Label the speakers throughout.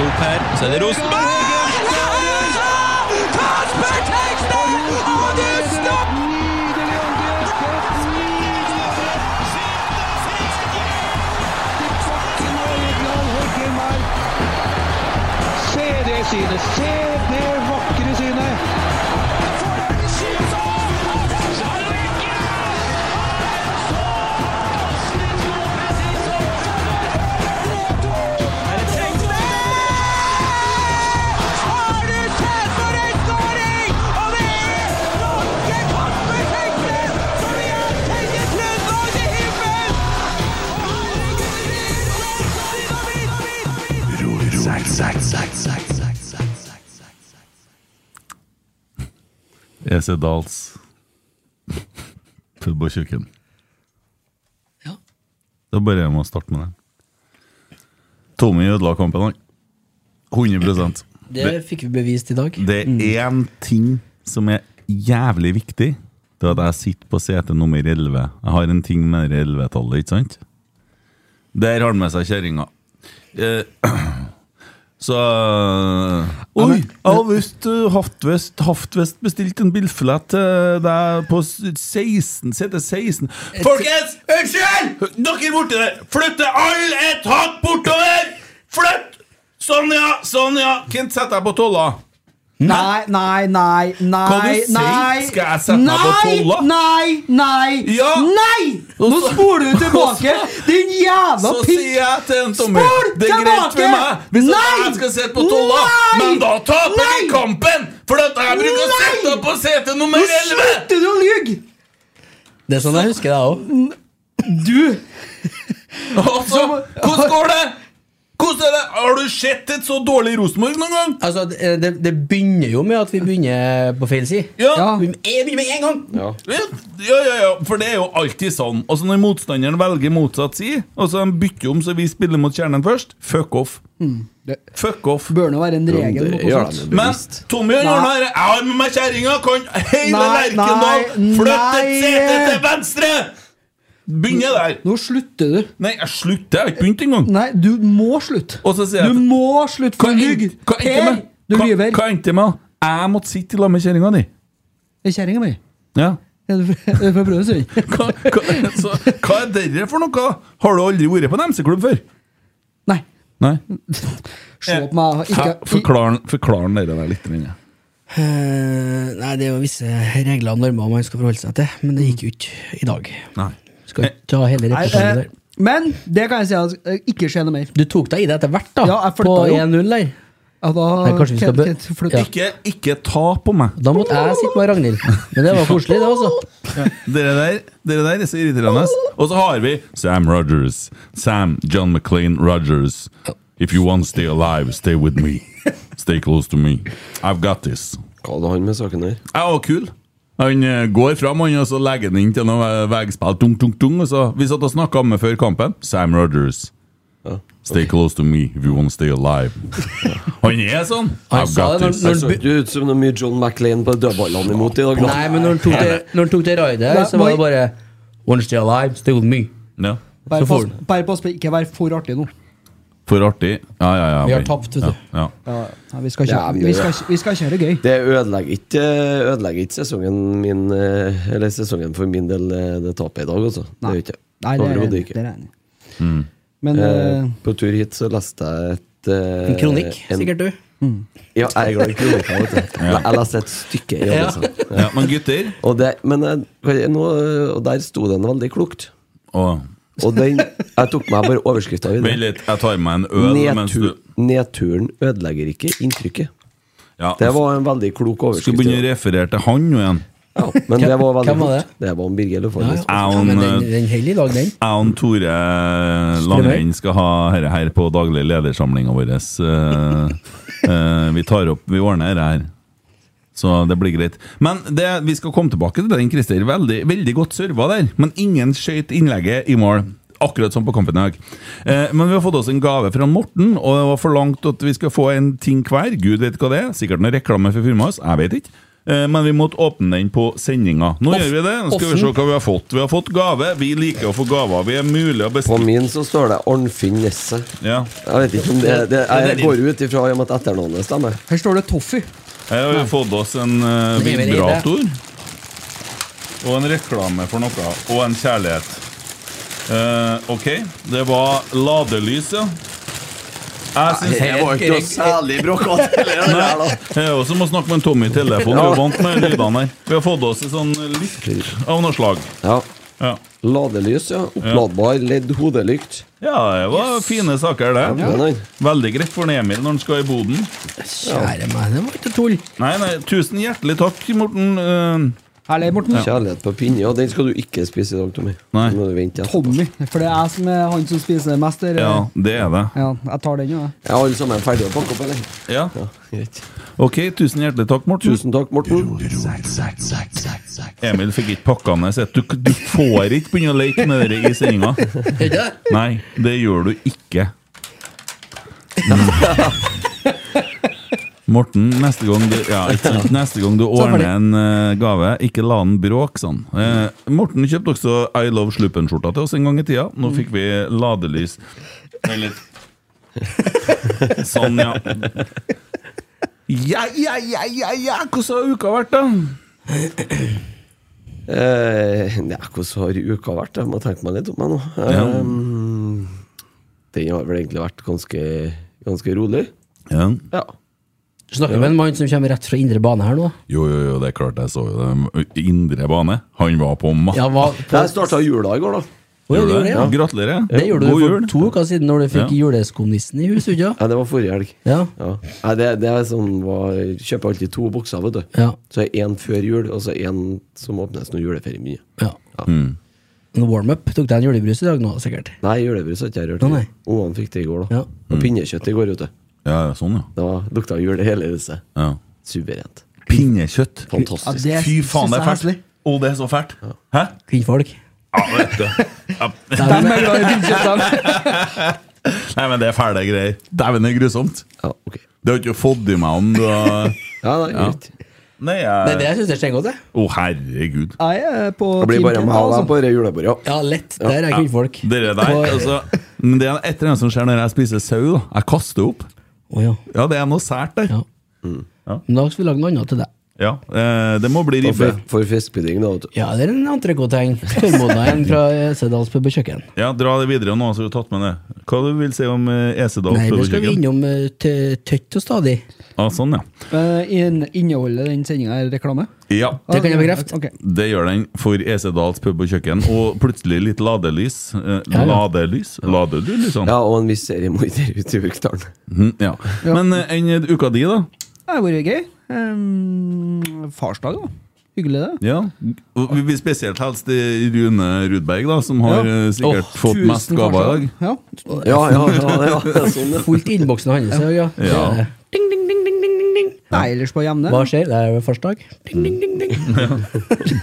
Speaker 1: Opp her, så er det Rosenborg!
Speaker 2: Ah!
Speaker 3: Se det synet! Se det vakre synet!
Speaker 4: EC Dahls pub og kjøkken.
Speaker 2: Ja.
Speaker 4: Det er bare jeg må starte med det. Tommy ødela kampen, han. 100
Speaker 2: Det fikk vi bevist i dag.
Speaker 4: Det er én ting som er jævlig viktig. Det er at jeg sitter på sete nummer 11. Jeg har en ting med det 11-tallet, ikke sant? Der har han med seg kjerringa. Eh, Så Oi! Jeg har visst eh, haftvest, haftvest bestilt en bilflett til deg på s- 16, sete 16 Folkens! Unnskyld! Dere borti der! Flytte all et hakk bortover! Flytt! Sånn, ja! Sånn, ja! Kent, sett deg på tolla.
Speaker 5: Nei, nei, nei, nei
Speaker 4: Hva du sier?
Speaker 5: nei.
Speaker 4: Skal jeg sette meg på
Speaker 5: Nei,
Speaker 4: tolla?
Speaker 5: Nei, nei,
Speaker 4: Ja.
Speaker 5: nei! Nå spoler du tilbake! Din jævla
Speaker 4: Så
Speaker 5: pikk!
Speaker 4: sier jeg til en Tommy
Speaker 5: Spol
Speaker 4: Det er greit for
Speaker 5: tilbake!
Speaker 4: meg hvis at
Speaker 5: Nei!
Speaker 4: jeg skal sitte på tolla,
Speaker 5: Nei!
Speaker 4: men da taper
Speaker 5: Nei!
Speaker 4: vi kampen! For at jeg bruker å
Speaker 5: Nei!
Speaker 4: sitte på sete nummer
Speaker 5: Nå
Speaker 4: 11!
Speaker 5: slutter du å lyge!
Speaker 2: Det er sånn jeg husker deg òg.
Speaker 5: Du
Speaker 4: Og så, hvordan går det? Hvordan er det? Har du sett et så dårlig Rosenborg noen gang?
Speaker 2: Altså, det, det- det begynner jo med at vi begynner på feil side.
Speaker 4: Ja.
Speaker 5: Ja.
Speaker 2: Vi jeg begynner med en gang!
Speaker 4: Ja, ja, ja, for det er jo alltid sånn. Altså Når motstanderen velger motsatt side, og så de bytter om så vi spiller mot kjernen først, fuck off.
Speaker 5: Mm,
Speaker 4: Fuck off.
Speaker 5: bør nå være en regel.
Speaker 6: Det
Speaker 5: noe
Speaker 6: gjør
Speaker 5: sånt.
Speaker 6: de jo
Speaker 4: Men
Speaker 6: bevisst.
Speaker 4: Tommy og Jørn her, jeg har med meg kjerringa, kan hele
Speaker 5: Nei,
Speaker 4: Lerkendal
Speaker 5: nei,
Speaker 4: flytte et
Speaker 5: nei.
Speaker 4: sete til venstre! Begynner der.
Speaker 5: Nå slutter du.
Speaker 4: Nei, jeg slutter, jeg har ikke begynt engang.
Speaker 5: Nei, du må slutte.
Speaker 4: Og så sier jeg
Speaker 5: Du må slutte, for du lyver.
Speaker 4: hva endte det med?
Speaker 5: du
Speaker 4: Hva-
Speaker 5: lyver.
Speaker 4: Hva endte det med? Jeg måtte sitte i lag med kjerringa di.
Speaker 5: Det er kjerringa mi.
Speaker 4: Ja.
Speaker 5: Er du fra- er du fra Brønnøysund?
Speaker 4: Hva, hva, så, hva er dette for noe? Har du aldri vært på en MC-klubb før?
Speaker 5: Nei.
Speaker 4: Nei.
Speaker 5: Se på meg.
Speaker 4: Ja,
Speaker 5: Ikke,
Speaker 4: Forklar forklar dere der litt. Minne.
Speaker 2: Eh, nei, det er jo visse regler og normer man skal forholde seg til, men det gikk jo ikke i dag.
Speaker 4: Nei.
Speaker 2: Skal ikke ta hele
Speaker 5: Nei,
Speaker 2: repetisjonen
Speaker 5: eh,
Speaker 2: der.
Speaker 5: men det kan jeg si at eh, ikke skjer noe mer.
Speaker 2: Du tok deg i det etter hvert, da.
Speaker 5: Ja, jeg flytta
Speaker 2: på
Speaker 5: jo.
Speaker 2: 1-0 der.
Speaker 5: Ja, da,
Speaker 2: Nei, kanskje vi skal be-
Speaker 5: Kent, Kent, flytt.
Speaker 2: Ja.
Speaker 4: Ikke, ikke ta på meg.
Speaker 2: Da måtte jeg sitte med Ragnhild. Men det var koselig, det, altså.
Speaker 4: Dere der, dere der er så irriterende. Og så har vi Sam Rogers. Sam John McLean Rogers. If you want to stay alive, stay with me. Stay close to me. I've got this.
Speaker 6: Hva hadde han med saken her?
Speaker 4: Jeg var kul. Han eh, går fram han, og så legger han inn til noe eh, vegspill. Tung, tung, tung. Og så, vi satt og snakka med før kampen. Sam Rogers. Stay close to me if you want to stay alive. Han er sånn.
Speaker 2: Han
Speaker 4: I've
Speaker 2: sa
Speaker 4: got
Speaker 2: det når-
Speaker 4: this.
Speaker 2: når
Speaker 6: Jeg så ikke ut som noe mye John McLean på dødballene imot i dag. da.
Speaker 2: Nei, men når han tok det, når han tok det raidet,
Speaker 5: Nei,
Speaker 2: så var
Speaker 5: må-
Speaker 2: det bare One stay alive, stay with me.
Speaker 4: Ja.
Speaker 5: Bare
Speaker 2: Så får
Speaker 5: pass,
Speaker 2: den.
Speaker 5: bare pass på ikke vær for artig nå.
Speaker 4: For artig. Ja, ja, ja.
Speaker 2: Vi har
Speaker 4: ok.
Speaker 2: tapt, vet du.
Speaker 4: Ja, ja.
Speaker 5: Nei, vi, skal ikke,
Speaker 6: Ja, vi gjør
Speaker 5: vi, skal, ikke- vi skal ikke gjøre det gøy.
Speaker 6: Det ødelegger ikke, ødelegger ikke sesongen min eh, Eller sesongen for min del, eh, det tapet i dag, altså. Det gjør ikke
Speaker 5: Nei, det er,
Speaker 6: Overhodet
Speaker 5: det
Speaker 6: ikke.
Speaker 5: er jeg enig i. Men
Speaker 6: Eh,
Speaker 5: eh,
Speaker 6: På tur hit så leste jeg et eh,
Speaker 2: En kronikk,
Speaker 6: en-
Speaker 2: sikkert du.
Speaker 6: Ja, jeg er glad i kronikker, vet du. Jeg leste et stykke i avisa.
Speaker 4: ja. Men gutter
Speaker 6: Og det, men jeg, kan jeg nå, og der sto den veldig klokt.
Speaker 4: og
Speaker 6: Og den Jeg tok meg bare overskrifta i det.
Speaker 4: Vent litt, jeg tar meg en øl mens du
Speaker 6: Nedtur, nedturen ødelegger ikke inntrykket.
Speaker 4: ja,
Speaker 6: Det var en veldig klok
Speaker 4: Skal
Speaker 6: overskrift.
Speaker 4: begynne å referere til han nå igjen.
Speaker 6: ja, men det var veldig
Speaker 2: Hvem var det?
Speaker 6: klokt. Det var en Birger Løfaldnes.
Speaker 2: Ja,
Speaker 4: Jeg
Speaker 2: ja.
Speaker 4: og eh,
Speaker 2: Men
Speaker 4: en,
Speaker 2: den, den holder i dag, den.
Speaker 4: Jeg og Tore Langrenn skal ha dette her på daglig ledersamlinga vår. Eh, eh, vi tar opp, vi ordner dette her. Så det blir greit. Men det, vi skal komme tilbake til den, Christer. Veldig, veldig godt serva der, men ingen skøyt innlegget i mål. Akkurat som på kampen i dag. Eh, men vi har fått oss en gave fra Morten, og det var forlangt at vi skal få en ting hver. Gud vet hva det er. Sikkert noe reklame for firmaet hans. Jeg vet ikke. Eh, Men vi måtte åpne den på sendinga. Nå
Speaker 2: Off-
Speaker 4: gjør vi det. Nå skal vi se
Speaker 2: offen.
Speaker 4: hva vi har fått. Vi har fått gave. Vi liker å få gaver. Vi er mulig å
Speaker 6: På
Speaker 4: bestille
Speaker 6: min så står det Arnfinn Nesse.
Speaker 4: ja.
Speaker 6: Jeg vet ikke om det, det Jeg går ut ifra om at etternavnet stemmer.
Speaker 5: Her står det Toffee.
Speaker 4: Her har vi fått oss en eh,
Speaker 2: Det er vel i det.
Speaker 4: vibrator. Og en reklame for noe. Og en kjærlighet. Eh, OK. Det var ladelys, ja. Jeg syns
Speaker 6: Det var ikke noe særlig bråkete heller. det der, da.
Speaker 4: Det er jo som å snakke med en Tommy i telefonen. Du er jo vant med lydene her. Vi har fått oss en sånn lykt av noe slag.
Speaker 6: Ja.
Speaker 4: Ja,
Speaker 6: Ladelys, ja. Oppladbar ledd hodelykt.
Speaker 4: ja det var fine saker, det.
Speaker 6: Ja.
Speaker 4: Veldig greit for Emil når han skal i boden.
Speaker 2: Kjære meg, det var ikke tull.
Speaker 4: Nei, nei, tusen hjertelig takk, Morten. Eh,
Speaker 5: Herlig, Morten.
Speaker 6: Kjærlighet på pinne. Ja, den skal du ikke spise i dag, Tommy.
Speaker 4: Nei.
Speaker 6: Den Må du vente etterpå.
Speaker 5: Tommy. For det er jeg som er han som spiser mest. Der. eh.
Speaker 4: ja, det er det.
Speaker 5: Ja, jeg tar den, jo. jeg.
Speaker 6: Er alle sammen ferdige å pakke opp, eller?
Speaker 4: Ja.
Speaker 6: Ja, greit.
Speaker 4: Ok, tusen hjertelig takk, Morten.
Speaker 6: Tusen takk, Morten.
Speaker 4: Emil fikk ikke pakka ned sitt. Du, du får ikke begynne å leke med det i sendinga. Nei, det gjør du ikke. Mm. Morten, neste gang du, ja, ikke sant? Neste gang du ordner en eh, gave, ikke la den bråke sånn. Eh, Morten kjøpte også I Love Sluppen-skjorta til oss en gang i tida. Nå fikk vi ladelys. Vent litt. Sånn, ja. Ja, ja, ja, ja, ja. Hvordan har uka vært, da?
Speaker 6: Eh, nei, hvordan har uka vært? Jeg må tenke meg litt om meg nå.
Speaker 4: Ja.
Speaker 6: Ehm, den har vel egentlig vært ganske, ganske rolig.
Speaker 4: Ja.
Speaker 6: Ja.
Speaker 2: Snakker med en mann som kommer rett fra indre bane her nå.
Speaker 4: Jo, jo, jo, det er klart jeg så jo det. Indre bane. Han var på matta.
Speaker 2: Ja, hva? På,
Speaker 6: Jeg starta jula i går, da.
Speaker 2: Å, ja, du gjorde det, ja.
Speaker 4: Gratulerer.
Speaker 2: Det gjorde du
Speaker 4: God
Speaker 2: for
Speaker 4: jul.
Speaker 2: to uker siden når du fikk juleskomnissen i huset, ikke sant?
Speaker 6: Ja, det var forrige helg.
Speaker 2: Ja.
Speaker 6: Ja. Nei, det, det er sånn var, jeg Kjøper alltid to bokser, vet du.
Speaker 2: Ja.
Speaker 6: Så er én før jul, og så én som åpnes når juleferien begynner.
Speaker 2: ja. En warm-up. Tok deg en julebrus i dag nå, sikkert?
Speaker 6: Nei, julebrus har ikke jeg rørt.
Speaker 2: Nei, nei.
Speaker 6: Ungene fikk det i går, da.
Speaker 2: Ja.
Speaker 6: Og pinnekjøtt i går, vet du.
Speaker 4: Ja, ja, sånn, ja.
Speaker 6: Da lukta jul i hele huset.
Speaker 4: ja.
Speaker 6: Suverent.
Speaker 4: Pinnekjøtt.
Speaker 5: Ja,
Speaker 6: Fantastisk.
Speaker 5: det
Speaker 4: Fy faen, det er
Speaker 5: synes
Speaker 4: fælt.
Speaker 5: jeg heslig.
Speaker 4: Å, det er så fælt. Hæ?
Speaker 2: Kvinnfolk.
Speaker 4: Ja, vet du. Ja.
Speaker 5: De er glad i pinnekjøtt, de.
Speaker 4: Nei, men det er fæle greier. Dæven, det er grusomt.
Speaker 6: Ja, ok.
Speaker 4: Det har ikke fått i meg om du har
Speaker 6: Ja, nei, greit.
Speaker 4: Nei,
Speaker 2: Det er
Speaker 4: jeg Å,
Speaker 2: det jeg syns er stengodt, jeg.
Speaker 4: herregud.
Speaker 5: Jeg er på
Speaker 6: Det blir bare
Speaker 5: Team
Speaker 6: med
Speaker 5: Kent,
Speaker 6: deg
Speaker 5: altså.
Speaker 6: på det julebordet. Ja.
Speaker 2: Ja, lett. Der er kvinnfolk.
Speaker 4: Dere der,
Speaker 2: På-
Speaker 4: altså. Men det er et eller annet som skjer når jeg spiser sau. da. Jeg kaster opp.
Speaker 2: Å ja.
Speaker 4: Ja, det er noe sært der.
Speaker 2: ja. Men da skal vi lage noe annet til deg.
Speaker 4: Ja, eh, Det må bli
Speaker 6: Og
Speaker 4: ribbe.
Speaker 6: For, for fiskepudding, da. vet du.
Speaker 2: Ja, det er en entrecôte-heng. Tørrmodna en fra eh, Esedals pub og kjøkken.
Speaker 4: Ja, Dra det videre nå, så har du tatt med det. Hva du vil si om eh, Esedal
Speaker 2: Nei, det skal vi
Speaker 4: Pøbelkjøkken?
Speaker 2: innom eh, tø- tøtt og stadig.
Speaker 4: Ja, sånn, ja.
Speaker 5: altså. Men inn- Inneholder den sendinga reklame? Ah,
Speaker 4: ja.
Speaker 2: Det kan jeg bekrefte.
Speaker 5: Ok.
Speaker 4: Det gjør den for Esedals pub og kjøkken, og plutselig litt ladelys. Eh,
Speaker 2: Ja, ja.
Speaker 4: Ladelys? Lader du, liksom?
Speaker 6: Ja, og en viss seriemorder ute i Urkdalen.
Speaker 4: Mhm, ja. Men eh, enn uka di, da?
Speaker 5: Det har vært gøy. Ehm, farsdag, da. Hyggelig, det.
Speaker 4: Ja. Og Vi vil spesielt helst til Rune Rudberg, da, som har
Speaker 5: Ja.
Speaker 4: eh, sikkert
Speaker 2: Åh,
Speaker 4: fått mest
Speaker 5: Tusen
Speaker 4: gaver i
Speaker 5: farsdag.
Speaker 4: dag.
Speaker 5: Ja.
Speaker 6: Ja, ja, ja, det var sånn, ja.
Speaker 2: Fullt i innboksen hans. Ja. Ja. Det
Speaker 4: Ja.
Speaker 2: er det. Ding, ding, ding, ding, ding, ding, ding.
Speaker 5: Nei, ellers på hjemne.
Speaker 2: Hva skjer? Det er vel farsdag? Ding, ding, ding, ding.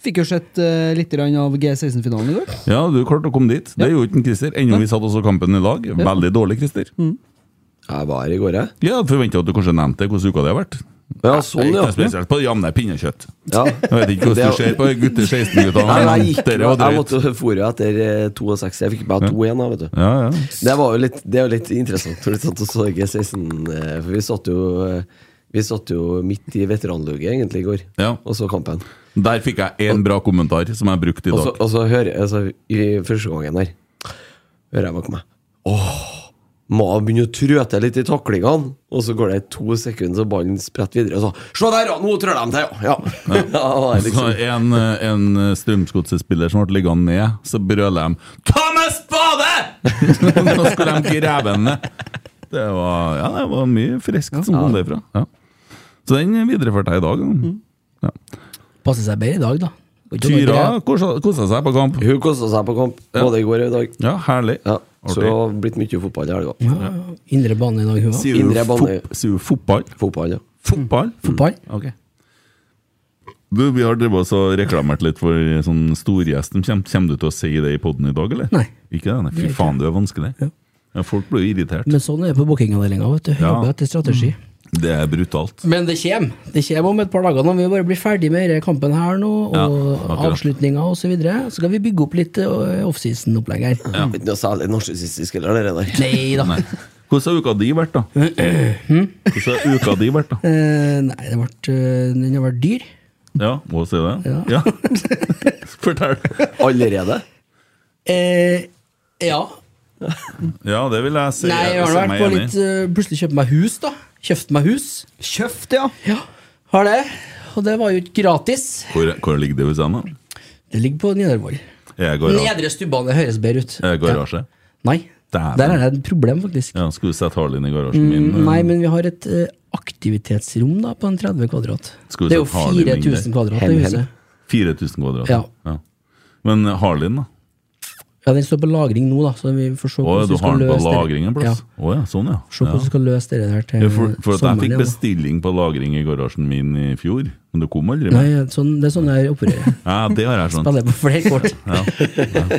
Speaker 5: Fikk jo sett eh, litt grann av G16-finalen i går.
Speaker 4: Ja, du klarte å komme dit. Det gjorde ikke en Christer. Enda vi satt også kampen i lag. Veldig dårlig, Christer.
Speaker 6: Jeg var her i går, jeg.
Speaker 4: Ja, forventa at du kanskje nevnte hvordan uka di har vært.
Speaker 6: Ja, sånn, ja.
Speaker 4: Ikke Spesielt på det jevne pinnekjøtt.
Speaker 6: ja.
Speaker 4: Jeg vet ikke hvordan du
Speaker 6: Det-
Speaker 4: ser på gutter 16-gutta.
Speaker 6: Nei, jeg, gikk,
Speaker 4: Dere var
Speaker 6: jeg
Speaker 4: drøyt.
Speaker 6: måtte fôre etter eh, 62. Jeg fikk bare 2 igjen, da, vet du.
Speaker 4: Ja, ja.
Speaker 6: Det var jo litt, det er jo litt interessant når du satt og så G16, eh, for vi satt jo eh, vi satt jo midt i veteranlauget egentlig i går,
Speaker 4: Ja.
Speaker 6: og så kampen.
Speaker 4: Der fikk jeg én bra kommentar som jeg brukte i
Speaker 6: Og så,
Speaker 4: dag.
Speaker 6: og så hører altså, i første gangen der hører jeg bak meg Åh, må jeg begynne å trøte litt i taklingene? Og så går det to sekunder, så ballen spretter videre. Og så Se der, ja! Nå trør de til, ja! ja. ja det er
Speaker 4: Så
Speaker 6: liksom,
Speaker 4: en, eh, en Strømsgodset-spiller som ble liggende ned, så brøler de 'Ta med spade!' Nå skulle de grave den ned. Det var, ja, det var mye friskt som kom derfra. Ja. Så den videreførte jeg i dag.
Speaker 6: Mm.
Speaker 4: Ja.
Speaker 2: Passer seg bedre i dag, da. Ikke noe
Speaker 4: Tyra
Speaker 2: greier.
Speaker 4: kosa kosa seg på kamp.
Speaker 6: hun kosta seg på kamp, både i går og i dag.
Speaker 4: Ja, herlig.
Speaker 6: Ja, så det
Speaker 4: Artig.
Speaker 6: har blitt mye fotball i helga.
Speaker 2: Ja, Indre bane i dag, hun òg.
Speaker 4: Sier du
Speaker 6: Indre bane-
Speaker 4: fot- sier du fotball?
Speaker 6: Fotball, ja.
Speaker 4: Fotball?
Speaker 2: Fotball.
Speaker 4: Ok. Du, vi har drevet oss og reklamert litt for sånn storgjest. Kommer, kommer du til å si det i poden i dag, eller?
Speaker 2: Nei.
Speaker 4: Ikke det? Nei. Fy faen, du er vanskelig. Ja. folk blir jo irritert.
Speaker 2: Men sånn er det på bookingavdelinga. vet du.
Speaker 4: Ja.
Speaker 2: Jobber etter strategi.
Speaker 4: Det er brutalt.
Speaker 2: Men det kommer. Det kommer om et par dager når vi bare blir ferdig med denne kampen her nå,
Speaker 4: Ja,
Speaker 2: og
Speaker 4: akkurat.
Speaker 2: avslutninga osv. Så, videre. så skal vi bygge opp litt eh, offseason-opplegg her.
Speaker 6: Ikke noe særlig narsissistisk heller, det der.
Speaker 2: Nei da.
Speaker 4: Nei. Hvordan har uka di vært, da? Hvordan har uka di vært, da?
Speaker 2: Eh, nei, det ble, eh, den har vært dyr.
Speaker 4: Ja, må jeg si det? Ja. Fortell.
Speaker 6: Allerede?
Speaker 2: Eh, ja.
Speaker 4: Ja, det vil jeg si.
Speaker 2: Nei, jeg har
Speaker 4: si
Speaker 2: vært
Speaker 4: meg
Speaker 2: på
Speaker 4: enig i.
Speaker 2: litt eh, Plutselig kjøpt meg hus, da. Kjøpt meg hus.
Speaker 5: Kjøft, ja.
Speaker 2: Ja, Har det. Og det var jo ikke gratis.
Speaker 4: hvor, hvor ligger det hos deg, da?
Speaker 2: Det ligger på Nidarvoll.
Speaker 4: Er jeg garasje?
Speaker 2: Nedre Stubbane høres bedre ut.
Speaker 4: Er jeg garasje?
Speaker 2: Ja. Nei,
Speaker 4: Dæven.
Speaker 2: der er det et problem, faktisk.
Speaker 4: Ja, skulle sette Harlin i garasjen min.
Speaker 2: Mm, Nei, men vi har et eh, aktivitetsrom da på en 30 kvadrat.
Speaker 4: Skal vi
Speaker 2: Det er jo
Speaker 4: sette Harley inn der?
Speaker 2: 4000 kvadrat,
Speaker 6: Hem,
Speaker 2: det
Speaker 6: hem.
Speaker 2: huset.
Speaker 4: 4000 kvadrat.
Speaker 2: Ja.
Speaker 4: Men Harlin, da?
Speaker 2: Ja, Den står på lagring nå, da, så vi får se
Speaker 4: Å,
Speaker 2: hvordan
Speaker 4: du
Speaker 2: vi
Speaker 4: har
Speaker 2: skal
Speaker 4: den på
Speaker 2: løse
Speaker 4: lagring en
Speaker 2: det. Ja,
Speaker 4: plass? Å ja, sånn, ja.
Speaker 2: se hvordan vi
Speaker 4: ja.
Speaker 2: skal løse det der til
Speaker 4: Ja, for, for at jeg
Speaker 2: sommeren.
Speaker 4: fikk
Speaker 2: igjen, da.
Speaker 4: bestilling på lagring i garasjen min i fjor, men du kom aldri
Speaker 2: Nei,
Speaker 4: med.
Speaker 2: sånn, Det er sånn jeg opererer.
Speaker 4: Ja, det har jeg skjønt.
Speaker 2: Spiller på flere kort.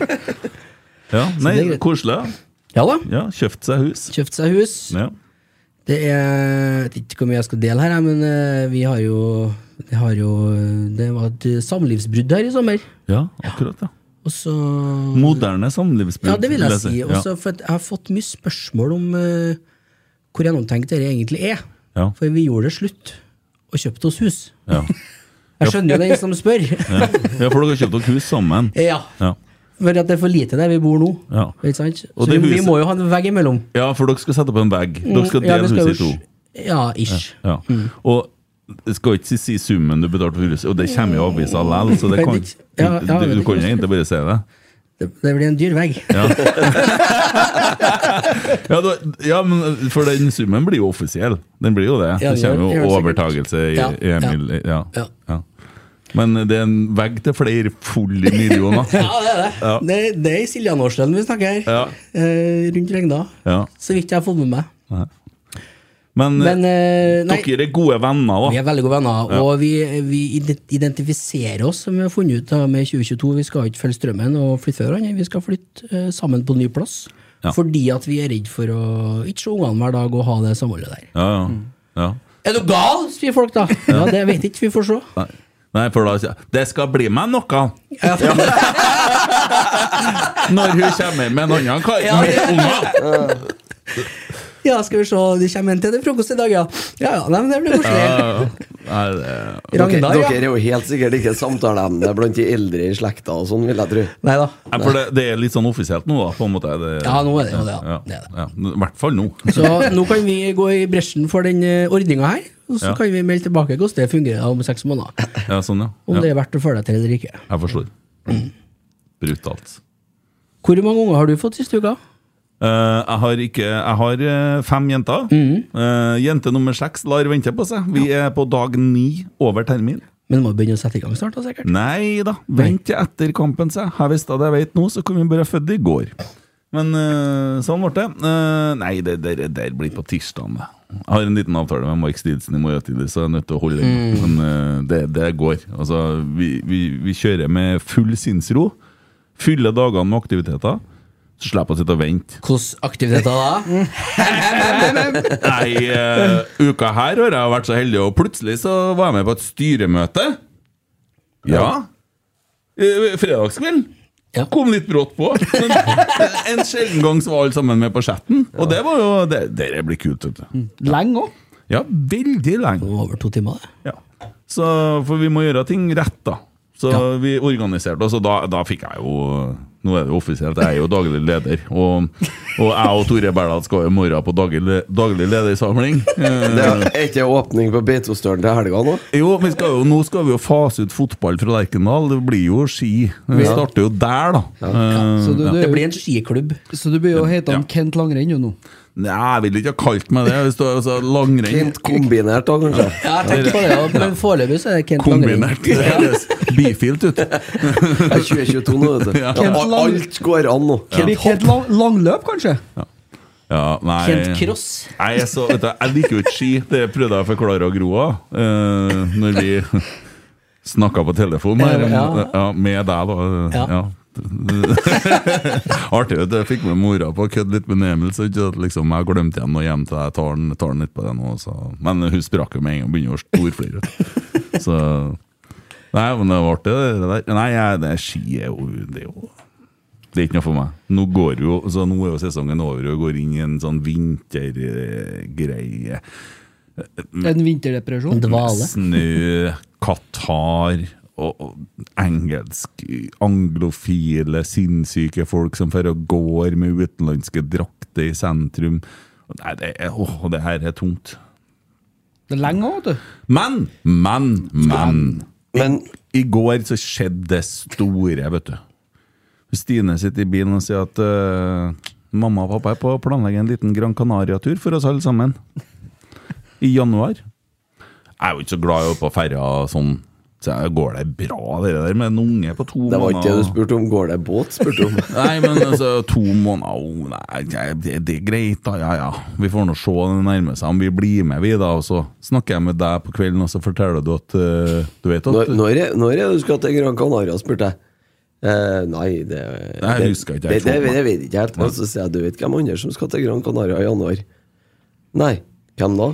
Speaker 4: Ja, nei,
Speaker 2: det er greit.
Speaker 4: koselig. ja.
Speaker 2: Ja da.
Speaker 4: Ja, kjøpt seg hus.
Speaker 2: Kjøpt seg hus.
Speaker 4: Ja.
Speaker 2: Det er Jeg vet ikke hvor mye jeg skal dele her, jeg, men eh, vi har jo Det, har jo, eh, det var et samlivsbrudd her i sommer.
Speaker 4: ja, akkurat, ja.
Speaker 2: Og så
Speaker 4: Moderne samlivsbrudd.
Speaker 2: Ja, det vil jeg si.
Speaker 4: Ja.
Speaker 2: Også, for at jeg har fått mye spørsmål om eh, hvor gjennomtenkt dette egentlig er.
Speaker 4: Ja.
Speaker 2: For vi gjorde det slutt og kjøpte oss hus.
Speaker 4: Ja.
Speaker 2: Jeg skjønner jo den som spør.
Speaker 4: Ja. ja, for dere har kjøpt dere hus sammen.
Speaker 2: ja,
Speaker 4: Ja.
Speaker 2: For at det er for lite der vi bor nå.
Speaker 4: Ja.
Speaker 2: Ikke sant?
Speaker 4: Og
Speaker 2: Så
Speaker 4: det
Speaker 2: vi, vi
Speaker 4: huset-
Speaker 2: må jo ha en vegg imellom.
Speaker 4: ja, for dere skal sette opp en bag. Dere skal
Speaker 2: Mm, Ja,
Speaker 4: dele
Speaker 2: vi skal
Speaker 4: huset
Speaker 2: Mm.
Speaker 4: i
Speaker 2: jo
Speaker 4: to.
Speaker 2: s- Ja, ish.
Speaker 4: Ja. Og jeg skal ikke si summen du betalte for huset, og det kommer jo i avisa likevel, så det
Speaker 2: Jeg
Speaker 4: kan,
Speaker 2: vet ikke. Ja, ja, jeg
Speaker 4: du, du
Speaker 2: vet ikke
Speaker 4: kan
Speaker 2: hva
Speaker 4: jo
Speaker 2: jeg
Speaker 4: egentlig bare si det.
Speaker 2: Det, det blir en dyr vegg.
Speaker 4: Ja, da, ja, men for den summen blir jo offisiell. Den blir jo det.
Speaker 2: Ja,
Speaker 4: Det
Speaker 2: det
Speaker 4: kommer jo
Speaker 2: gjør det sikkert.
Speaker 4: overtagelse i
Speaker 2: Ja,
Speaker 4: i Emil. Ja.
Speaker 2: Ja.
Speaker 4: Ja. Men det er en vegg til flere fulle millioner.
Speaker 2: Ja, det er det. Det, det er i Siljanårsdalen vi snakker her.
Speaker 4: Ja.
Speaker 2: Eh, rundt Regna.
Speaker 4: Ja.
Speaker 2: Så vidt jeg har fått med meg.
Speaker 4: Men,
Speaker 2: Men eh, nei,
Speaker 4: dere er gode venner,
Speaker 2: vi
Speaker 4: da.
Speaker 2: er veldig gode venner, og vi, vi ident- identifiserer oss, som vi har funnet ut da, med 2022. Vi skal ikke følge strømmen og flytte før hverandre, vi skal flytte eh, sammen på ny plass.
Speaker 4: Ja.
Speaker 2: Fordi at vi er redd for å ikke se ungene hver dag og ha det samholdet der.
Speaker 4: Ja, ja.
Speaker 2: Mm.
Speaker 4: ja.
Speaker 2: Er du gal, sier folk da. Ja, det vet ikke, vi får se.
Speaker 4: Nei. Nei, for da sier jeg, Det skal bli meg noe
Speaker 2: Ja,
Speaker 4: når hun kommer med en annen kar
Speaker 2: Ja,
Speaker 4: med unger!
Speaker 2: ja skal vi se, det kommer en til til frokost i dag, ja. Ja, ja, nei, men det blir koselig.
Speaker 4: Ja, Nei, det-
Speaker 6: Dere,
Speaker 2: Ragnar,
Speaker 6: dere
Speaker 2: ja.
Speaker 6: er jo helt sikkert ikke samtaleemne blant de eldre i slekta og sånn, vil jeg tro.
Speaker 2: Nei da.
Speaker 4: Nei, for det, det er litt sånn offisielt nå, da. På en måte. Det,
Speaker 2: Ja, nå er det jo det, ja.
Speaker 4: Ja,
Speaker 2: Det er det.
Speaker 4: ja. I hvert fall nå.
Speaker 2: Så nå kan vi gå i bresjen for den ordninga her, og så
Speaker 4: Ja.
Speaker 2: kan vi melde tilbake hvordan det fungerer om seks måneder.
Speaker 4: Ja, sånn, ja.
Speaker 2: Om
Speaker 4: ja.
Speaker 2: det Mm. er verdt å følge deg til eller ikke.
Speaker 4: Jeg forstår. Brutalt.
Speaker 2: Hvor mange unger har du fått siste uka?
Speaker 4: Eh, jeg har, ikke, jeg har eh, fem jenter.
Speaker 2: Mm.
Speaker 4: Eh, jente nummer seks lar vente på seg. Vi er på dag ni over termin.
Speaker 2: Men må begynne å sette i gang snart, da, sikkert.
Speaker 4: Nei da, vent til etter kampen, sa jeg. Har visst det jeg vet nå, så kunne vi bare født i går. Men eh, sånn ble det. Eh, nei, det der, der blir på tirsdag. Jeg har en liten avtale med Mark Stidsen i morgen tidlig, så jeg er nødt til å holde den. Men eh, det, det går. Altså, vi, vi, vi kjører med full sinnsro. Fyller dagene med aktiviteter. Så slipper jeg å sitte og vente.
Speaker 2: Hvilke aktiviteter da?
Speaker 4: Nei, eh, uka her har jeg vært så heldig, og plutselig så var jeg med på et styremøte. Ja. Eh, Fredagskveld.
Speaker 2: Ja.
Speaker 4: Kom litt brått på. Men en sjelden gang så var alle sammen med på chatten. Og det var jo Det, det blir kult. Vet du.
Speaker 5: Lenge òg.
Speaker 4: Ja, veldig lenge.
Speaker 2: Det var Over to timer, det.
Speaker 4: Ja. Så, for vi må gjøre ting rett, da. Så
Speaker 2: Ja.
Speaker 4: vi organiserte oss, og da, da fikk jeg jo Nå er det jo offisielt, jeg er jo daglig leder. Og, og jeg og Tore Berdal skal i morgen på daglig, daglig ledersamling. Eh,
Speaker 6: Det er ikke åpning på Beitostølen til helga nå?
Speaker 4: jo, men skal jo, nå skal vi jo fase ut fotball fra Lerkendal. Det blir jo ski. Vi starter jo der, da. Eh,
Speaker 5: Så du, du,
Speaker 2: Det
Speaker 5: er
Speaker 2: blir
Speaker 5: jo-
Speaker 2: en skiklubb.
Speaker 5: så du blir jo heta
Speaker 4: Ja.
Speaker 5: Kent Langrenn jo nå.
Speaker 4: Nei, jeg vil ikke ha kalt meg det. Hvis du er altså, langrenn
Speaker 6: Kent kombinert, da, kanskje?
Speaker 2: Ja, jeg tenkte på det, ja. men foreløpig så er det Kent
Speaker 4: kombinert. Det høres bifilt ut.
Speaker 6: Det er 2022 nå, vet du.
Speaker 4: Ja.
Speaker 6: Ja, al- Alt går an nå.
Speaker 5: Det blir Kent lang, Langløp, kanskje?
Speaker 4: Ja, nei.
Speaker 2: Kent Cross.
Speaker 4: Nei, jeg, så, vet du, jeg liker jo ikke ski. Det prøvde jeg å forklare og Groa eh, Når vi snakka på telefon her,
Speaker 2: Ja.
Speaker 4: ja, med deg, da.
Speaker 2: Ja.
Speaker 4: Ja. Artig, vet du. Jeg fikk med mora på å kødde litt med Emil. Så ikke at liksom, jeg glemte igjen og hjem til deg. Tar den, tar den litt på det nå. Så. Men hun sprakk jo med en gang og begynner å storflire. vet du. Så Nei, men det var artig, det der. Nei, jeg, det ski er jo Det er jo det er ikke noe for meg. Nå går jo, så nå er jo sesongen over og går inn i en sånn vintergreie.
Speaker 5: En vinterdepresjon.
Speaker 2: Dvale.
Speaker 4: Snø, Qatar og, og engelsk anglofile, sinnssyke folk som fører og går med utenlandske drakter i sentrum. Og Nei, det, er, åh, det her er tungt.
Speaker 5: Det er lenge òg, du.
Speaker 4: Men, men, men.
Speaker 6: Men
Speaker 4: I går så skjedde det store, vet du. Stine sitter i bilen og sier at eh, mamma og pappa er på å planlegge en liten Gran Canaria-tur for oss alle sammen. I januar. Jeg er jo ikke så glad i å på ferja og sånn. Så jeg går det bra, det der med en unge på to
Speaker 6: det var ikke det
Speaker 4: måneder?
Speaker 6: du spurte om. Går det båt? spurte du om.
Speaker 4: Nei, men altså, to måneder oh, nei, det- det, det er greit, da. Ja, ja. Vi får nå se det nærmer seg. Om vi blir med, vi, da. Og så snakker jeg med deg på kvelden, og så forteller du at eh, Du vet at
Speaker 6: Når, når, er, når er det du skal til Gran Canaria? spurte jeg. Eh, nei, det
Speaker 4: Nei, jeg husker ikke,
Speaker 6: Det,
Speaker 4: jeg
Speaker 6: det,
Speaker 4: tror
Speaker 6: det,
Speaker 4: meg.
Speaker 6: det vet jeg ikke helt. Og så sier jeg du vet hvem andre som skal til Gran Canaria i januar. Nei, hvem da?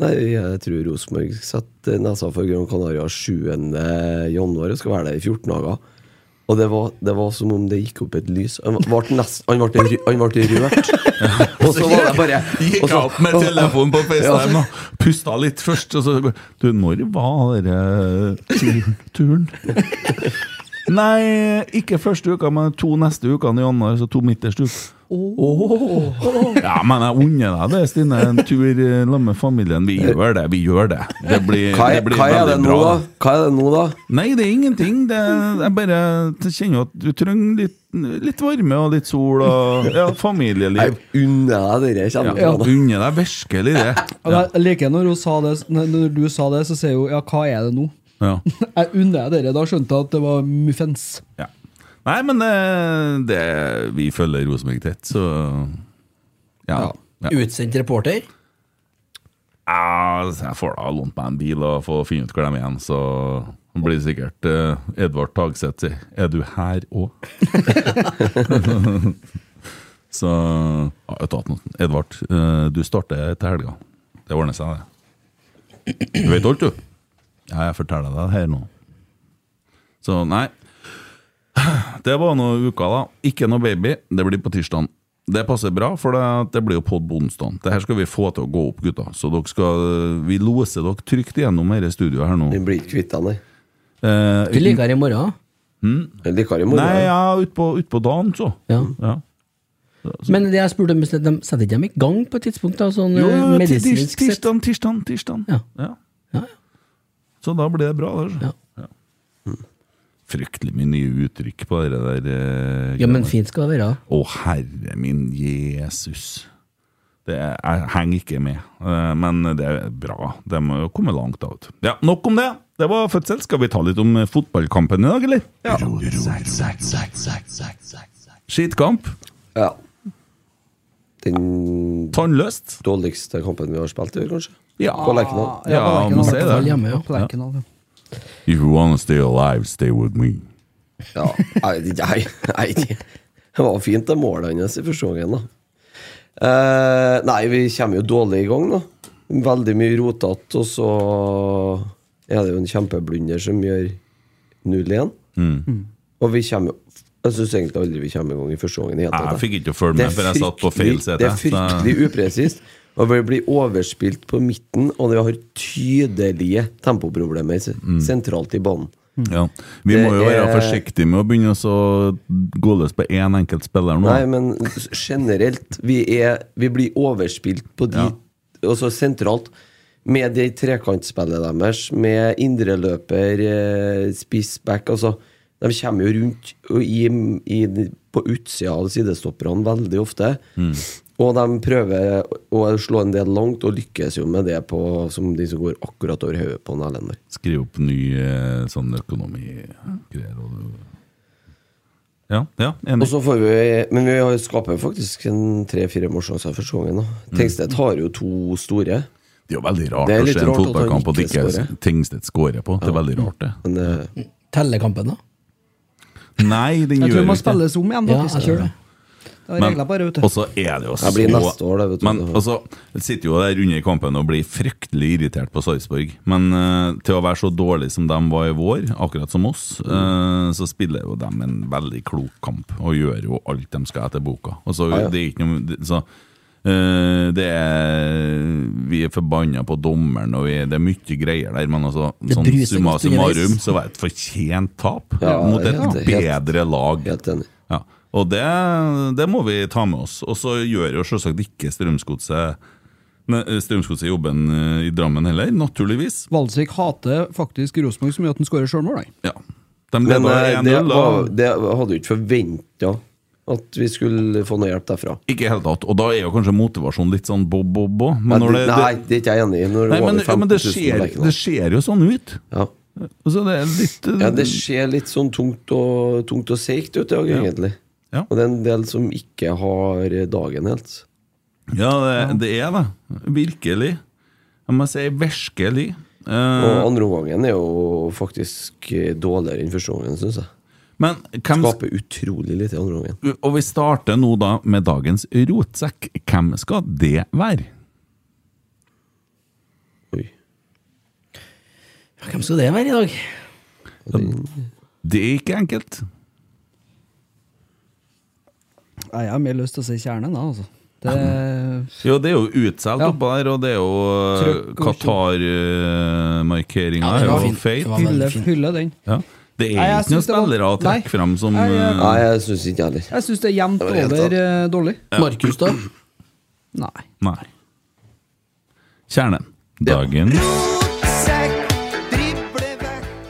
Speaker 6: Nei, jeg tror Rosenborg setter nesa for Gran Canaria 7. januar og skal være der i 14 dager. Og det var, det var som om det gikk opp et lys. Han ble, nest, han ble, ry- han ble rørt. Og så var det bare
Speaker 4: Gikk
Speaker 6: og så-
Speaker 4: jeg opp med telefonen på FaceTime og pusta litt først. Og så Du, når var denne turen? Nei, ikke første uka, men to neste ukene i januar. Så to midterste uka. Ja, men jeg unner deg det, Stine. En tur i lag med familien. Vi gjør det. vi gjør Det Det blir,
Speaker 6: Hva er,
Speaker 4: det blir
Speaker 6: hva er det
Speaker 4: veldig
Speaker 6: nå,
Speaker 4: bra.
Speaker 6: da? Hva er det nå, da?
Speaker 4: Nei, det er ingenting. Det er, jeg bare kjenner jo at du trenger litt, litt varme og litt sol og ja, familieliv.
Speaker 6: Jeg unner deg det. Kjenner
Speaker 4: Ja,
Speaker 6: jeg.
Speaker 4: unner deg virkelig det.
Speaker 5: Og Jeg liker når, hun sa det, når du sa det, så sier hun ja, hva er det nå?
Speaker 4: Ja.
Speaker 5: Jeg unner jeg dere. Da skjønte jeg at det var muffens.
Speaker 4: ja. Nei, men eh, det, vi følger Rosenborg tett, så ja. ja.
Speaker 2: Utsendt reporter.
Speaker 4: Ja, så Jeg får da lånt meg en bil og få finne ut hvor de er igjen, så blir det sikkert eh, Edvard Tagseth sier 'Er du her òg?' så ja, vet du hva, Edvard, eh, du starter til helga. Det ordner seg, det. Du vet alt, du. Ja, jeg forteller deg det her nå. Så nei. Det var noen uker, da. Ikke noe baby. Det blir på tirsdag. Det passer bra, for det, det blir jo podd på onsdag. Det her skal vi få til å gå opp, gutta. Så dere skal, vi loser dere trygt gjennom dette studioet her nå.
Speaker 6: Vi blir ikke kvitt deg, nei.
Speaker 4: Eh,
Speaker 2: Du ligger her i morgen.
Speaker 6: Jeg liker det i morgen.
Speaker 4: nei, ja, utpå ut på dagen, så.
Speaker 2: Ja.
Speaker 4: Ja.
Speaker 2: Men det jeg spurte om, de setter ikke dem i gang på et tidspunkt? da, sånn
Speaker 4: Jo,
Speaker 2: eh,
Speaker 4: jo, tirs- tirs-
Speaker 2: medisinsk sett?
Speaker 4: tirsdag, tirsdag, tirsdag.
Speaker 2: Ja.
Speaker 4: Ja.
Speaker 2: Ja, ja.
Speaker 4: Så da blir det bra. Der.
Speaker 2: Ja.
Speaker 4: Fryktelig mye nye uttrykk på det der. eh,
Speaker 2: ja, men
Speaker 4: greiene.
Speaker 2: fint skal det være.
Speaker 4: Å, herre min Jesus. Det er, jeg henger ikke med, eh, men det er bra. Det må jo komme langt av. vet du. Ja, nok om det. Det var fødsel. Skal vi ta litt om eh, fotballkampen i dag, eller? Ja. Skitkamp.
Speaker 6: Ja. Den
Speaker 4: Tannløst.
Speaker 6: dårligste kampen vi har spilt i år, kanskje?
Speaker 4: Ja.
Speaker 6: På Lerkendal.
Speaker 4: Ja, må si
Speaker 2: Fall
Speaker 4: det.
Speaker 2: hjemme, ja.
Speaker 5: På Lerkendal, ja.
Speaker 4: If you wanna stay alive, stay with me.
Speaker 6: Ja, jeg vet ikke, jeg. jeg vet ikke. Det var fint, det målet hans i første gangen, da. Eh, nei, vi kommer jo dårlig i gang, da. Veldig mye rotete, og så er det jo en kjempeblunder som gjør 0-1.
Speaker 4: Mm.
Speaker 6: Og vi kommer jo Jeg syns egentlig aldri vi kommer i gang i første gangen. i hele tatt,
Speaker 4: Jeg
Speaker 6: da.
Speaker 4: fikk ikke følge med, for jeg satt på feil
Speaker 6: fryktelig-
Speaker 4: sete.
Speaker 6: Det er fryktelig upresist. Og vi blir overspilt på midten, og vi har tydelige tempoproblemer s-
Speaker 4: Mm.
Speaker 6: sentralt i banen.
Speaker 4: Ja. Vi må jo
Speaker 6: Mm. Det
Speaker 4: være
Speaker 6: er-
Speaker 4: forsiktige med å begynne å gå løs på én enkelt spiller nå.
Speaker 6: Nei, men s- generelt, vi, er, vi blir overspilt på de
Speaker 4: Ja.
Speaker 6: Altså sentralt. Med det trekantspillet deres, med indreløper, eh, spissback altså, De kommer jo rundt og i, i, på utsida av sidestopperne veldig ofte. Og de prøver å slå en del langt, og lykkes jo med det på, som de som går akkurat over hodet på en Erlender.
Speaker 4: Skrive opp ny eh, sånn økonomigreier. og du- Ja, ja,
Speaker 6: Og
Speaker 4: enig.
Speaker 6: så får vi, men vi har skaper faktisk en tre-fire målsjanser første gangen. da Tengstedt har jo to store.
Speaker 4: Det er jo veldig rart
Speaker 6: Det er
Speaker 4: å
Speaker 6: litt
Speaker 4: se en
Speaker 6: rart at han
Speaker 4: fotballkamp og at
Speaker 6: ikke
Speaker 4: ikke
Speaker 6: scorer.
Speaker 4: Tingstedt scorer på. Det er veldig rart, det.
Speaker 6: Men eh,
Speaker 2: Tellekampen, da?
Speaker 4: Nei, den
Speaker 5: Jeg
Speaker 4: gjør
Speaker 5: tror det
Speaker 4: ikke
Speaker 5: må
Speaker 4: det.
Speaker 5: spilles om igjen,
Speaker 2: Ja,
Speaker 5: faktisk.
Speaker 2: jeg tror det.
Speaker 5: Det er regler på det, vet
Speaker 4: Og
Speaker 5: du.
Speaker 4: så er det jo så
Speaker 6: Det blir neste år, det, vet du.
Speaker 4: Men altså, jeg sitter jo der under kampen og blir fryktelig irritert på Sarpsborg. Men eh, til å være så dårlig som de var i vår, akkurat som oss, eh, så spiller jo de en veldig klok kamp og gjør jo alt de skal etter boka. Og så,
Speaker 6: Ja, ja.
Speaker 4: det er ikke noe... det- Så, eh, det er, vi er forbanna på dommeren, og vi, det er mye greier der, men altså,
Speaker 2: Det
Speaker 4: sånn
Speaker 2: bruser
Speaker 4: summa
Speaker 2: godt
Speaker 4: summarum,
Speaker 2: underveis.
Speaker 4: så var det et fortjent tap
Speaker 6: Ja,
Speaker 4: mot et
Speaker 6: helt- helt-
Speaker 4: bedre lag.
Speaker 6: Helt enig.
Speaker 4: Ja, og det, det må vi ta med oss. Og så gjør jo selvsagt ikke Strømsgodset ne- Strømsgodset jobben eh, i Drammen heller, naturligvis.
Speaker 5: Valsvik hater faktisk Rosenborg så mye at han skårer sjølmål, nei.
Speaker 4: Ja. De
Speaker 6: Men
Speaker 4: leda
Speaker 6: eh, det,
Speaker 4: 1-0,
Speaker 6: var,
Speaker 4: og
Speaker 6: det hadde jo ikke forventa at vi skulle få noe hjelp derfra.
Speaker 4: ikke i hele tatt. Og da er jo kanskje motivasjonen litt sånn bob-bob òg. Men,
Speaker 6: Nei,
Speaker 4: når
Speaker 6: det,
Speaker 4: det,
Speaker 6: nei,
Speaker 4: det,
Speaker 6: det er ikke jeg enig i. Når det
Speaker 4: nei,
Speaker 6: var
Speaker 4: men,
Speaker 6: over
Speaker 4: ja, men det,
Speaker 6: 15 000
Speaker 4: ser,
Speaker 6: på Lerkendal.
Speaker 4: det ser jo sånn ut.
Speaker 6: ja.
Speaker 4: Så det er litt eh,
Speaker 6: ja, det ser litt sånn tungt og, tungt og seigt ut i dag, egentlig.
Speaker 4: Ja.
Speaker 6: Og det er en del som ikke har dagen helt.
Speaker 4: ja, det, det er det. Virkelig. Jeg må si virkelig. Eh,
Speaker 6: Og andre omgangen er jo faktisk dårligere enn første omgangen, syns jeg.
Speaker 4: men hvem,
Speaker 6: Skaper utrolig lite i andre omgangen.
Speaker 4: Og vi starter nå da med dagens rotsekk. Hvem skal det være?
Speaker 6: Oi.
Speaker 2: Hvem skal det være i dag?
Speaker 4: Det er ikke enkelt.
Speaker 5: Nei, Jeg har mer lyst til å si kjernen, da, altså. Det,
Speaker 4: Jo, det er jo utsolgt
Speaker 5: Ja.
Speaker 4: oppå der, og det er jo
Speaker 5: Trykk og
Speaker 4: Qatar-markeringa
Speaker 2: Ja, det
Speaker 4: er jo
Speaker 2: var fint. Det
Speaker 4: feit.
Speaker 2: var- veldig
Speaker 5: hylle,
Speaker 2: fint.
Speaker 5: hylle den.
Speaker 4: Ja. Det er
Speaker 5: Nei, jeg
Speaker 4: ikke noen
Speaker 5: synes det var-
Speaker 4: spillere å
Speaker 5: Nei.
Speaker 4: trekke frem som
Speaker 5: Nei, jeg-
Speaker 4: eh,
Speaker 6: Nei, jeg syns ikke jeg heller.
Speaker 5: Jeg syns det er jevnt
Speaker 6: Det var helt
Speaker 5: over eh, dårlig.
Speaker 2: Markus, da?
Speaker 5: Nei.
Speaker 4: Nei. Kjernen. Dagen.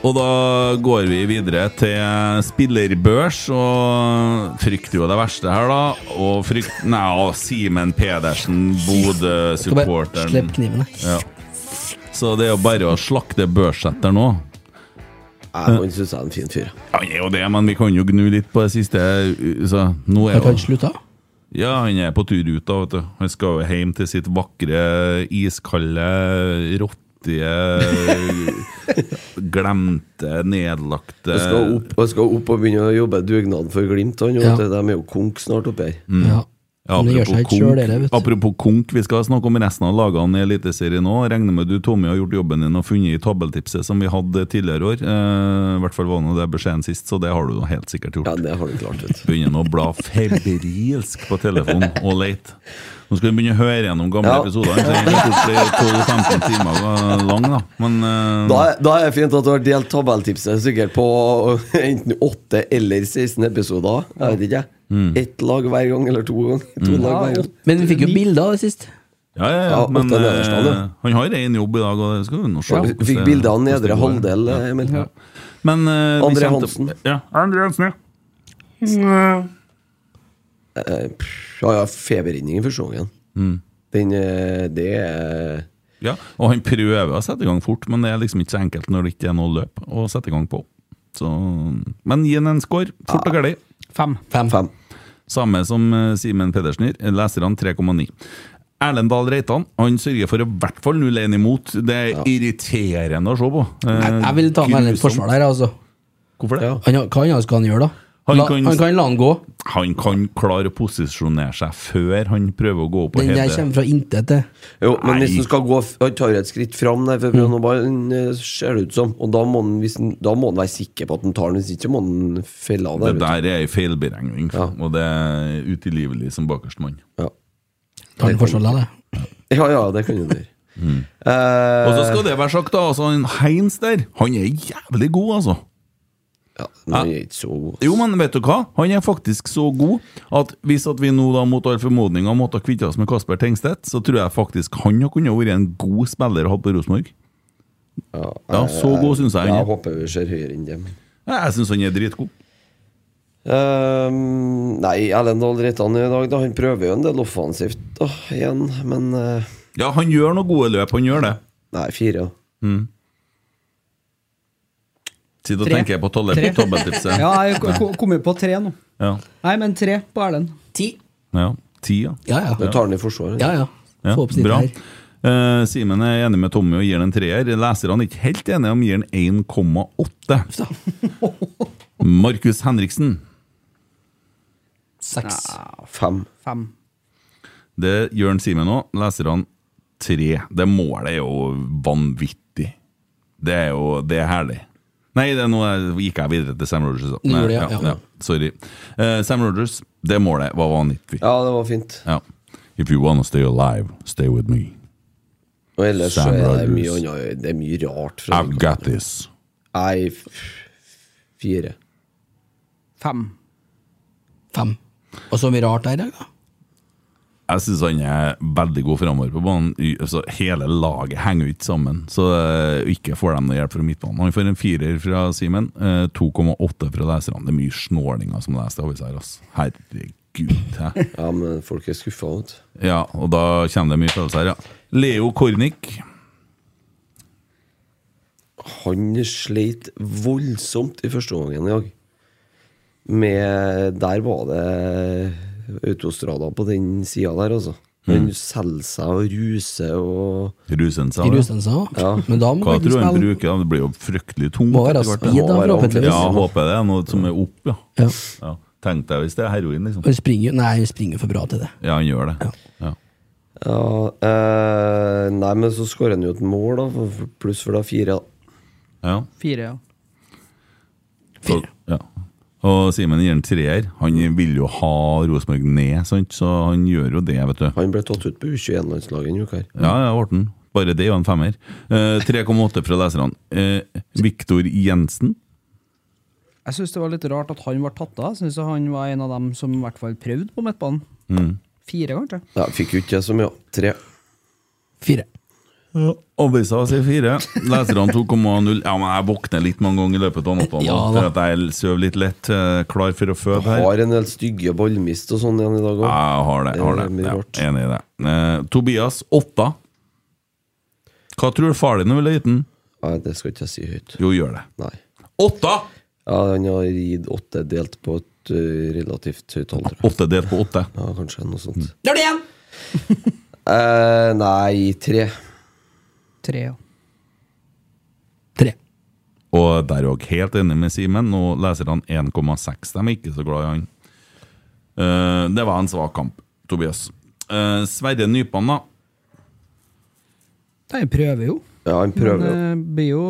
Speaker 4: Og da går vi videre til spillerbørs, og frykter jo det verste her, da. Og frykt... Nei, å, Simen Pedersen,
Speaker 2: Skal bare Slipp
Speaker 4: Bodø-supporteren.
Speaker 2: kniven,
Speaker 4: Ja. Så det er jo bare å slakte børssetter nå.
Speaker 6: Jeg-
Speaker 4: Eh.
Speaker 6: Han syns jeg er en fin fyr.
Speaker 4: Ja, Han er jo det, men vi kan jo gnu litt på det siste. Så nå er
Speaker 2: Jeg kan
Speaker 4: jo
Speaker 2: ikke slutte. av.
Speaker 4: Ja, han er på tur ut, da, vet du. Han skal jo hjem til sitt vakre, iskalde, råttige Glemte, nedlagte
Speaker 6: Han skal, opp, han skal opp og begynne å jobbe dugnad for Glimt. Han, jo,
Speaker 2: Ja.
Speaker 6: vet du. De er jo konk snart oppe her.
Speaker 2: Ja.
Speaker 4: Mm. Ja,
Speaker 2: Men det gjør seg
Speaker 4: apropos
Speaker 2: ikke sjøl, det vet
Speaker 4: konk,
Speaker 2: du.
Speaker 4: apropos konk, vi skal snakke om resten av lagene i Eliteserien nå. Regner med du, Tommy, har gjort jobben din og funnet i tabeltipset som vi hadde tidligere år. Eh, I hvert fall var nå det beskjeden sist, så det har du jo helt sikkert gjort.
Speaker 6: Ja, det har han klart, vet du.
Speaker 4: Begynner nå å bla febrilsk på telefonen og leite. Nå skal vi begynne å høre gjennom gamle
Speaker 6: Ja.
Speaker 4: episoder. Så det er plutselig 12-15 timer eh, lang, da. Men eh,
Speaker 6: Da, er- da er det fint at du har delt tabelltipset sikkert på eh, enten 8 eller 16 episoder. Jeg vet ikke. Ett lag hver gang, eller to, gang, to lag hver gang.
Speaker 2: Men vi fikk jo bilder av det sist.
Speaker 4: ja, ja, ja,
Speaker 6: Ja,
Speaker 4: men
Speaker 6: åtte nederst,
Speaker 4: eh,
Speaker 6: da, du.
Speaker 4: han har én jobb i dag, og det skal vi nå se. hvordan
Speaker 6: Fikk
Speaker 4: det-
Speaker 6: bilde av
Speaker 4: hvordan det
Speaker 6: nedre
Speaker 4: går.
Speaker 6: halvdel, eh, Emil.
Speaker 4: Men, eh, vi
Speaker 6: André
Speaker 4: kommer til-
Speaker 6: Hansen.
Speaker 4: Ja, André Hansen, ja.
Speaker 6: Eh, pff, Ja, ja, feberrinning i første gangen. Den eh, Det er
Speaker 4: Ja, og han prøver å sette i gang fort, men det er liksom ikke så enkelt når det ikke er noe løp å sette i gang på. Så, men gi han en score, fort og gærlig.
Speaker 5: Fem.
Speaker 6: fem.
Speaker 4: Samme som eh, Simen Pedersen gir, leserne 3,9. Erlend Dahl Reitan han sørger for i hvert fall 0-1 imot. Det er irriterende å se på. Eh,
Speaker 2: Jeg, jeg vil ta med litt
Speaker 4: grusomt.
Speaker 2: forsvar der, altså.
Speaker 4: Hvorfor det?
Speaker 2: Han, har- hva annet skal han gjøre, da?
Speaker 4: Han
Speaker 2: La,
Speaker 4: kan-
Speaker 2: han kan la han gå.
Speaker 4: Han kan klare å posisjonere seg før han prøver å gå opp og
Speaker 2: Den der
Speaker 4: hete.
Speaker 2: kommer fra intet til.
Speaker 6: Jo, men
Speaker 4: Nei. Mm.
Speaker 6: hvis han skal gå f- Han tar jo et skritt fram der, for nå bare eh, ser det ut som. Og da må han, hvis han, da må han være sikker på at han tar den, hvis ikke må han felle av
Speaker 4: Det
Speaker 6: der. vet
Speaker 4: der er ei feilberegning,
Speaker 6: Ja.
Speaker 4: og det er utilgivelig som bakerste mann.
Speaker 6: du. Ja.
Speaker 2: Tar han forskjell av det?
Speaker 6: Ja, ja, det kan han gjøre. Eh,
Speaker 4: Og så skal det være sagt, da. Altså, han Heinz der, han er jævlig god, altså.
Speaker 6: ja, men han er ikke så god.
Speaker 4: Jo, men vet du hva? Han er faktisk så god at hvis at vi nå da mot all formodning har måttet kvitte oss med Kasper Tengstedt, så tror jeg faktisk han har kunnet vært en god spiller å ha på Rosenborg. Ja, så god syns jeg
Speaker 6: Jeg
Speaker 4: han er.
Speaker 6: håper vi ser høyere enn dem.
Speaker 4: Jeg syns han er dritgod.
Speaker 6: Ehm, nei, Erlend Dahl Reitan i dag, da. Han prøver jo en del offensivt da, igjen, men eh,
Speaker 4: Ja, han gjør noen gode løp, han gjør det.
Speaker 6: Nei, fire. da.
Speaker 4: Sitter og
Speaker 5: Tre.
Speaker 4: tenker på tolle-
Speaker 5: Tre.
Speaker 4: tobbeltipset.
Speaker 5: Ja, jeg ko- ko- kommer på tre nå.
Speaker 4: Ja.
Speaker 5: Nei, men tre på Erlend.
Speaker 2: Ti.
Speaker 4: ja. Ti, ja.
Speaker 2: Ja,
Speaker 6: Du
Speaker 2: ja.
Speaker 6: tar den i forsvaret.
Speaker 2: Ja, ja.
Speaker 4: Ja,
Speaker 2: Få opp snittet
Speaker 4: bra.
Speaker 2: her.
Speaker 4: Eh, Simen er enig med Tommy og gir den en treer. Leserne er ikke helt enige om gir den 1,8. Markus Henriksen.
Speaker 2: Seks.
Speaker 6: Fem.
Speaker 5: Fem.
Speaker 4: Det gjør han Simen òg. Leserne tre. Det målet er jo vanvittig. Det er jo Det er herlig. Nei, det er nå jeg- gikk jeg videre til Sam Rogers.
Speaker 2: Du gjorde det, ja, ja.
Speaker 4: Sorry. Eh, Sam Rogers, det målet var vanvittig.
Speaker 6: Ja, det var fint.
Speaker 4: Ja. If you wanna stay alive, stay with me.
Speaker 6: Og ellers så
Speaker 4: Sam
Speaker 6: er
Speaker 4: Rogers.
Speaker 6: det mye annet Det er mye rart. Fra
Speaker 4: I've got this.
Speaker 6: Nei, f- fire.
Speaker 5: Fem.
Speaker 2: Fem. Og så mye rart der, da.
Speaker 4: Jeg syns han er veldig god framover på banen. I- Altså, hele laget henger jo ikke sammen, så eh, ikke får de noe hjelp fra midtbanen. Han får en firer fra Simen, eh, 2,8 fra leserne. Det er mye snålinger som leser avis her, altså. Herregud. hæ?
Speaker 6: Ja, men folk er skuffa, vet du.
Speaker 4: Ja, og da kommer det mye følelser her, ja. Leo Kornik.
Speaker 6: Han sleit voldsomt i første omgangen i dag. Med Der var det autostrada på den sida der, altså. Han selger seg og ruser og
Speaker 4: Rusensa.
Speaker 2: I
Speaker 4: da.
Speaker 2: Rusensa. Men da må
Speaker 4: Hva
Speaker 2: han
Speaker 4: tror du han
Speaker 2: spille.
Speaker 4: bruker? da? Det blir jo fryktelig tungt.
Speaker 2: Må være
Speaker 4: etter hvert, da.
Speaker 2: speed, da,
Speaker 6: Må være
Speaker 2: forhåpentligvis.
Speaker 4: Ja, jeg håper det er noe som er opp, ja.
Speaker 2: Ja.
Speaker 4: ja. Tenk deg hvis det er heroin, liksom.
Speaker 2: Han springer jo Nei, han springer jo for bra til det.
Speaker 4: Ja, han gjør det. Ja.
Speaker 6: Ja, eh, nei, men så skårer han jo et mål, da. for- Pluss for da fire. da.
Speaker 4: ja.
Speaker 5: Fire, ja.
Speaker 4: Og, ja. og Simen gir en treer. Han vil jo ha Rosenborg ned, sant? så han gjør jo det, vet du.
Speaker 6: Han ble tatt ut på U21-landslaget en uke her.
Speaker 4: Ja, ja, Horten. Bare det er jo en femmer. Eh, 3,8 fra leserne. Eh, Viktor Jensen.
Speaker 5: Jeg syns det var litt rart at han var tatt av. Jeg synes han var en av dem som i hvert fall prøvde på midtbanen.
Speaker 6: Mm.
Speaker 5: Fire, kanskje.
Speaker 6: Ja, fikk jo ikke det så mye. Tre.
Speaker 2: Fire.
Speaker 4: Avisa sier fire. Leserne 2,0. Ja, men jeg våkner litt mange ganger i løpet av natta nå,
Speaker 2: Ja,
Speaker 4: for
Speaker 2: da.
Speaker 4: at jeg sover litt lett. eh, Klar for å føde her.
Speaker 6: Har en del stygge ballmist og sånn igjen i dag òg.
Speaker 4: Jeg har det.
Speaker 6: Det
Speaker 4: Jeg har det.
Speaker 6: er mye
Speaker 4: Ja,
Speaker 6: rart.
Speaker 4: enig i det. Eh, Tobias, åtta. Hva tror du far din ville gitt den?
Speaker 6: Nei, det skal ikke jeg si høyt.
Speaker 4: Jo, gjør det.
Speaker 6: Nei.
Speaker 4: Åtta!
Speaker 6: Ja, han har gitt åtte delt på et ø, relativt høyt tall, tror jeg.
Speaker 4: Åtte delt på åtte.
Speaker 6: Ja, kanskje noe sånt.
Speaker 2: Gjør det igjen!
Speaker 6: Eh, nei, tre.
Speaker 5: Tre, ja.
Speaker 2: Tre.
Speaker 4: Og der òg helt enig med Simen. Nå leser han 1,6. De er ikke så glad i han. Eh, det var en svak kamp, Tobias. Eh, Sverre Nypan, da.
Speaker 5: Nei, jeg prøver jo.
Speaker 6: Ja, han
Speaker 5: Men
Speaker 6: prøver jo.
Speaker 5: eh, blir jo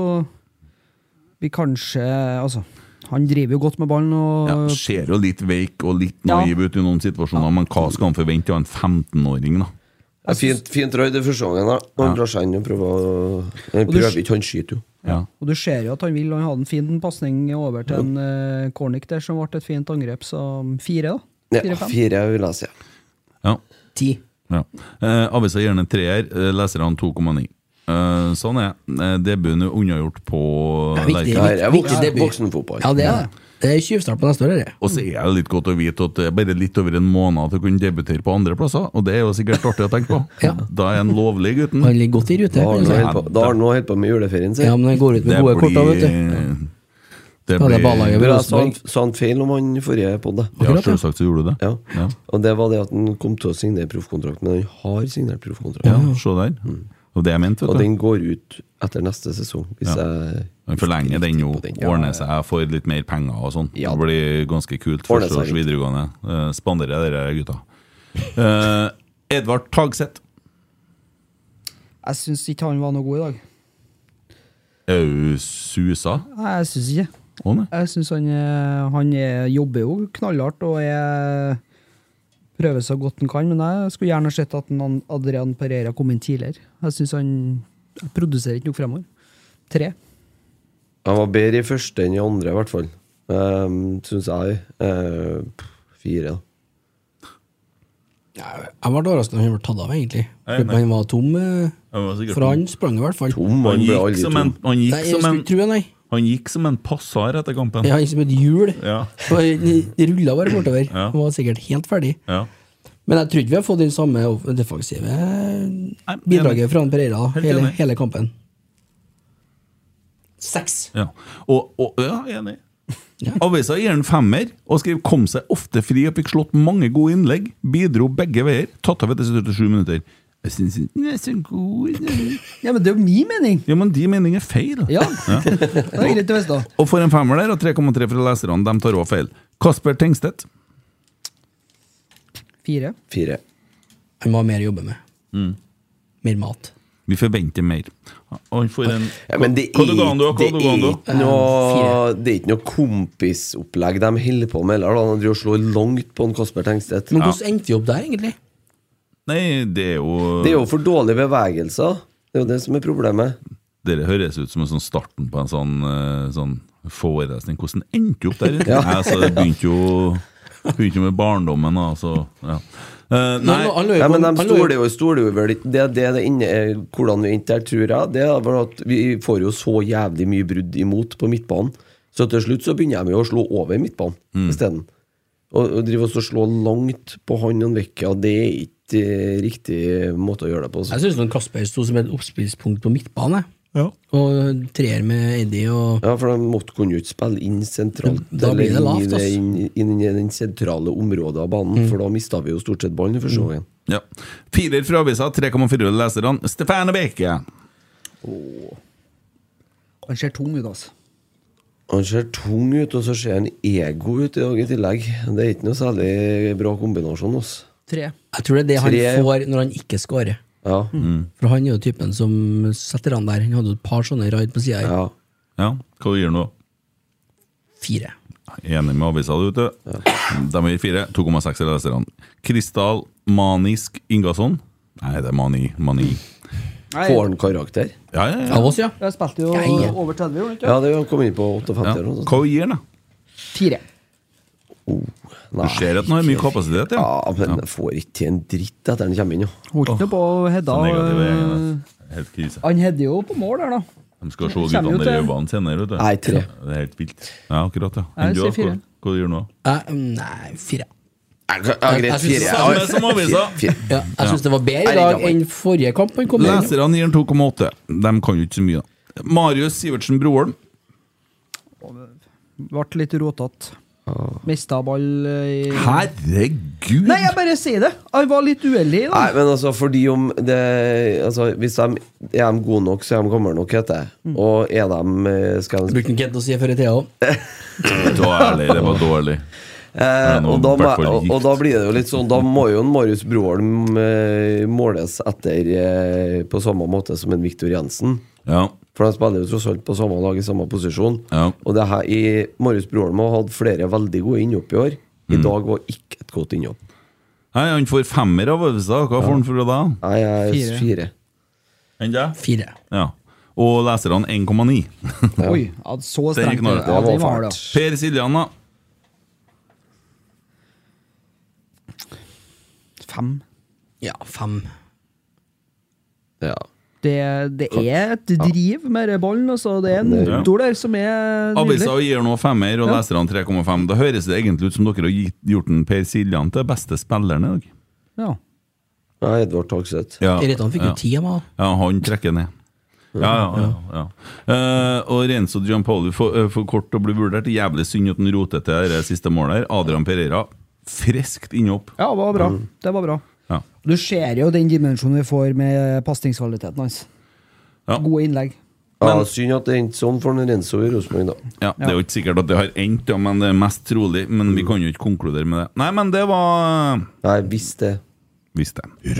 Speaker 5: Blir kanskje Altså, han driver jo godt med ballen og
Speaker 4: Ja, ser jo litt veik og litt
Speaker 5: Eh, Ja.
Speaker 4: naiv ut i noen situasjoner, men hva skal han forvente av en 15-åring, da?
Speaker 6: Ja, fint, fint Roy, det er første gangen. da. Han drar seg inn og prøver å Han
Speaker 5: Og du-
Speaker 6: prøver ikke, han skyter jo.
Speaker 4: Ja.
Speaker 5: Og du ser jo at han vil, og han hadde en fin pasning over til en eh, Cornic der som ble et fint angrep, så fire, da.
Speaker 6: Ja,
Speaker 5: Fire-fem.
Speaker 6: fire vil jeg si.
Speaker 4: ja.
Speaker 2: Ti.
Speaker 4: Ja. Eh, Avisa gir den en treer, eh, leser han 2,9. Eh, sånn er det. eh, debuten er unnagjort på eh,
Speaker 2: Det er viktig,
Speaker 4: Lerkendal.
Speaker 6: Her er
Speaker 2: viktig, viktig
Speaker 6: voksen,
Speaker 2: debut.
Speaker 6: voksenfotball.
Speaker 2: Ja, det er det. Det er tjuvstart på neste år, er det.
Speaker 4: Og så er det litt godt å vite at det er bare litt over en måned til å kunne debutere på andre plasser, og det er jo sikkert artig å tenke på.
Speaker 2: Ja.
Speaker 4: Da er han lovlig, gutten.
Speaker 2: Han ligger godt i rute.
Speaker 6: Da har
Speaker 2: kan
Speaker 6: han
Speaker 2: du
Speaker 6: noe
Speaker 2: si.
Speaker 6: helt på, da har han noe helt på med juleferien sin.
Speaker 2: Ja, men han går ut med gode kort da, vet du.
Speaker 4: Det
Speaker 2: Ja, det er
Speaker 4: blir
Speaker 2: ballaget.
Speaker 6: Men jeg sa han, sa han feil om han i forrige podde.
Speaker 4: Ja,
Speaker 2: Akkurat, ja.
Speaker 4: selvsagt så gjorde du det.
Speaker 6: Ja.
Speaker 4: Ja.
Speaker 6: Og det var det at han kom til å signere proffkontrakt, men han har signert proffkontrakt.
Speaker 4: Ja, se der. Og det er ment,
Speaker 6: Mm. Og
Speaker 4: vet du.
Speaker 6: den går ut etter neste sesong, hvis jeg
Speaker 4: Han forlenger den jo,
Speaker 6: på den.
Speaker 4: ordner seg, får litt mer penger og sånn.
Speaker 6: Ja.
Speaker 4: Det blir ganske kult.
Speaker 6: Ordner seg
Speaker 4: Første års
Speaker 6: litt.
Speaker 4: videregående. Eh, Spanderer dere gutta. Eh, Edvard Tagseth.
Speaker 5: Jeg syns ikke han var noe god i dag.
Speaker 4: Au, susa?
Speaker 5: Nei, jeg syns ikke.
Speaker 4: Å nei.
Speaker 5: Jeg syns han, eh, han er, jobber jo knallhardt og er, prøver så godt han kan, men jeg skulle gjerne sett at han Adrian Pereira kom inn tidligere. Jeg syns han jeg produserer ikke nok fremover. Tre.
Speaker 6: Han var bedre i første enn i andre, i hvert fall. Um, Syns jeg. Eh, pff, fire, da.
Speaker 2: Ja, Jeg ble overrasket når han ble tatt av, egentlig.
Speaker 4: Jeg er enig.
Speaker 2: Han var tom. eh,
Speaker 4: Han var sikkert
Speaker 2: For han sprang i hvert fall.
Speaker 6: Tom,
Speaker 4: Han
Speaker 6: han ble
Speaker 4: gikk
Speaker 6: aldri
Speaker 4: som en,
Speaker 6: tom.
Speaker 4: han
Speaker 2: Nei,
Speaker 4: gikk
Speaker 2: jeg
Speaker 4: som
Speaker 2: skulle
Speaker 4: en,
Speaker 2: ikke tro det, nei.
Speaker 4: han gikk som en passar etter kampen.
Speaker 2: Ja, ikke som et hjul.
Speaker 4: Ja.
Speaker 2: Så Det rulla bare bortover.
Speaker 4: Ja.
Speaker 2: Han var sikkert helt ferdig.
Speaker 4: Ja.
Speaker 2: Men jeg tror ikke vi har fått det samme off- defensive bidraget fra han Pereira
Speaker 4: Helt
Speaker 2: hele,
Speaker 4: enig.
Speaker 2: hele kampen. Seks.
Speaker 4: Ja. Og, og ja, enig.
Speaker 2: Ja.
Speaker 4: Avisa gir en femmer og skriver 'kom seg ofte fri' og fikk slått mange gode innlegg. Bidro begge veier. Tatt av etter 77 minutter. Jeg syns den er så god.
Speaker 5: Ja, men det er jo min mening!
Speaker 4: Ja, men de meningene er feil.
Speaker 5: Ja. Det er greit å vite, da.
Speaker 4: Og for en femmer der, og 3,3 fra leserne, de tar òg feil. Kasper Tengstedt.
Speaker 5: Fire.
Speaker 6: Fire.
Speaker 2: Han må ha mer å jobbe med.
Speaker 4: Mm.
Speaker 2: Mer mat.
Speaker 4: Vi forventer mer. Og han får en
Speaker 6: Ja, men det
Speaker 4: Hva du ga han da? Hva
Speaker 6: det
Speaker 4: du ga han da?
Speaker 6: er ikke noe- det er ikke noe kompisopplegg de holder på med heller. da. Han driver og slår langt på en Kasper Tengstedt.
Speaker 2: Men hvordan endte vi opp der, egentlig?
Speaker 4: Nei, det er jo
Speaker 6: Det er jo for dårlige bevegelser. Det er jo det som er problemet.
Speaker 4: Dere høres ut som en sånn starten på en sånn, eh, sånn forelesning. Hvordan endte du opp der?
Speaker 6: Ja.
Speaker 4: Nei, altså, det begynte jo, begynte jo med barndommen, da. Så, ja. Eh, nei,
Speaker 2: Han- han lå jo
Speaker 6: Ja,
Speaker 2: på-
Speaker 6: men de
Speaker 2: han lå jo-
Speaker 6: stoler jo, stoler jo vel Det det det inne er hvordan vi endte der, tror jeg, det er vel at vi får jo så jævlig mye brudd imot på midtbanen. Så til slutt så begynner de jo å slå over midtbanen isteden. Og, og driver også og slår langt på han og Vekka. Det er ikke eh, riktig måte å gjøre det på. altså.
Speaker 2: Jeg syns Kasper sto som et oppspillspunkt på midtbane. Og treer med Eddie og
Speaker 6: Ja, for de måtte kunne jo ikke spille inn sentralt.
Speaker 2: Da blir det
Speaker 6: eller
Speaker 2: lavt, altså. Mm.
Speaker 6: inn i
Speaker 2: ass.
Speaker 6: inn, inn i den sentrale området av banen, for da mista vi jo stort sett ballen i
Speaker 2: Mm.
Speaker 6: første gangen.
Speaker 4: ja. Firer fra avisa, 3,4 av leserne. Stefane Beke.
Speaker 5: Han ser tung ut, altså.
Speaker 6: Han ser tung ut, og så ser han ego ut i dag i tillegg. Det er ikke noe særlig bra kombinasjon. Ass.
Speaker 5: Tre.
Speaker 2: Jeg tror det er det han
Speaker 6: Tre, ja.
Speaker 2: får når han ikke scorer.
Speaker 6: Ja,
Speaker 4: Mm.
Speaker 2: For han er jo typen som setter han der. Han hadde jo et par sånne raid på sida. her.
Speaker 6: ja.
Speaker 4: Ja, hva gir du nå?
Speaker 2: Fire.
Speaker 4: Enig med avisa, du, vet du. De gir fire. 2,6 av leserne. Kristal Manisk Ingasson. Nei, det er Mani. Mani.
Speaker 5: Nei,
Speaker 6: Får han karakter?
Speaker 4: Ja, ja, ja.
Speaker 2: Av oss, ja.
Speaker 5: jeg spilte jo
Speaker 2: Ja, ja.
Speaker 5: over 30, gjorde han ikke?
Speaker 6: Ja, det kom inn på 58
Speaker 4: ja.
Speaker 6: eller noe sånt.
Speaker 4: Hva gir den, da?
Speaker 5: Fire.
Speaker 4: Du
Speaker 6: Nei,
Speaker 4: ser at den har mye kapasitet,
Speaker 6: ja,
Speaker 4: ja.
Speaker 6: men jeg får ikke til en dritt etter han kommer inn, jo.
Speaker 5: Holdt nå på å hedda.
Speaker 4: Så negativ er jeg,
Speaker 5: øh,
Speaker 4: da. Helt krise.
Speaker 5: Han hedder jo på mål der, da.
Speaker 4: De skal se
Speaker 5: Kommer jo
Speaker 4: guttene der i
Speaker 5: til-
Speaker 4: øynene senere, vet du.
Speaker 6: Nei, tre.
Speaker 4: Det er helt vilt. Ja, akkurat, ja.
Speaker 5: Nei,
Speaker 4: Men du,
Speaker 5: jeg
Speaker 4: da, hva,
Speaker 5: sier fire.
Speaker 4: hva gjør du nå?
Speaker 2: Jeg, nei, fire.
Speaker 6: Ja,
Speaker 2: Jeg- jeg
Speaker 6: greit,
Speaker 2: synes det
Speaker 6: fire.
Speaker 2: er
Speaker 6: Ja,
Speaker 4: samme som avisa.
Speaker 6: fire.
Speaker 2: Ja, jeg syns det var bedre i
Speaker 6: Nei,
Speaker 2: dag
Speaker 6: det var-
Speaker 2: enn forrige kamp han kom inn.
Speaker 4: Leserne gir den 2,8. De kan jo ikke så mye, da. Marius Sivertsen Broholm.
Speaker 5: Ble litt rotete. Mista ball eh, i
Speaker 4: Herregud!
Speaker 5: Nei, jeg bare sier det! Han var litt uheldig i
Speaker 6: Nei,
Speaker 5: dag.
Speaker 6: men altså, fordi om det altså, Hvis de er de gode nok, så er de gamle nok, heter det.
Speaker 4: Mm.
Speaker 6: Og er de eh, skal de,
Speaker 2: Brukte Kent å si før i tida òg.
Speaker 4: Dårlig, det var dårlig.
Speaker 6: eh,
Speaker 4: nå
Speaker 6: og, da
Speaker 4: i
Speaker 6: må,
Speaker 4: hvert fall
Speaker 6: og, og
Speaker 4: gift.
Speaker 6: da blir det jo litt sånn Da må jo en Marius Broholm eh, måles etter eh, på samme måte som en Viktor Jensen.
Speaker 4: Ja.
Speaker 6: For de spiller jo tross alt på samme lag i samme posisjon.
Speaker 4: Ja.
Speaker 6: Og det her i Marius Broholm har hatt flere veldig gode innhopp i år. I
Speaker 4: Mm.
Speaker 6: dag var ikke et godt innhopp.
Speaker 4: Nei, han får femmer av øvelser. Hva får han for det da?
Speaker 6: Nei, jeg er
Speaker 5: Fire.
Speaker 6: fire.
Speaker 4: Enn det?
Speaker 2: Fire.
Speaker 4: Ja. Og leserne 1,9.
Speaker 5: Oi, ja, så
Speaker 4: Det gikk
Speaker 5: strengt.
Speaker 4: nå,
Speaker 5: Ja,
Speaker 4: det
Speaker 5: det
Speaker 6: var
Speaker 5: var det.
Speaker 6: fælt.
Speaker 4: Per Siljan, da.
Speaker 5: Fem.
Speaker 2: Ja, fem.
Speaker 6: Ja.
Speaker 5: Det, det er et driv med den ballen. Altså. Det er en
Speaker 6: Ja.
Speaker 5: motor der som er
Speaker 4: Avisa
Speaker 5: nydelig.
Speaker 4: gir nå femmer, og
Speaker 5: Ja.
Speaker 4: leserne 3,5. Da høres det egentlig ut som dere har gitt- gjort en Per Siljan til beste spilleren i dag.
Speaker 5: Ja.
Speaker 6: Nei, Edvard Tagseth.
Speaker 4: Ja,
Speaker 2: Reitan fikk
Speaker 4: ja.
Speaker 2: jo ti av meg.
Speaker 4: Ja, han trekker ned. Ja, ja, ja, ja. Eh, og Renzo Giampaoli for, eh, for kort å bli vurdert. Jævlig synd at han roter til det siste målet her. Adrian Pereira, friskt innhopp.
Speaker 5: ja, det var bra. Det var bra.
Speaker 4: Ja.
Speaker 5: Du ser jo den dimensjonen vi får med pasningskvaliteten hans.
Speaker 4: Ja.
Speaker 5: Gode innlegg.
Speaker 6: Ja, synd at det endte sånn for en Renzo i Rosenborg, da.
Speaker 4: Ja, Det er jo ikke sikkert at det har endt, ja, men det er mest trolig. Men vi kan jo ikke konkludere med det. Nei, men det var eh,
Speaker 6: Nei, hvis det
Speaker 4: Visst det.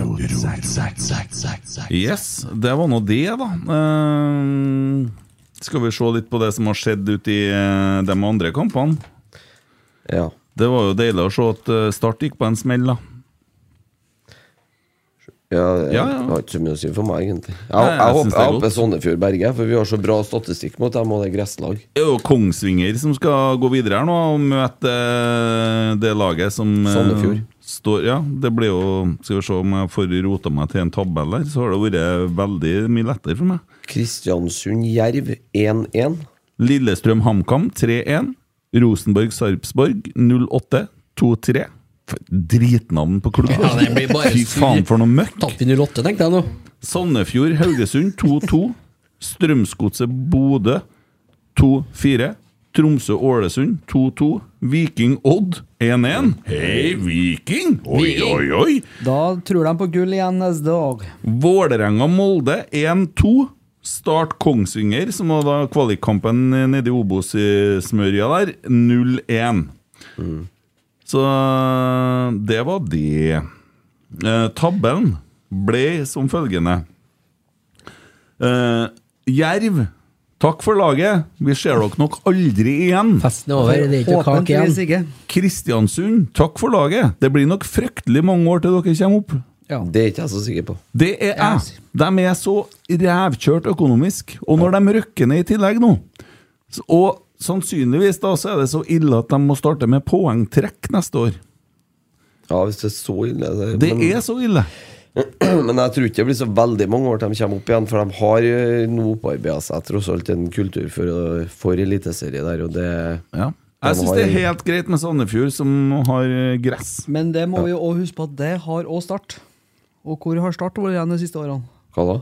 Speaker 4: Yes, det var nå det, da. Eh, skal vi se litt på det som har skjedd ute i eh, de andre kampene?
Speaker 6: Ja.
Speaker 4: Det var jo deilig å se at eh, Start gikk på en smell, da.
Speaker 6: Ja, jeg
Speaker 4: Ja, ja.
Speaker 6: har ikke så mye å si for meg, egentlig. Jeg,
Speaker 4: Nei, jeg
Speaker 6: jeg, håper,
Speaker 4: synes det er
Speaker 6: jeg håper
Speaker 4: godt.
Speaker 6: Sandefjord berger, for vi har så bra statistikk mot dem og det er gresslag.
Speaker 4: Det er jo Kongsvinger som skal gå videre her nå og møte eh, det laget som eh,
Speaker 6: Sandefjord.
Speaker 4: Står, ja, det blir jo Skal vi se om jeg får rota meg til en tabell her, så har det vært veldig mye lettere for meg.
Speaker 6: Kristiansund-Jerv 1-1.
Speaker 4: Lillestrøm-HamKam 3-1. Rosenborg-Sarpsborg 08 2-3. For et Dritnavn på klubben!
Speaker 2: Ja, det blir bare
Speaker 4: Fy faen, for noe møkk!
Speaker 2: Tatt vi 08, tenkte jeg nå.
Speaker 4: Sandefjord-Haugesund 2-2. Strømsgodset-Bodø 2-4. Tromsø-Ålesund 2-2. Viking-Odd 1-1. Hei, Viking! Oi, oi, oi!
Speaker 5: Da tror de på gull igjen neste dag.
Speaker 4: Vålerenga-Molde 1-2. Start Kongsvinger, som var da kvalikkampen nede i Obos-smørja der, 0-1. Så det var det. Eh, tabben ble som følgende. Eh, Jerv, takk for laget. Vi ser dere nok aldri igjen.
Speaker 2: Festen er over, det er ikke kake
Speaker 5: Håpentligvis
Speaker 2: igjen.
Speaker 5: ikke.
Speaker 4: Kristiansund, takk for laget. Det blir nok fryktelig mange år til dere kommer opp.
Speaker 5: Ja.
Speaker 6: Det er ikke jeg så sikker på.
Speaker 4: Det er jeg. De er så rævkjørt økonomisk. Og når de røkker ned i tillegg nå s- Og sannsynligvis da så er det så ille at de må starte med poengtrekk neste år.
Speaker 6: Ja, hvis det er så ille det-
Speaker 4: Det
Speaker 6: men,
Speaker 4: er så ille.
Speaker 6: men jeg tror ikke det blir så veldig mange år til de kommer opp igjen, for de har eh, nå opparbeida seg tross alt en kultur for, for eliteserie der, og det
Speaker 4: Ja.
Speaker 6: De
Speaker 4: Jeg syns det er
Speaker 6: har-
Speaker 4: helt greit med Sandefjord, som har eh, gress.
Speaker 5: Men det må vi jo også huske på at det har òg Start. Og hvor har Start vært igjen de siste årene?
Speaker 6: Hva da?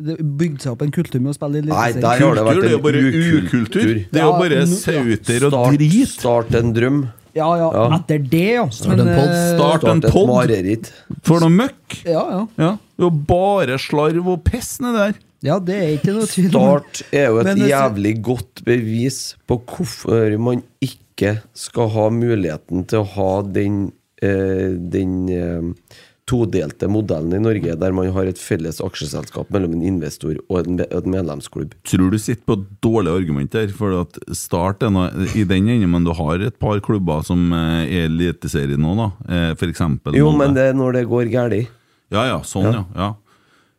Speaker 5: Det bygde seg opp en kultur med å spille i
Speaker 6: Nei,
Speaker 5: Eliteserien.
Speaker 6: der har det
Speaker 4: Kultur
Speaker 6: vært
Speaker 4: det er jo bare
Speaker 6: en
Speaker 4: ukultur. Det er jo
Speaker 5: Ja,
Speaker 4: bare
Speaker 5: nå-
Speaker 4: sauter og
Speaker 6: Start,
Speaker 4: drit.
Speaker 6: start en drøm.
Speaker 5: Ja, ja,
Speaker 6: Ja.
Speaker 5: etter det, ja.
Speaker 2: en
Speaker 5: eh,
Speaker 2: podd.
Speaker 4: Start en
Speaker 6: Start et
Speaker 4: pod
Speaker 6: mareritt.
Speaker 4: for noe møkk.
Speaker 5: Ja, ja.
Speaker 4: Ja. Det er jo bare slarv og piss nedi der.
Speaker 5: ja, det er ikke noe tvil om.
Speaker 6: Start er jo et
Speaker 5: Men hvis-
Speaker 6: jævlig godt bevis på hvorfor man ikke skal ha muligheten til å ha den, eh, den eh, todelte modellen i Norge, der man har et felles aksjeselskap mellom en investor og en, me- en medlemsklubb.
Speaker 4: tror du sitter på et dårlig argument der, for at start er noe, i den enden, men du har et par klubber som eh, er i eliteserien nå, da. Eh, For eksempel
Speaker 6: Jo,
Speaker 4: Molde.
Speaker 6: men det er når det går galt.
Speaker 4: Ja, ja, sånn, ja. ja.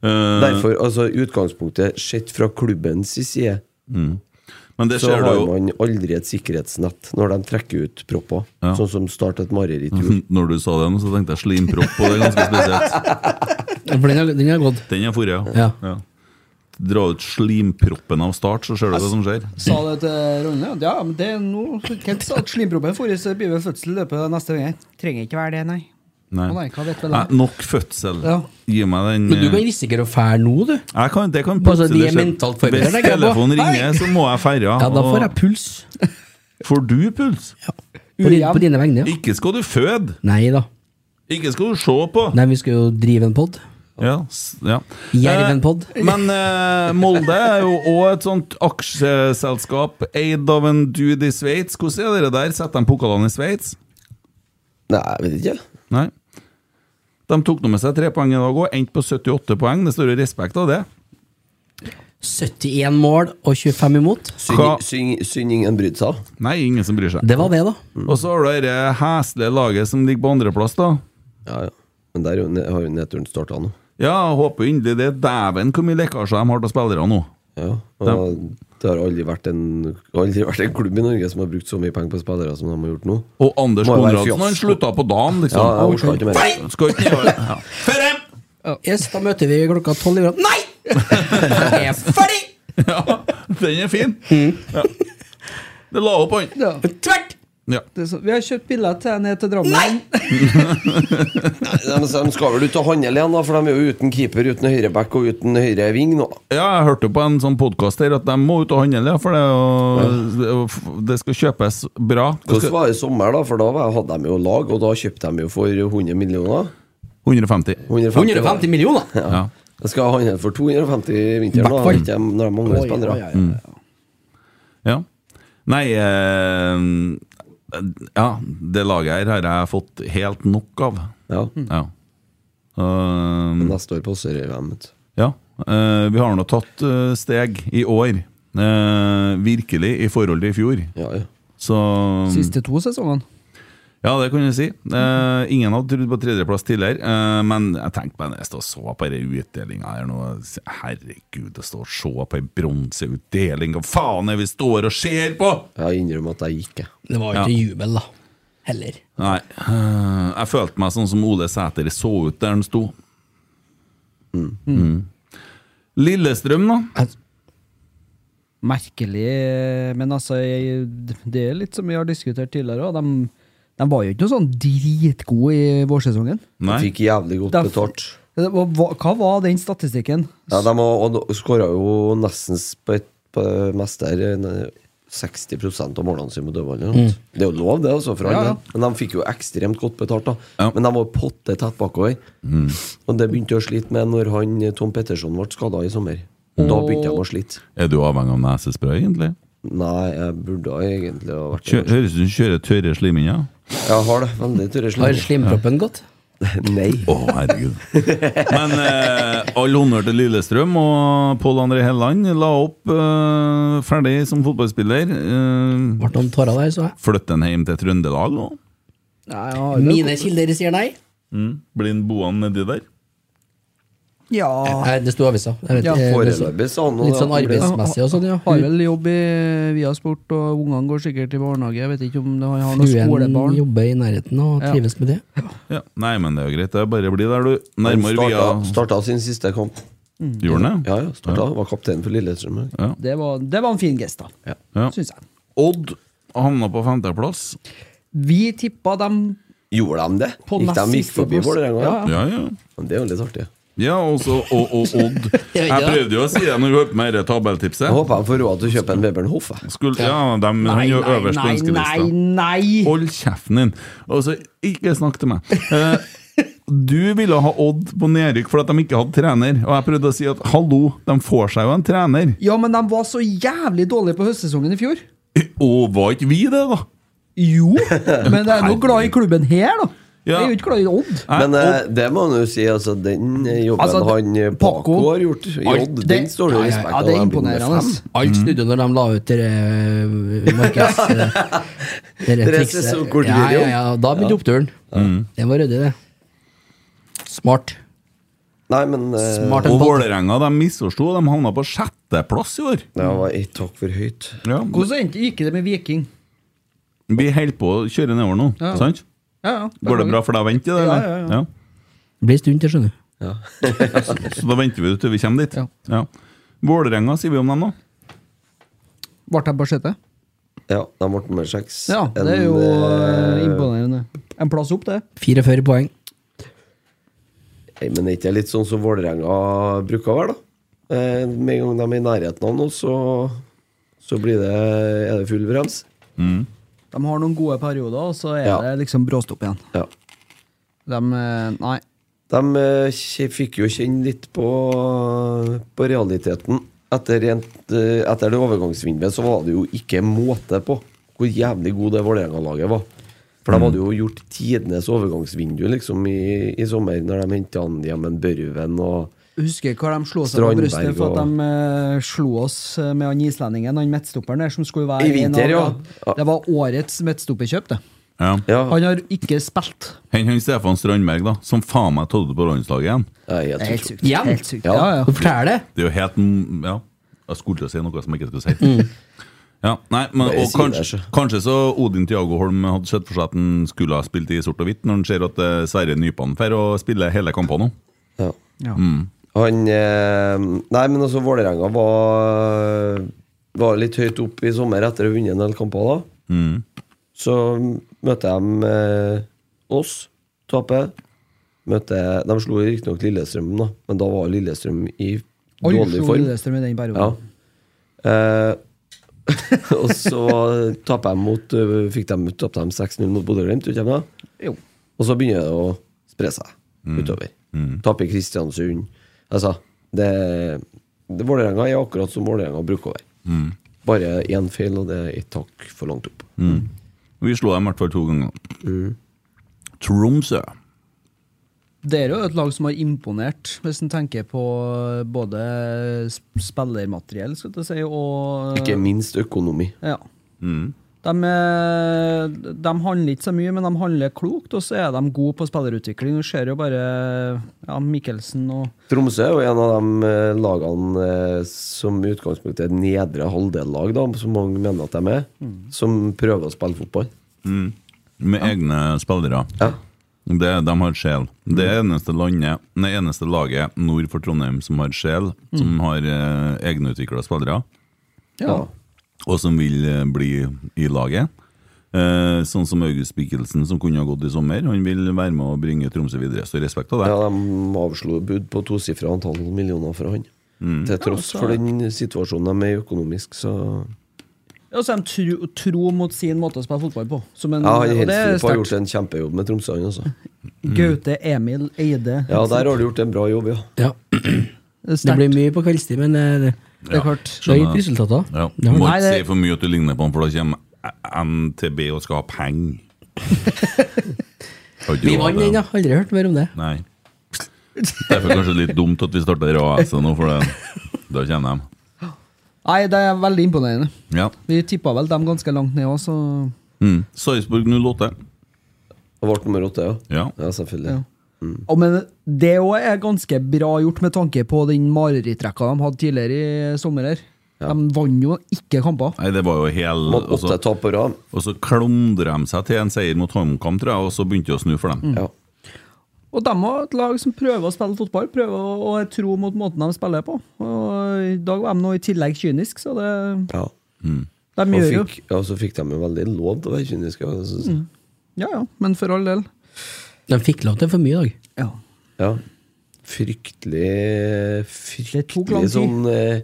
Speaker 4: Eh,
Speaker 6: Derfor, altså utgangspunktet, sett fra klubbens side,
Speaker 4: men det
Speaker 6: så
Speaker 4: ser du
Speaker 6: har
Speaker 4: jo
Speaker 6: man aldri et sikkerhetsnett når de trekker ut propper,
Speaker 4: Ja.
Speaker 6: sånn som Start et mareritt gjorde.
Speaker 4: Når du sa det nå, så tenkte jeg slimpropp, og det er ganske spesielt.
Speaker 2: For den har- den har gått.
Speaker 4: Den er forrige,
Speaker 2: Ja.
Speaker 4: ja. Dra ut slimproppen av start, så ser du hva som skjer.
Speaker 5: Sa det til Ronny. Ja, men det er noe Kent sa at slimproppen forrige så blir ved fødsel i løpet av neste uke. Trenger ikke være det, nei.
Speaker 4: Nei.
Speaker 5: Å nei, hva vet vel
Speaker 4: Nei,
Speaker 5: jeg?
Speaker 4: nok fødsel.
Speaker 5: Ja.
Speaker 4: Gi meg den
Speaker 2: Men du
Speaker 4: eh,
Speaker 2: kan risikere å fære nå, du.
Speaker 4: jeg kan, Det kan
Speaker 2: Altså, de
Speaker 4: plutselig
Speaker 2: er
Speaker 4: skje.
Speaker 2: mentalt forberedt,
Speaker 4: Hvis
Speaker 2: tenker jeg på.
Speaker 4: telefonen
Speaker 2: Hei!
Speaker 4: ringer, så må jeg ferja.
Speaker 2: Ja, da får jeg puls.
Speaker 4: får du puls?
Speaker 2: På, din, på dine vegne. ja.
Speaker 4: Ikke skal du føde!
Speaker 2: Nei da.
Speaker 4: Ikke skal du se på!
Speaker 2: Nei, vi skal jo drive en pod.
Speaker 4: Ja, s- ja.
Speaker 2: Jervenpod.
Speaker 4: Eh, Men eh, Molde er jo òg et sånt aksjeselskap eid av en dude i Sveits. Hvordan er det der? Setter de pokalene i Sveits?
Speaker 6: Nei, jeg vet ikke.
Speaker 4: Nei. De tok nå med seg tre poeng i dag òg, endte på 78 poeng. Det står jo respekt av det.
Speaker 2: 71 mål og 25 imot.
Speaker 4: Hva?
Speaker 6: Synd- Synd synd ingen brydde seg.
Speaker 4: Nei, ingen som bryr seg.
Speaker 2: Det var det, da.
Speaker 4: Og så har du det heslige laget som ligger på andreplass, da.
Speaker 6: Ja, ja. Men der er jo ne- har jo nedturen starta nå.
Speaker 4: Ja, jeg håper jo inderlig det. Dæven, hvor mye lekkasjer de har til spillere nå.
Speaker 6: Ja, og det har aldri vært, en, aldri vært en klubb i Norge som har brukt så mye penger på spillere som de har gjort nå.
Speaker 4: Og Anders
Speaker 6: Må jo være
Speaker 4: Konradsen, han
Speaker 6: fiasko.
Speaker 4: slutta på dagen, liksom.
Speaker 6: Ja, jeg orker ikke mer.
Speaker 4: Nei! Skal ikke ned og- ja.
Speaker 2: Yes, da møter vi klokka tolv i morgen. Nei! Jeg er ferdig!
Speaker 4: Ja, den er fin.
Speaker 6: Mm.
Speaker 4: Ja. Det la opp han.
Speaker 5: Ja.
Speaker 2: Tvert!
Speaker 4: Ja.
Speaker 5: Det er så, vi har kjøpt billett til ned til Drammen.
Speaker 6: De, de skal vel ut og handle igjen, da, for de er jo uten keeper, uten høyreback og uten høyre ving nå.
Speaker 4: ja, jeg hørte på en sånn podkast her at de må ut og handle, ja, for det, er jo- det skal kjøpes bra. Det
Speaker 6: Hvordan
Speaker 4: skal,
Speaker 6: var det i sommer, da? For da var- hadde de jo lag, og da kjøpte de jo for 100 millioner.
Speaker 4: 150.
Speaker 6: 150, da.
Speaker 2: 150 millioner!
Speaker 4: Ja.
Speaker 6: De skal handle for 250 i vinter nå,
Speaker 2: Hvertfall.
Speaker 6: vet jeg, når de mangler spillere.
Speaker 4: ja. Nei eh, Ja, det laget her har jeg fått helt nok av.
Speaker 6: Ja.
Speaker 4: Ja. Um,
Speaker 6: Neste år på Sør-VM, vet du.
Speaker 4: Ja, eh, vi har nå tatt eh, steg i år. eh, virkelig i forhold til i fjor.
Speaker 6: Ja, ja.
Speaker 4: Så
Speaker 5: Siste to sesongene.
Speaker 4: Ja, det kan du si. Eh, ingen hadde trodd på tredjeplass tidligere, eh, men jeg tenkte meg når jeg stod og så på denne utdelinga her nå Herregud, å stå og se på ei bronseutdeling, hva faen er vi står og ser på?!
Speaker 6: Jeg innrømmer at jeg gikk, jeg.
Speaker 2: Det var jo ikke jubel, da. Heller.
Speaker 4: Nei, eh, jeg følte meg sånn som Ole Sæter så ut der han sto. Mm. Lillestrøm, da?
Speaker 5: Merkelig, men altså jeg, Det er litt som vi har diskutert tidligere. og De, de var jo ikke noe sånn dritgode i vårsesongen.
Speaker 4: Nei.
Speaker 6: Fikk jævlig godt
Speaker 5: Da-
Speaker 6: betalt.
Speaker 5: Det var- Hva, hva var den statistikken?
Speaker 6: Ja, de har- og skåra jo nesten på et på det meste her. eh, 60 av målene sine med dødball. eller noe. Det er jo lov, det, altså, for
Speaker 5: Ja,
Speaker 6: alle.
Speaker 5: ja.
Speaker 6: Men de fikk jo ekstremt godt betalt, da.
Speaker 4: Ja.
Speaker 6: Men de var potte tett bakover. Og det begynte jeg å slite med når han eh, Tom Petterson ble skada i sommer. Da begynte jeg å slite.
Speaker 4: Er du avhengig av nesespray, egentlig?
Speaker 6: Nei, jeg burde egentlig ha vært
Speaker 4: Kjø høres ut som du kjører tørre slimhinner.
Speaker 6: Jeg har det. Veldig tørre
Speaker 2: Har
Speaker 6: slinger.
Speaker 2: slimproppen gått?
Speaker 6: Nei.
Speaker 4: Å, herregud. Men eh, all honnør til Lillestrøm og Pål André Helland. La opp eh, ferdig som fotballspiller. Eh,
Speaker 2: Ble noen tårer der, så jeg.
Speaker 4: Flytte en hjem til Trøndelag og
Speaker 5: Nei, jeg har jo-
Speaker 2: Mine kilder sier nei.
Speaker 4: bli en boende nedi der.
Speaker 5: Ja,
Speaker 2: Nei, det sto i avisa. Jeg vet
Speaker 5: Ja,
Speaker 2: ikke, men så-
Speaker 6: Foreløpig sa han
Speaker 2: Litt sånn arbeidsmessig og sånn, ja.
Speaker 5: har vel jobb i Viasport, og ungene går sikkert i barnehage. Jeg vet ikke om det- han har noen
Speaker 2: Fruen
Speaker 5: skolebarn.
Speaker 2: jobber i nærheten og
Speaker 5: Ja.
Speaker 2: trives med det.
Speaker 4: Ja. Nei, men det er jo greit. Det er bare å bli der, du. Nærmere via
Speaker 6: Starta, starta sin siste kamp.
Speaker 4: Jorden,
Speaker 6: Ja, ja, starta. Var kaptein for Lillestrøm. ja.
Speaker 5: Det var, det var en fin gest, da.
Speaker 4: Ja.
Speaker 5: Syns jeg.
Speaker 4: Odd havna på femteplass.
Speaker 5: Vi tippa dem
Speaker 6: Gjorde de det?
Speaker 5: på
Speaker 6: gikk
Speaker 5: nest
Speaker 6: de gikk
Speaker 5: siste
Speaker 6: forbi
Speaker 5: plass.
Speaker 6: Vålerenga?
Speaker 5: Ja, ja.
Speaker 4: Ja, ja.
Speaker 6: Men Det er jo litt artig.
Speaker 4: Ja, og så og, og Odd.
Speaker 2: Ja,
Speaker 4: Jeg
Speaker 2: ja.
Speaker 4: prøvde jo å si det når vi hørte med dette
Speaker 6: Jeg
Speaker 4: tabelltipset.
Speaker 6: håper jeg får råd til å kjøpe en Webern Hoff. jeg.
Speaker 4: Skulle, ja, de, han er jo øverst på
Speaker 5: nei, nei,
Speaker 4: ønskelista.
Speaker 5: nei!
Speaker 4: Hold kjeften din! Og så ikke snakk til meg. Eh, du ville ha Odd på nedrykk fordi de ikke hadde trener, og jeg prøvde å si at hallo, de får seg jo en trener.
Speaker 5: Ja, men de var så jævlig dårlige på høstsesongen i fjor.
Speaker 4: Og var ikke vi det, da?
Speaker 5: Jo, men jeg er jo glad i klubben her, da.
Speaker 4: Ja.
Speaker 5: Jeg er jo ikke glad i Odd.
Speaker 4: Nei,
Speaker 6: Men eh, det må man jo si, altså, den eh, jobben
Speaker 5: Altså, det-
Speaker 6: han eh,
Speaker 5: Paco-
Speaker 6: Paco har gjort i
Speaker 5: Alt-
Speaker 6: Odd,
Speaker 5: det-
Speaker 6: den står det
Speaker 5: Ja, ja,
Speaker 6: respekt
Speaker 5: ja,
Speaker 6: av.
Speaker 5: det er
Speaker 6: Han blir nummer
Speaker 5: imponerende,
Speaker 6: fem.
Speaker 5: ass.
Speaker 2: Alt snudde når de la ut det eh, markeds... eh, det der
Speaker 6: Dere
Speaker 2: trikset. ja,
Speaker 6: sesongkortvideo.
Speaker 2: ja, ja, da begynte oppturen. Det var ryddig, det. Smart.
Speaker 6: Nei, men eh,
Speaker 2: Smart.
Speaker 4: Og Vålerenga de misforsto, de havna på sjetteplass i år.
Speaker 6: det var ett hakk for høyt.
Speaker 4: Ja,
Speaker 5: Hvordan endte- gikk det med Viking?
Speaker 4: vi holder på å kjøre nedover nå,
Speaker 5: Ja.
Speaker 4: sant?
Speaker 5: Ja, ja.
Speaker 4: Går det bra for deg å vente? eller?
Speaker 5: Ja, ja, ja.
Speaker 2: Blir en stund til, skjønner du.
Speaker 4: Så da venter vi til vi kommer dit.
Speaker 5: Ja.
Speaker 4: Ja. Vålerenga sier vi om dem nå.
Speaker 5: Ble de på sjette?
Speaker 6: Ja, da ble det med seks.
Speaker 5: Ja,
Speaker 6: En,
Speaker 5: det er jo eh, imponerende. En plass opp, det.
Speaker 2: 44 poeng.
Speaker 6: eh, nei, Men er ikke det litt sånn som Vålerenga bruker å være, da? Eh, Med en gang de er i nærheten av noe, så, så blir det, er det full brems.
Speaker 5: De har noen gode perioder, og så er
Speaker 6: Ja.
Speaker 5: det liksom bråstopp igjen.
Speaker 6: Ja.
Speaker 5: De eh, Nei.
Speaker 6: De eh, kje- fikk jo kjenne litt på, på realiteten. Etter, rent, eh, etter det overgangsvinduet så var det jo ikke måte på hvor jævlig god det Vålerenga-laget var. For de hadde jo gjort tidenes overgangsvindu liksom, i, i sommer, når de henta Hjemmen Børven og
Speaker 5: Husker hva de slo seg på
Speaker 6: Strandberg
Speaker 5: brystet for at
Speaker 6: og-
Speaker 5: de eh, slo oss eh, med han islendingen, han midtstopperen der, som skulle være
Speaker 6: I vinter,
Speaker 5: en
Speaker 6: ja. Ja.
Speaker 5: Det var årets midtstopperkjøp, det.
Speaker 4: Ja.
Speaker 6: Ja,
Speaker 5: Han har ikke spilt.
Speaker 4: Hent han Stefan Strandberg, da, som faen meg tatt det på landslaget igjen.
Speaker 6: jeg er
Speaker 5: Det er
Speaker 6: helt
Speaker 5: Helt sykt.
Speaker 2: Ja.
Speaker 5: Helt sykt.
Speaker 6: Ja.
Speaker 5: Ja, ja.
Speaker 2: Så fortell det!
Speaker 4: Det er jo helt m- Ja, jeg skulle til å si noe som jeg ikke skulle si. Ja, nei, men,
Speaker 6: Mm. Bare
Speaker 4: og
Speaker 6: si det, altså.
Speaker 4: kanskje,
Speaker 6: så.
Speaker 4: kanskje så Odin Tiago Holm hadde sett for seg at han skulle ha spilt i sort og hvitt, når han ser at eh, Sverre Nypan drar og spiller hele kampene nå.
Speaker 6: Ja.
Speaker 5: Ja.
Speaker 6: Mm. Han eh, Nei, men altså, Vålerenga var, var litt høyt opp i sommer etter å ha vunnet en del kamper, da. Så møtte de eh, oss, taper. Møtte, de slo riktignok Lillestrøm, da, men da var Lillestrøm i
Speaker 5: Alle
Speaker 6: dårlig
Speaker 5: slo
Speaker 6: form.
Speaker 5: Lillestrøm i den
Speaker 6: Ja.
Speaker 5: perioden.
Speaker 6: Eh, og så tapte de mot eh, Fikk de, tapte de 6-0 mot Bodø-Glimt, gjorde de ikke det?
Speaker 5: Jo.
Speaker 6: Og så begynner det å spre seg utover. Taper Kristiansund. Altså, det, det Vålerenga er akkurat som Vålerenga bruker å være. Bare én feil, og det er ett takk for langt opp.
Speaker 4: Vi slo dem i hvert fall to ganger.
Speaker 6: Mm.
Speaker 4: Tromsø.
Speaker 5: Det er jo et lag som har imponert, hvis en tenker på eh, både sp- spillermateriell skal jeg si, og eh,
Speaker 6: Ikke minst økonomi.
Speaker 5: Ja. De, eh, de handler ikke så mye, men de handler klokt, og så er de gode på spillerutvikling. Du ser jo bare ja, Mikkelsen og
Speaker 6: Tromsø er jo en av de eh, lagene eh, som i utgangspunktet er nedre halvdel-lag, da, som mange mener at de er, som prøver å spille fotball.
Speaker 4: Med egne spillere.
Speaker 6: Ja.
Speaker 4: Det, de har sjel. Det er eneste landet, det eneste laget nord for Trondheim som har sjel,
Speaker 6: Mm.
Speaker 4: som har eh, egenutvikla spillere,
Speaker 6: Ja.
Speaker 4: og som vil eh, bli i laget. Eh, sånn som August Mikkelsen, som kunne ha gått i sommer. Han vil være med og bringe Tromsø videre. Så respekt av det.
Speaker 6: Ja, de avslo bud på tosifra antall
Speaker 4: Mm.
Speaker 6: millioner fra han. Til tross for den situasjonen de er i økonomisk, så
Speaker 5: Ja, så er de tro, tro mot sin måte å spille fotball på. Som en,
Speaker 6: Ja, han
Speaker 5: Mm, og det er
Speaker 6: Helstrup har gjort
Speaker 5: sterkt.
Speaker 6: en kjempejobb med Tromsø, han også.
Speaker 5: Gaute Emil Eide.
Speaker 6: Ja, der har du gjort en bra jobb, ja.
Speaker 2: Ja,
Speaker 5: Det er
Speaker 2: Det
Speaker 5: sterkt.
Speaker 2: blir mye på kveldstid, men det, det,
Speaker 5: Det er klart.
Speaker 2: det har gitt resultater.
Speaker 4: Ja.
Speaker 2: Ja.
Speaker 4: Du må
Speaker 5: Nei,
Speaker 4: ikke
Speaker 5: det-
Speaker 4: si for mye at du ligner på han, for da kommer NTB og skal ha penger. Har ikke
Speaker 2: Vi
Speaker 4: råd
Speaker 2: vant
Speaker 4: til
Speaker 2: den,
Speaker 4: det.
Speaker 2: ja. Aldri hørt mer om det.
Speaker 4: Nei. Derfor kanskje litt dumt at vi starter AS nå, for det, da kjenner de.
Speaker 5: Nei, det er veldig imponerende.
Speaker 4: Ja.
Speaker 5: Vi tippa vel dem ganske langt ned òg, så
Speaker 4: Mm. Sarpsborg 08.
Speaker 6: Og ble nummer åtte, ja.
Speaker 4: Ja.
Speaker 6: Ja, selvfølgelig.
Speaker 5: Ja. Å, Men det òg er ganske bra gjort med tanke på den marerittrekka de hadde tidligere i sommer. her. De vant jo ikke kamper.
Speaker 4: Nei, det var jo hel
Speaker 6: Man
Speaker 4: Og så,
Speaker 6: åtte tap på rad.
Speaker 4: og så klondra de seg til en seier mot HamKam, tror jeg, og så begynte det å snu for
Speaker 2: Mm.
Speaker 4: dem.
Speaker 6: Ja.
Speaker 5: Og de har et lag som prøver å spille fotball, prøver å, å være tro mot måten de spiller på. Og I dag var de nå i tillegg kyniske, så det,
Speaker 6: ja.
Speaker 5: de
Speaker 6: Og
Speaker 5: gjør jo Mm.
Speaker 6: fikk, ja, så fikk de jo veldig lov til å være kyniske. altså. ja, synes jeg.
Speaker 5: Ja ja, men for all del.
Speaker 2: De fikk lov til for mye i dag.
Speaker 5: Ja.
Speaker 6: Ja. Fryktelig
Speaker 5: tok lang
Speaker 6: Fryktelig
Speaker 5: tid.
Speaker 6: sånn eh,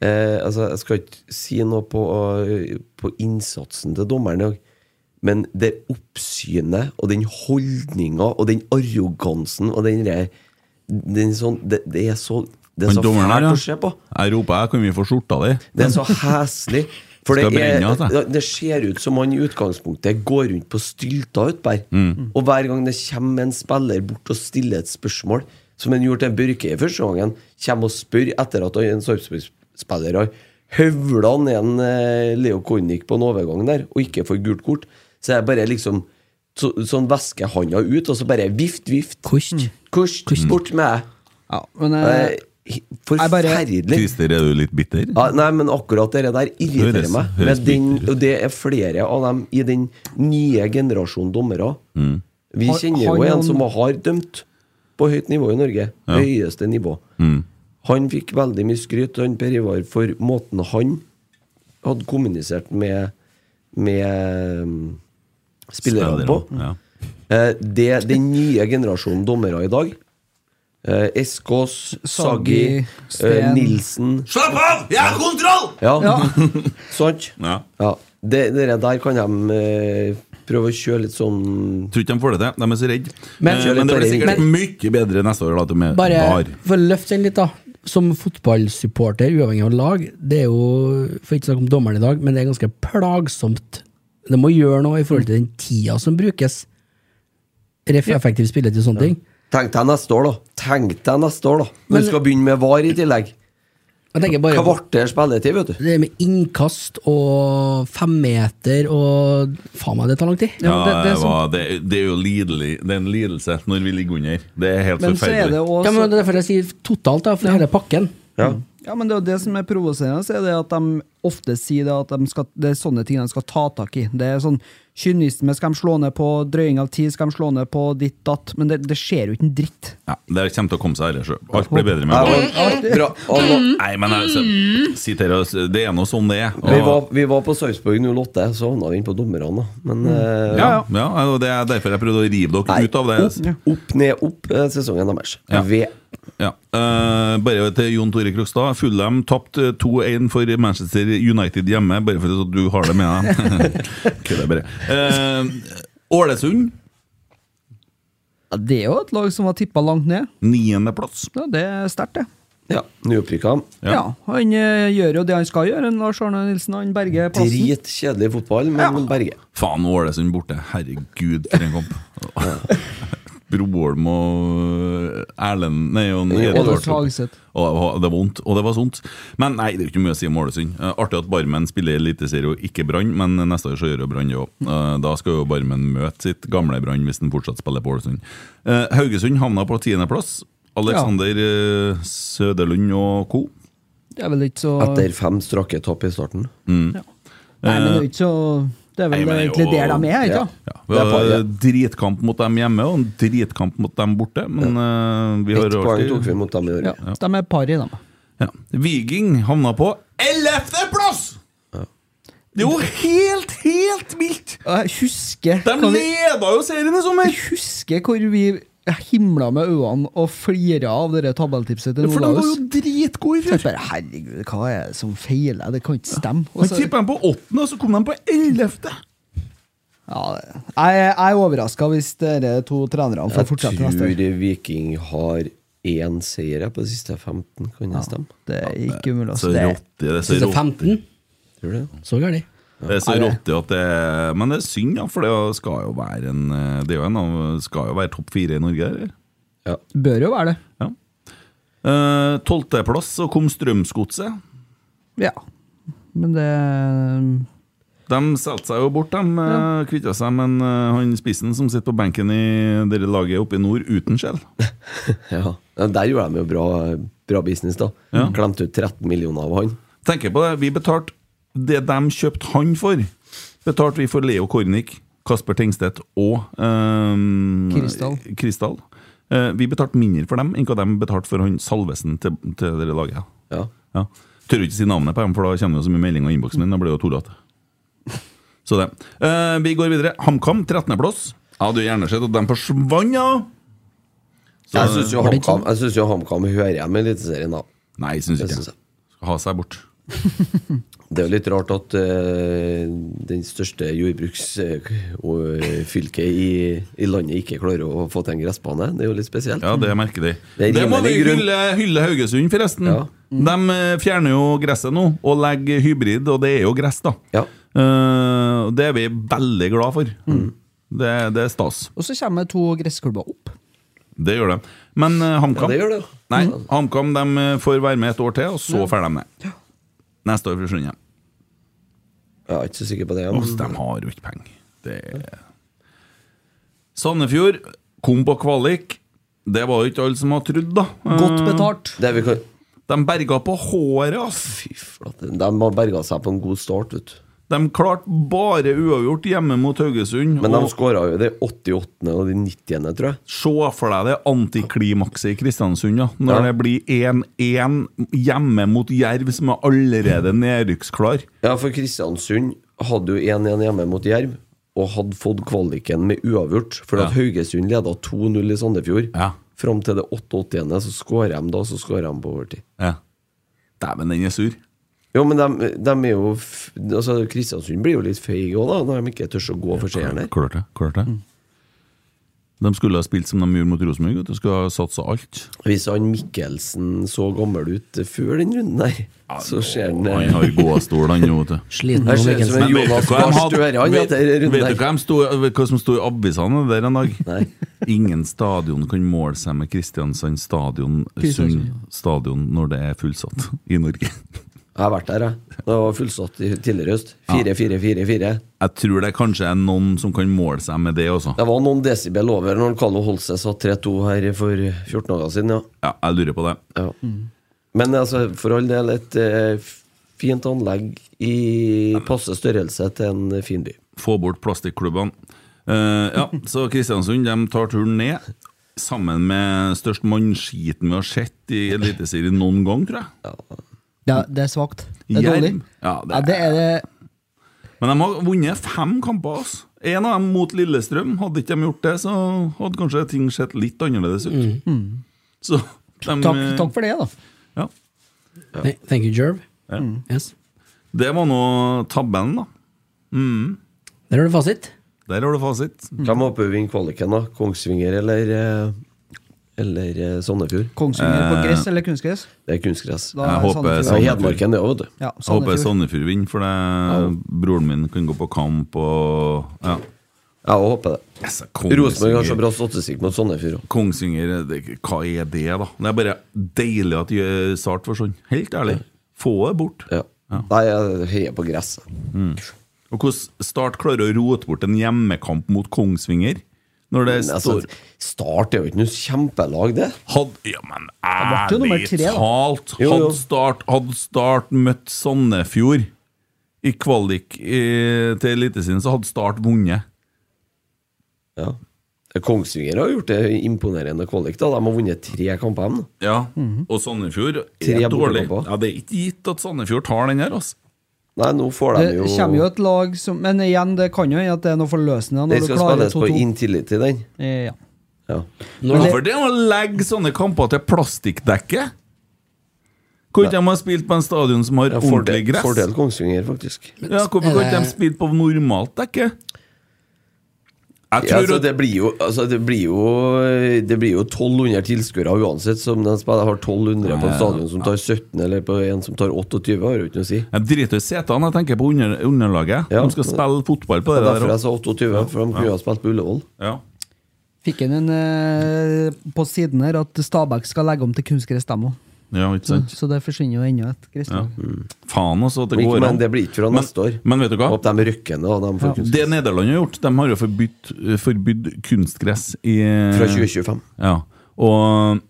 Speaker 6: eh, Altså, jeg skal ikke si noe på, eh, på innsatsen til dommeren i dag, men det oppsynet og den holdninga og den arrogansen og den, der- den sånn, det, det er så Det er
Speaker 4: Han
Speaker 6: så
Speaker 4: dommeren her,
Speaker 6: fælt
Speaker 4: ja.
Speaker 6: å se på.
Speaker 4: Jeg roper 'jeg kan vi få skjorta di'?
Speaker 6: Det er så heslig. For det,
Speaker 4: Skal brenne,
Speaker 6: er,
Speaker 4: altså.
Speaker 6: det ser ut som han i utgangspunktet går rundt på stylter utpå
Speaker 4: Mm.
Speaker 6: Og hver gang det kommer en spiller bort og stiller et spørsmål, som han gjorde til Børke i første gangen, kommer og spør etter at en Sarpsborg-spiller har høvla ned en eh, Leo Kornik på en overgang der, og ikke får gult kort, så er det bare liksom så, sånn væskehanda ut, og så bare vift, vift.
Speaker 2: Kost.
Speaker 6: Kors,
Speaker 4: Mm.
Speaker 6: bort med deg.
Speaker 5: ja men
Speaker 6: Det
Speaker 5: eh,
Speaker 6: er he- Forferdelig.
Speaker 4: Christer, er du litt bitter?
Speaker 6: Ja, nei, men akkurat det der irriterer
Speaker 4: Høres-
Speaker 6: meg.
Speaker 4: høres
Speaker 6: Men den, og det er flere av dem i den nye generasjonen dommere. Vi
Speaker 4: Mm.
Speaker 5: Har-
Speaker 6: kjenner
Speaker 5: har
Speaker 6: jo en
Speaker 5: noen-
Speaker 6: som har dømt på høyt nivå i Norge. Høyeste nivå.
Speaker 4: Mm.
Speaker 6: Han fikk veldig mye skryt, han Per Ivar, for måten han hadde kommunisert med, med um, spillerne på.
Speaker 4: Ja.
Speaker 6: Eh, Det den nye generasjonen dommere i dag eh, Eskås, Saggi,
Speaker 5: Saggi, Steen.
Speaker 6: eh, Nilsen
Speaker 1: Slapp av! Jeg har kontroll!
Speaker 6: Ja, sant?
Speaker 4: Ja.
Speaker 6: Ja, det, dere der kan de eh, prøve å kjøre litt sånn
Speaker 4: Tror ikke de får det til. De er så redde. Eh,
Speaker 2: Men-
Speaker 4: Men, men det blir sikkert
Speaker 2: Men-
Speaker 4: mye bedre neste år. Da, at de er
Speaker 2: Bare
Speaker 4: var.
Speaker 2: for å løfte den litt, da. Som fotballsupporter, uavhengig av lag, det er jo For ikke å snakke om dommeren i dag, men det er ganske plagsomt. Det må gjøre noe i forhold til den tida som brukes. Ref effektiv spilletid og sånne ting.
Speaker 6: Tenk deg neste år, da! Tenk deg neste år, da! Når
Speaker 2: Men-
Speaker 6: du skal begynne med VAR i tillegg.
Speaker 2: Jeg tenker bare på
Speaker 6: Kvarter spilletid, vet du.
Speaker 2: det med innkast og femmeter og Faen meg, det tar lang tid.
Speaker 4: Ja,
Speaker 5: Ja,
Speaker 4: det,
Speaker 5: det- det som-
Speaker 4: var, det, det er jo lidelig. Det er en lidelse når vi ligger under. Det er helt
Speaker 5: men så er det
Speaker 4: forferdelig.
Speaker 5: også
Speaker 2: Ja, men det er derfor jeg sier totalt, da, for hele pakken.
Speaker 6: Ja.
Speaker 5: Ja, men det er jo det som er provoserende, så er det at de ofte sier det at de skal, det er sånne ting de skal ta tak i. Det er sånn Kynisme skal de slå ned på, drøying av tid skal de slå ned på, ditt datt, men det, det skjer jo ikke en dritt.
Speaker 4: Ja, det kommer til å komme seg ellers. Alt blir bedre med VAR.
Speaker 6: Ja, og- bra. Og,
Speaker 4: Nei, men altså, sitere oss, det er nå sånn det er.
Speaker 6: vi, var, vi var på Sarpsborg 08, så havna vi inn på dommerne, da. Men eh,
Speaker 4: ja, ja, og det er derfor jeg prøvde å rive dere
Speaker 6: nei,
Speaker 4: ut av det.
Speaker 6: Opp, opp ned, opp eh, sesongen deres.
Speaker 4: Ja.
Speaker 6: Ved
Speaker 4: Ja. eh, bare til Jon Tore Krokstad. Fulham tapte 2-1 for Manchester United hjemme, bare for at du har det med deg. Kødder bare. Eh, Ålesund,
Speaker 5: Ja, det er jo et lag som var tippa langt ned.
Speaker 4: niendeplass.
Speaker 5: Ja, det er sterkt, det.
Speaker 6: ja, nyopprykka.
Speaker 4: Ja.
Speaker 5: Ja. han eh, gjør jo det han skal gjøre, en Lars Arne Nilsen. Han berger plassen.
Speaker 6: Dritkjedelig fotball, men Berge.
Speaker 4: Faen, Ålesund borte. Herregud, for en kamp. Broholm og eh, Erlend Nei, og
Speaker 5: Ålesund
Speaker 4: Edvard.
Speaker 5: Hagseth.
Speaker 4: Og det var- det var vondt, og det var sånt. Men nei, det er jo ikke mye å si om Ålesund. Eh, Artig at Barmen spiller Eliteserie og ikke Brann, men neste år så gjør jo Brann det òg. Eh, Da skal jo Barmen møte sitt gamle Brann hvis den fortsatt spiller på Ålesund. Eh, Haugesund havna på tiendeplass. Alexander eh, Søderlund og co.
Speaker 5: Det er vel ikke så
Speaker 6: Etter fem strake tap i starten.
Speaker 5: Nei, men det er jo ikke så Det er
Speaker 4: Nei,
Speaker 5: vel
Speaker 4: men det er
Speaker 5: egentlig
Speaker 4: jo-
Speaker 5: der de er, ikke
Speaker 6: Ja.
Speaker 5: sant?
Speaker 4: Ja, vi
Speaker 6: Det er
Speaker 4: har
Speaker 6: bare-
Speaker 4: dritkamp mot dem hjemme og en dritkamp mot dem borte, men eh, vi har
Speaker 6: Ett poeng
Speaker 4: alltid-
Speaker 6: tok vi mot dem i år.
Speaker 5: Ja. De er par i dem.
Speaker 4: Ja. Viking havna på ellevteplass! Det er jo helt, helt vilt!
Speaker 5: Jeg husker
Speaker 4: De leda jo serien i sommer!
Speaker 5: Jeg husker hvor vi jeg himla med øynene og flira av det der tabelltipset til
Speaker 6: For de var jo
Speaker 5: Nordlaus.
Speaker 6: dritgode i
Speaker 5: Så jeg
Speaker 6: fjor!
Speaker 5: bare, herregud, hva er det som feiler? Det kan ikke stemme. Og
Speaker 4: Han
Speaker 5: så-
Speaker 4: tippa dem på åttende, og så kom de på ellevte!
Speaker 5: ja, det- jeg, jeg er overraska hvis dere to trenerne får
Speaker 6: Jeg
Speaker 5: fortsette neste år.
Speaker 6: tror Viking har én seier på de siste 15, kan det stemme?
Speaker 5: Det er ikke umulig.
Speaker 4: Så
Speaker 5: Altså. Det,
Speaker 4: rått, det er så
Speaker 2: Siste
Speaker 4: rått.
Speaker 2: 15,
Speaker 6: Tror du det?
Speaker 2: så gærent.
Speaker 4: Det er så rått det at det er Men det er synd, ja, for det skal jo være en eh, Det er jo en, av- skal jo være topp fire i Norge, eller?
Speaker 6: Ja.
Speaker 5: bør jo være det.
Speaker 4: Ja. Eh, Tolvteplass, så kom Strømsgodset.
Speaker 5: Ja. Men det
Speaker 4: De solgte seg jo bort, de. eh, Kvitta seg med en, eh, han spissen som sitter på benken i dere laget oppe i nord, uten skjell.
Speaker 6: Ja. Ja, Der gjorde de jo bra, bra business, da. Klemte ut 13 millioner av han.
Speaker 4: Tenk på det, vi betalte det de kjøpte han for, betalte vi for Leo Kornik, Kasper Tengstedt og ehm,
Speaker 5: Kristall.
Speaker 4: Kristall. Eh, vi betalte mindre for dem enn hva de betalte for han Salvesen til, til det laget.
Speaker 6: Ja.
Speaker 4: Ja. Tør ikke si navnet på dem, for da kommer det jo så mye meldinger i innboksen min. Da blir det jo tullete. Så det. Eh, vi går videre. HamKam, 13.-plass. Jeg hadde jo gjerne sett at de forsvant, ja. Så,
Speaker 6: Jeg syns jo HamKam jeg synes jo HamKam hører hjemme i Eliteserien, da.
Speaker 4: nei, syns
Speaker 6: Det
Speaker 4: ikke.
Speaker 6: synes jeg.
Speaker 4: jeg. Skal ha seg bort.
Speaker 6: Det er jo litt rart at eh, den største jordbruksfylket i, i landet ikke klarer å få til en gressbane. Det er jo litt spesielt.
Speaker 4: Ja, det merker de.
Speaker 6: Det
Speaker 4: Det,
Speaker 6: er
Speaker 4: må vi
Speaker 6: rimelig grunn.
Speaker 4: hylle, hylle Haugesund, forresten.
Speaker 6: Ja.
Speaker 4: De eh, fjerner jo gresset nå, og legger hybrid, og det er jo gress, da.
Speaker 6: Ja.
Speaker 4: Eh, og det er vi veldig glad for.
Speaker 6: Mm.
Speaker 4: Det, det er stas.
Speaker 5: Og så kommer det to gressklubber opp.
Speaker 4: Det gjør det. Men eh, HamKam
Speaker 6: Ja, det gjør det.
Speaker 4: Nei, HamKam de eh, får være med et år til, og så drar de ned. Neste år forsvinner de.
Speaker 6: Jeg er ikke så sikker på det.
Speaker 4: Åh, de har jo ikke penger. Det er- Sandefjord kom på kvalik. Det var jo ikke alle som hadde trodd, da. Eh,
Speaker 6: Mm.
Speaker 5: Godt betalt.
Speaker 6: det vi kan,
Speaker 4: De berga på håret, ass!
Speaker 6: fy flate. De har berga seg på en god start, vet du.
Speaker 4: De klarte bare uavgjort hjemme mot Haugesund.
Speaker 6: Men de
Speaker 4: og
Speaker 6: skåra jo det 88. og det 90., tror jeg.
Speaker 4: Se for deg det antiklimakset i Kristiansund, ja. når
Speaker 6: Ja.
Speaker 4: det blir 1-1 hjemme mot Jerv, som er allerede nedrykksklar.
Speaker 6: Ja, for Kristiansund hadde jo 1-1 hjemme mot Jerv, og hadde fått kvaliken med uavgjort. For at
Speaker 4: Ja.
Speaker 6: Haugesund leda 2-0 i Sandefjord.
Speaker 4: Ja.
Speaker 6: Fram til det 88., så skårer de da, så skårer de på overtid.
Speaker 4: Ja. Dæven, den er sur.
Speaker 6: Jo, men de, er jo f- altså, Kristiansund blir jo litt feige òg, da, når de ikke tør å gå for seieren her.
Speaker 4: Klart det. klart det. De skulle ha spilt som de gjorde mot Rosenborg, at de skulle ha satsa alt.
Speaker 6: Hvis han Mikkelsen så gammel ut før den runden der, så ser han
Speaker 4: Han har gåstol, han nå, vet du.
Speaker 2: Sliten
Speaker 6: Jeg
Speaker 2: om
Speaker 6: ser ut
Speaker 2: Vikensen.
Speaker 6: som en
Speaker 4: Men vet
Speaker 6: Jonas
Speaker 4: du hva de
Speaker 6: Gahr
Speaker 4: hadde-
Speaker 6: Støre han
Speaker 4: vet-
Speaker 6: etter runden
Speaker 4: Vet du
Speaker 6: der.
Speaker 4: hva, de sto, hva som sto i avisene der en dag?
Speaker 6: Nei.
Speaker 4: Ingen stadion kan måle seg med Kristiansand stadion, Sund stadion, når det er fullsatt i Norge.
Speaker 6: Jeg har vært der, jeg. Det var fullsatt i- tidligere i høst. 4-4-4-4.
Speaker 4: Jeg tror det kanskje er noen som kan måle seg med det også.
Speaker 6: Det var noen desibel over når Carlo Holse satt 3-2 her for 14 dager siden, ja.
Speaker 4: Ja, jeg lurer på det.
Speaker 6: ja. Men altså, for all del, et eh, f- fint anlegg i passe størrelse til en fin by.
Speaker 4: Få bort plastikklubbene. Eh, ja, så Kristiansund de tar turen ned, sammen med størst mannskiten vi har sett i Eliteserien noen gang, tror jeg.
Speaker 5: Ja, det er svakt. Det er
Speaker 4: Jerv.
Speaker 5: dårlig.
Speaker 4: Ja, det
Speaker 5: Ja, det er det.
Speaker 4: Men de har vunnet fem kamper. ass. En av dem mot Lillestrøm. Hadde ikke de gjort det, så hadde kanskje ting sett litt annerledes
Speaker 6: Mm.
Speaker 4: ut.
Speaker 5: Mm.
Speaker 4: Så de,
Speaker 5: Takk, takk for det, da.
Speaker 4: Ja.
Speaker 2: Nei, Thank you, Jerv. Yes.
Speaker 4: Det var nå tabellen, da.
Speaker 2: Der har du fasit.
Speaker 4: Der har du fasit.
Speaker 6: Hvem håper vi vinner kvaliken, da? Kongsvinger eller, eh, eller eh, Sandefjord?
Speaker 5: Kongsvinger
Speaker 4: Eh,
Speaker 5: på gress eller kunstgress?
Speaker 6: Det er kunstgress.
Speaker 5: Da
Speaker 4: Jeg
Speaker 5: er
Speaker 4: håper
Speaker 5: Sandefjord-
Speaker 6: Ja, Hedmarken, det òg, vet du.
Speaker 5: Ja,
Speaker 4: Jeg håper
Speaker 5: Sandefjord.
Speaker 4: Sandefjord vinner, for det, broren min kan gå på kamp og ja.
Speaker 6: Jeg òg håper det.
Speaker 4: Yes,
Speaker 6: Rosenborg har så
Speaker 4: Kongsvinger-
Speaker 6: bra statistikk mot Sandefjord òg.
Speaker 4: Kongsvinger det, Hva er det, da? Det er bare deilig at eh, Sart forsvant. Helt ærlig. Få det bort.
Speaker 6: Ja. Nei, jeg heier på gress.
Speaker 4: Og hvordan Start klarer å rote bort en hjemmekamp mot Kongsvinger når det
Speaker 6: Men Altså,
Speaker 4: står
Speaker 6: start er jo ikke noe kjempelag, det.
Speaker 4: Hadde, ja, men
Speaker 5: jo nummer
Speaker 4: ærlig
Speaker 5: tre, da.
Speaker 4: talt!
Speaker 6: Jo, jo.
Speaker 4: Hadde Start, hadde start møtt Sandefjord i kvalik eh, til Eliteserien, så hadde Start vunnet.
Speaker 6: Ja. Kongsvinger har gjort det imponerende kvalik. da De har vunnet tre kamper. dem, da.
Speaker 4: Ja, Og Sandefjord
Speaker 6: Mhm. Tre
Speaker 4: er dårlig.
Speaker 6: bortekamper.
Speaker 4: Ja, det er ikke gitt at Sandefjord tar den her, altså.
Speaker 6: Nei, nå får de
Speaker 5: Det
Speaker 6: jo
Speaker 5: kommer jo et lag som Men igjen, det kan jo hende at det er noe forløsende.
Speaker 6: Den
Speaker 5: Når du
Speaker 6: skal
Speaker 5: klarer
Speaker 6: spilles på
Speaker 5: 2-2.
Speaker 6: Intility, den.
Speaker 5: Eh, Ja.
Speaker 6: Ja.
Speaker 2: Når det,
Speaker 4: Hvorfor det å legge sånne kamper til plastikkdekket? Hvor ikke de har spilt på en stadion som har
Speaker 6: Ja,
Speaker 4: ordentlig
Speaker 6: fordel,
Speaker 4: gress?
Speaker 6: fordel Kongsvinger, faktisk.
Speaker 4: Ja, Hvorfor kan ikke
Speaker 2: Eller-
Speaker 4: de spille på normalt dekke? Jeg
Speaker 6: Ja,
Speaker 4: tror
Speaker 6: altså,
Speaker 4: at
Speaker 6: det blir jo altså, Det blir jo Det blir jo 1200 tilskuere uansett. Som den spiller har 1200 på en stadion som tar 17, eller på en som tar 28, har jo ikke noe å si.
Speaker 4: Jeg driter i setene, jeg tenker på under, underlaget.
Speaker 6: Ja.
Speaker 4: De skal spille fotball på
Speaker 6: Det
Speaker 4: det
Speaker 6: er derfor
Speaker 4: der.
Speaker 6: jeg sa 28, for de kunne ha spilt på Ullevål.
Speaker 4: også. Ja.
Speaker 5: Fikk han en eh, på siden her at Stabæk skal legge om til kunstgress, dem òg.
Speaker 4: ja, ikke sant?
Speaker 5: Så det forsvinner jo enda et
Speaker 4: Ja.
Speaker 5: gresslag.
Speaker 4: Faen også at det
Speaker 6: Mm. Men ikke-
Speaker 4: går
Speaker 6: men det blir ikke fra
Speaker 4: Men-
Speaker 6: neste år.
Speaker 4: Men vet du hva?
Speaker 6: Håper de rykker ned. da, De får kunst-
Speaker 4: Det Nederland har gjort, de har jo forbudt, forbudt kunstgress i eh,
Speaker 6: Fra 2025.
Speaker 4: Ja. Og eh,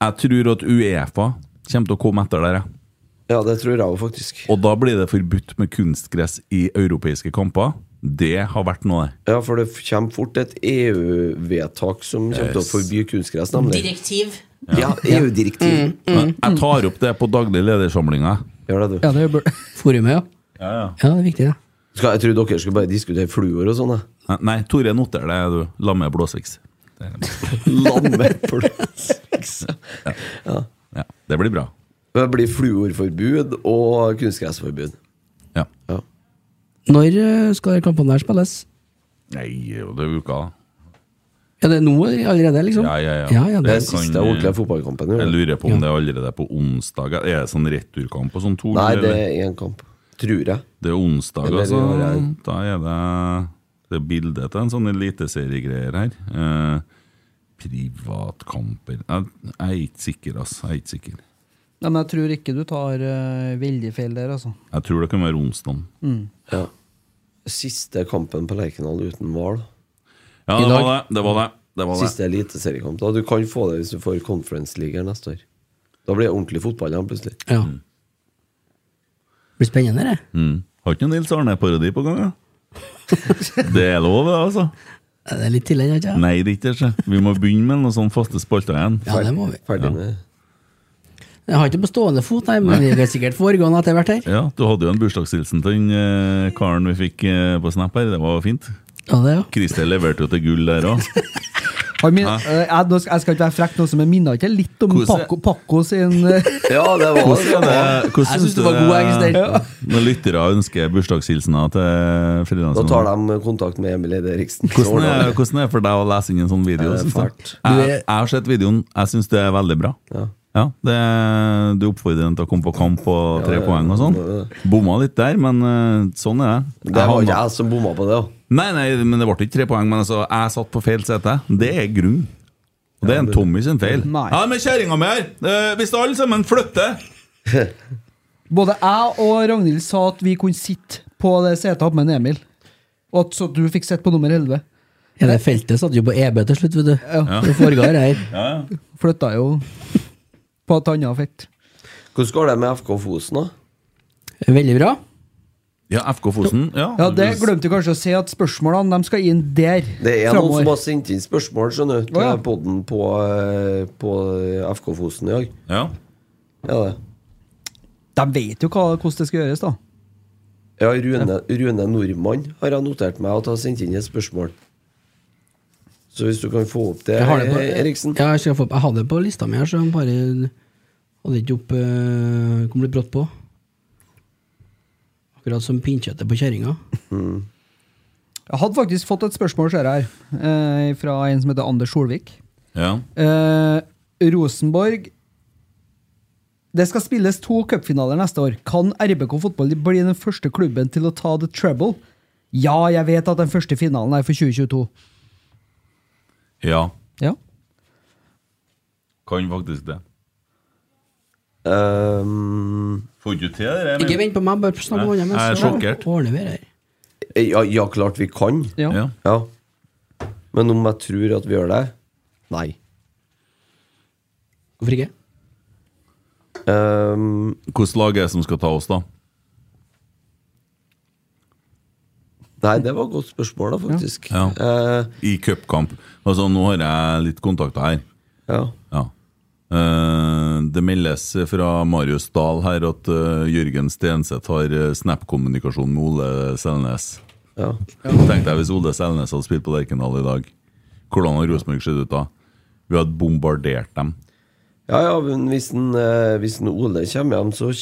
Speaker 4: jeg tror at Uefa kommer til å komme etter der, jeg.
Speaker 6: Ja, det tror jeg jo faktisk.
Speaker 4: Og da blir det forbudt med kunstgress i europeiske kamper. Det har vært noe, det.
Speaker 6: Ja, for det kommer fort et EU-vedtak som kommer til å
Speaker 4: Yes.
Speaker 6: forby kunstgress, nemlig.
Speaker 7: Direktiv.
Speaker 6: Ja, E EU-direktiv.
Speaker 4: Men jeg tar opp det på daglig ledersamlinga.
Speaker 6: Gjør det, du.
Speaker 5: Ja, det er jo bl-
Speaker 2: forumet, ja.
Speaker 4: Ja, ja.
Speaker 2: Ja, det er viktig, det.
Speaker 6: Skal, jeg tror dere skulle bare diskutere fluor og sånn, jeg.
Speaker 4: Nei, Nei, Tore noter det, du. Lamme Blåsviks. Det er- Ja, det blir bra.
Speaker 6: Det blir fluorforbud og kunstgressforbud.
Speaker 4: Ja.
Speaker 6: Ja.
Speaker 2: Når eh, skal de kampene her spilles?
Speaker 4: Nei, jo, det er uka, da.
Speaker 2: Er det nå allerede, liksom?
Speaker 4: Ja, ja, ja.
Speaker 2: ja, ja
Speaker 6: Det
Speaker 2: det,
Speaker 6: er
Speaker 4: kan-
Speaker 6: siste ordentlige fotballkampen. jo.
Speaker 4: Jeg lurer på om det er allerede på onsdag. Er det sånn returkamp og sånn to?
Speaker 6: Nei, det
Speaker 4: eller?
Speaker 6: er én kamp. Tror jeg.
Speaker 4: det er onsdag,
Speaker 6: Eller-
Speaker 4: altså.
Speaker 6: eller-
Speaker 4: Da er det Det er bilde til en sånn eliteseriegreier her. Eh, privatkamper jeg, jeg er ikke sikker, altså. Jeg er ikke sikker.
Speaker 5: Nei, men jeg tror ikke du tar eh, veldig feil der, altså.
Speaker 4: Jeg tror det kan være onsdag.
Speaker 6: Ja. Siste kampen på Lerkendal uten hval.
Speaker 4: Ja,
Speaker 2: I
Speaker 4: det
Speaker 2: dag?
Speaker 4: var det. Det var det. det, var det.
Speaker 6: Siste eliteseriekamp. da. Du kan få det hvis du får Conference League her neste år. Da blir det ordentlig fotball igjen, plutselig.
Speaker 2: ja. blir spennende, det.
Speaker 4: Mm. Har ikke noen Nils Arne-parodi på gang? Ja? Det er lov, det, altså.
Speaker 2: Ja, Det er litt til den, ikke sant?
Speaker 4: Nei, det er ikke det. Vi må begynne med noen sånne faste spalter igjen.
Speaker 2: Ja, det må vi.
Speaker 6: Ferdig med
Speaker 2: Jeg har ikke på stående fot, nei, men vi kan sikkert foregå noe etter hvert her.
Speaker 4: Ja, Du hadde jo en bursdagshilsen til den eh, karen vi fikk eh, på Snap her. Det var fint.
Speaker 2: Ja, det, ja.
Speaker 4: Christer leverte jo til gull der òg.
Speaker 5: Han min, eh, jeg, nå skal, jeg skal ikke være frekk, nå, så, men minner ikke jeg litt om
Speaker 4: Hvordan-
Speaker 5: Paco, Paco sin eh,
Speaker 6: Ja, det var det.
Speaker 2: Jeg syns det var god engst
Speaker 4: Når lyttere ønsker bursdagshilsener til
Speaker 6: Da tar
Speaker 4: Frillandsmannen,
Speaker 6: de kontakt med Emil Eide Eriksen. Så
Speaker 4: hvordan, er-
Speaker 6: ordner det.
Speaker 4: hvordan er det for deg å lese inn en sånn video?
Speaker 6: Det er
Speaker 4: synes jeg?
Speaker 6: fælt.
Speaker 2: Du
Speaker 4: Jeg,
Speaker 2: er-
Speaker 4: jeg har sett videoen. Jeg syns det er veldig bra.
Speaker 6: Ja.
Speaker 4: Ja, det, Du oppfordrer den til å komme på kamp og tre poeng og sånn. Bomma litt der, men eh, sånn er det.
Speaker 6: Det
Speaker 4: Jeg
Speaker 6: var
Speaker 4: havna-
Speaker 6: ikke jeg som bomma på det. da.
Speaker 4: Nei, nei, men det ble ikke tre poeng. Men altså, jeg satt på feil sete. Det er grunn. Og det er en Tommy sin feil.
Speaker 5: Nei.
Speaker 4: Ja, men kjerringa mi her! eh, Hvis alle sammen flytter
Speaker 5: Både jeg og Ragnhild sa at vi kunne sitte på det setet oppe med en Emil. Og at, så du fikk sitte på nummer 11.
Speaker 2: Hele feltet satt jo på EB til slutt, vet du. Det foregår her.
Speaker 5: Flytta jo på et annet felt.
Speaker 6: Hvordan går det med FK Fosen, da?
Speaker 2: Veldig bra.
Speaker 4: Ja, FK Fosen. Ja,
Speaker 5: Ja, Det glemte du kanskje å si, at spørsmålene de skal inn der.
Speaker 6: Det er noen
Speaker 5: fremover.
Speaker 6: som har sendt inn spørsmål skjønner du, til
Speaker 5: Å, ja.
Speaker 6: podden på, eh, på eh, FK Fosen i dag.
Speaker 4: Ja.
Speaker 6: Ja, det.
Speaker 5: De vet jo hva, hvordan det skal gjøres, da.
Speaker 6: Ja, Rune, Rune Nordmann har jeg notert meg at har sendt inn et spørsmål. Så hvis du kan få opp det, eh,
Speaker 2: Jeg har det på,
Speaker 6: Eriksen.
Speaker 2: Ja, jeg, skal få, jeg hadde det på lista mi her, så jeg bare hadde ikke opp eh, Kom litt brått på. Akkurat som pinnkjøttet på kjerringa.
Speaker 5: Jeg hadde faktisk fått et spørsmål ser jeg her, eh, fra en som heter Anders Solvik.
Speaker 4: ja.
Speaker 5: Eh, Rosenborg Det skal spilles to cupfinaler neste år. Kan RBK fotball bli den første klubben til å ta the trouble? Ja, jeg vet at den første finalen er for 2022.
Speaker 4: Ja.
Speaker 5: Ja.
Speaker 4: Kan faktisk det.
Speaker 6: Ehm,
Speaker 4: Får ikke til det der,
Speaker 2: Ikke
Speaker 4: men
Speaker 2: vent på meg, bare snakk om
Speaker 4: Nei,
Speaker 2: andre.
Speaker 4: jeg er
Speaker 2: mens-
Speaker 4: sjokkert.
Speaker 2: Ordner vi det her.
Speaker 6: ja, ja, klart vi kan.
Speaker 5: ja.
Speaker 4: ja.
Speaker 6: Ja. Men om jeg tror at vi gjør det? Nei.
Speaker 2: Hvorfor ikke?
Speaker 6: Ehm,
Speaker 4: Hvilket lag er det som skal ta oss, da?
Speaker 6: nei, det var et godt spørsmål, da, faktisk.
Speaker 4: Ja.
Speaker 6: Eh,
Speaker 4: I cupkamp. Altså, nå har jeg litt kontakter her.
Speaker 6: ja.
Speaker 4: Ja. Eh, det meldes fra Marius Dahl her at eh, Jørgen Stenseth har eh, Snap-kommunikasjon med Ole Selnes.
Speaker 6: ja.
Speaker 4: Tenk deg hvis Ole Selnes hadde spilt på Lerkendal i dag. Hvordan hadde Rosenborg sett ut da? Vi hadde bombardert dem.
Speaker 6: Ja, ja, men hvis, en, eh, hvis en Ole kommer hjem, så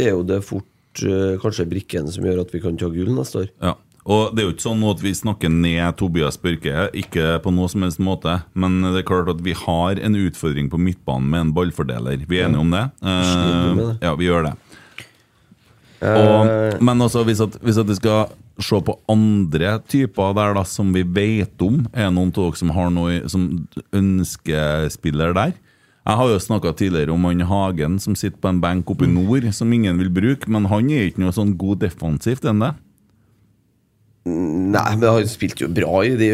Speaker 6: er jo det fort eh, kanskje brikken som gjør at vi kan ta gull neste år.
Speaker 4: Ja. Og det er jo ikke sånn nå at vi snakker ned Tobias Børke, ikke på noe som helst måte. Men det er klart at vi har en utfordring på midtbanen med en ballfordeler. Vi er enige om det?
Speaker 6: sliter med
Speaker 4: Eh,
Speaker 6: det. Eh.
Speaker 4: ja, vi gjør det. Og, men også hvis at, hvis at vi skal se på andre typer der da, som vi vet om, er det noen av dere som har noe i- som ønsker spiller der? Jeg har jo snakka tidligere om han Hagen som sitter på en benk oppe i nord, som ingen vil bruke, men han er ikke noe sånn god defensivt enn det.
Speaker 6: Nei, men han spilte jo bra i de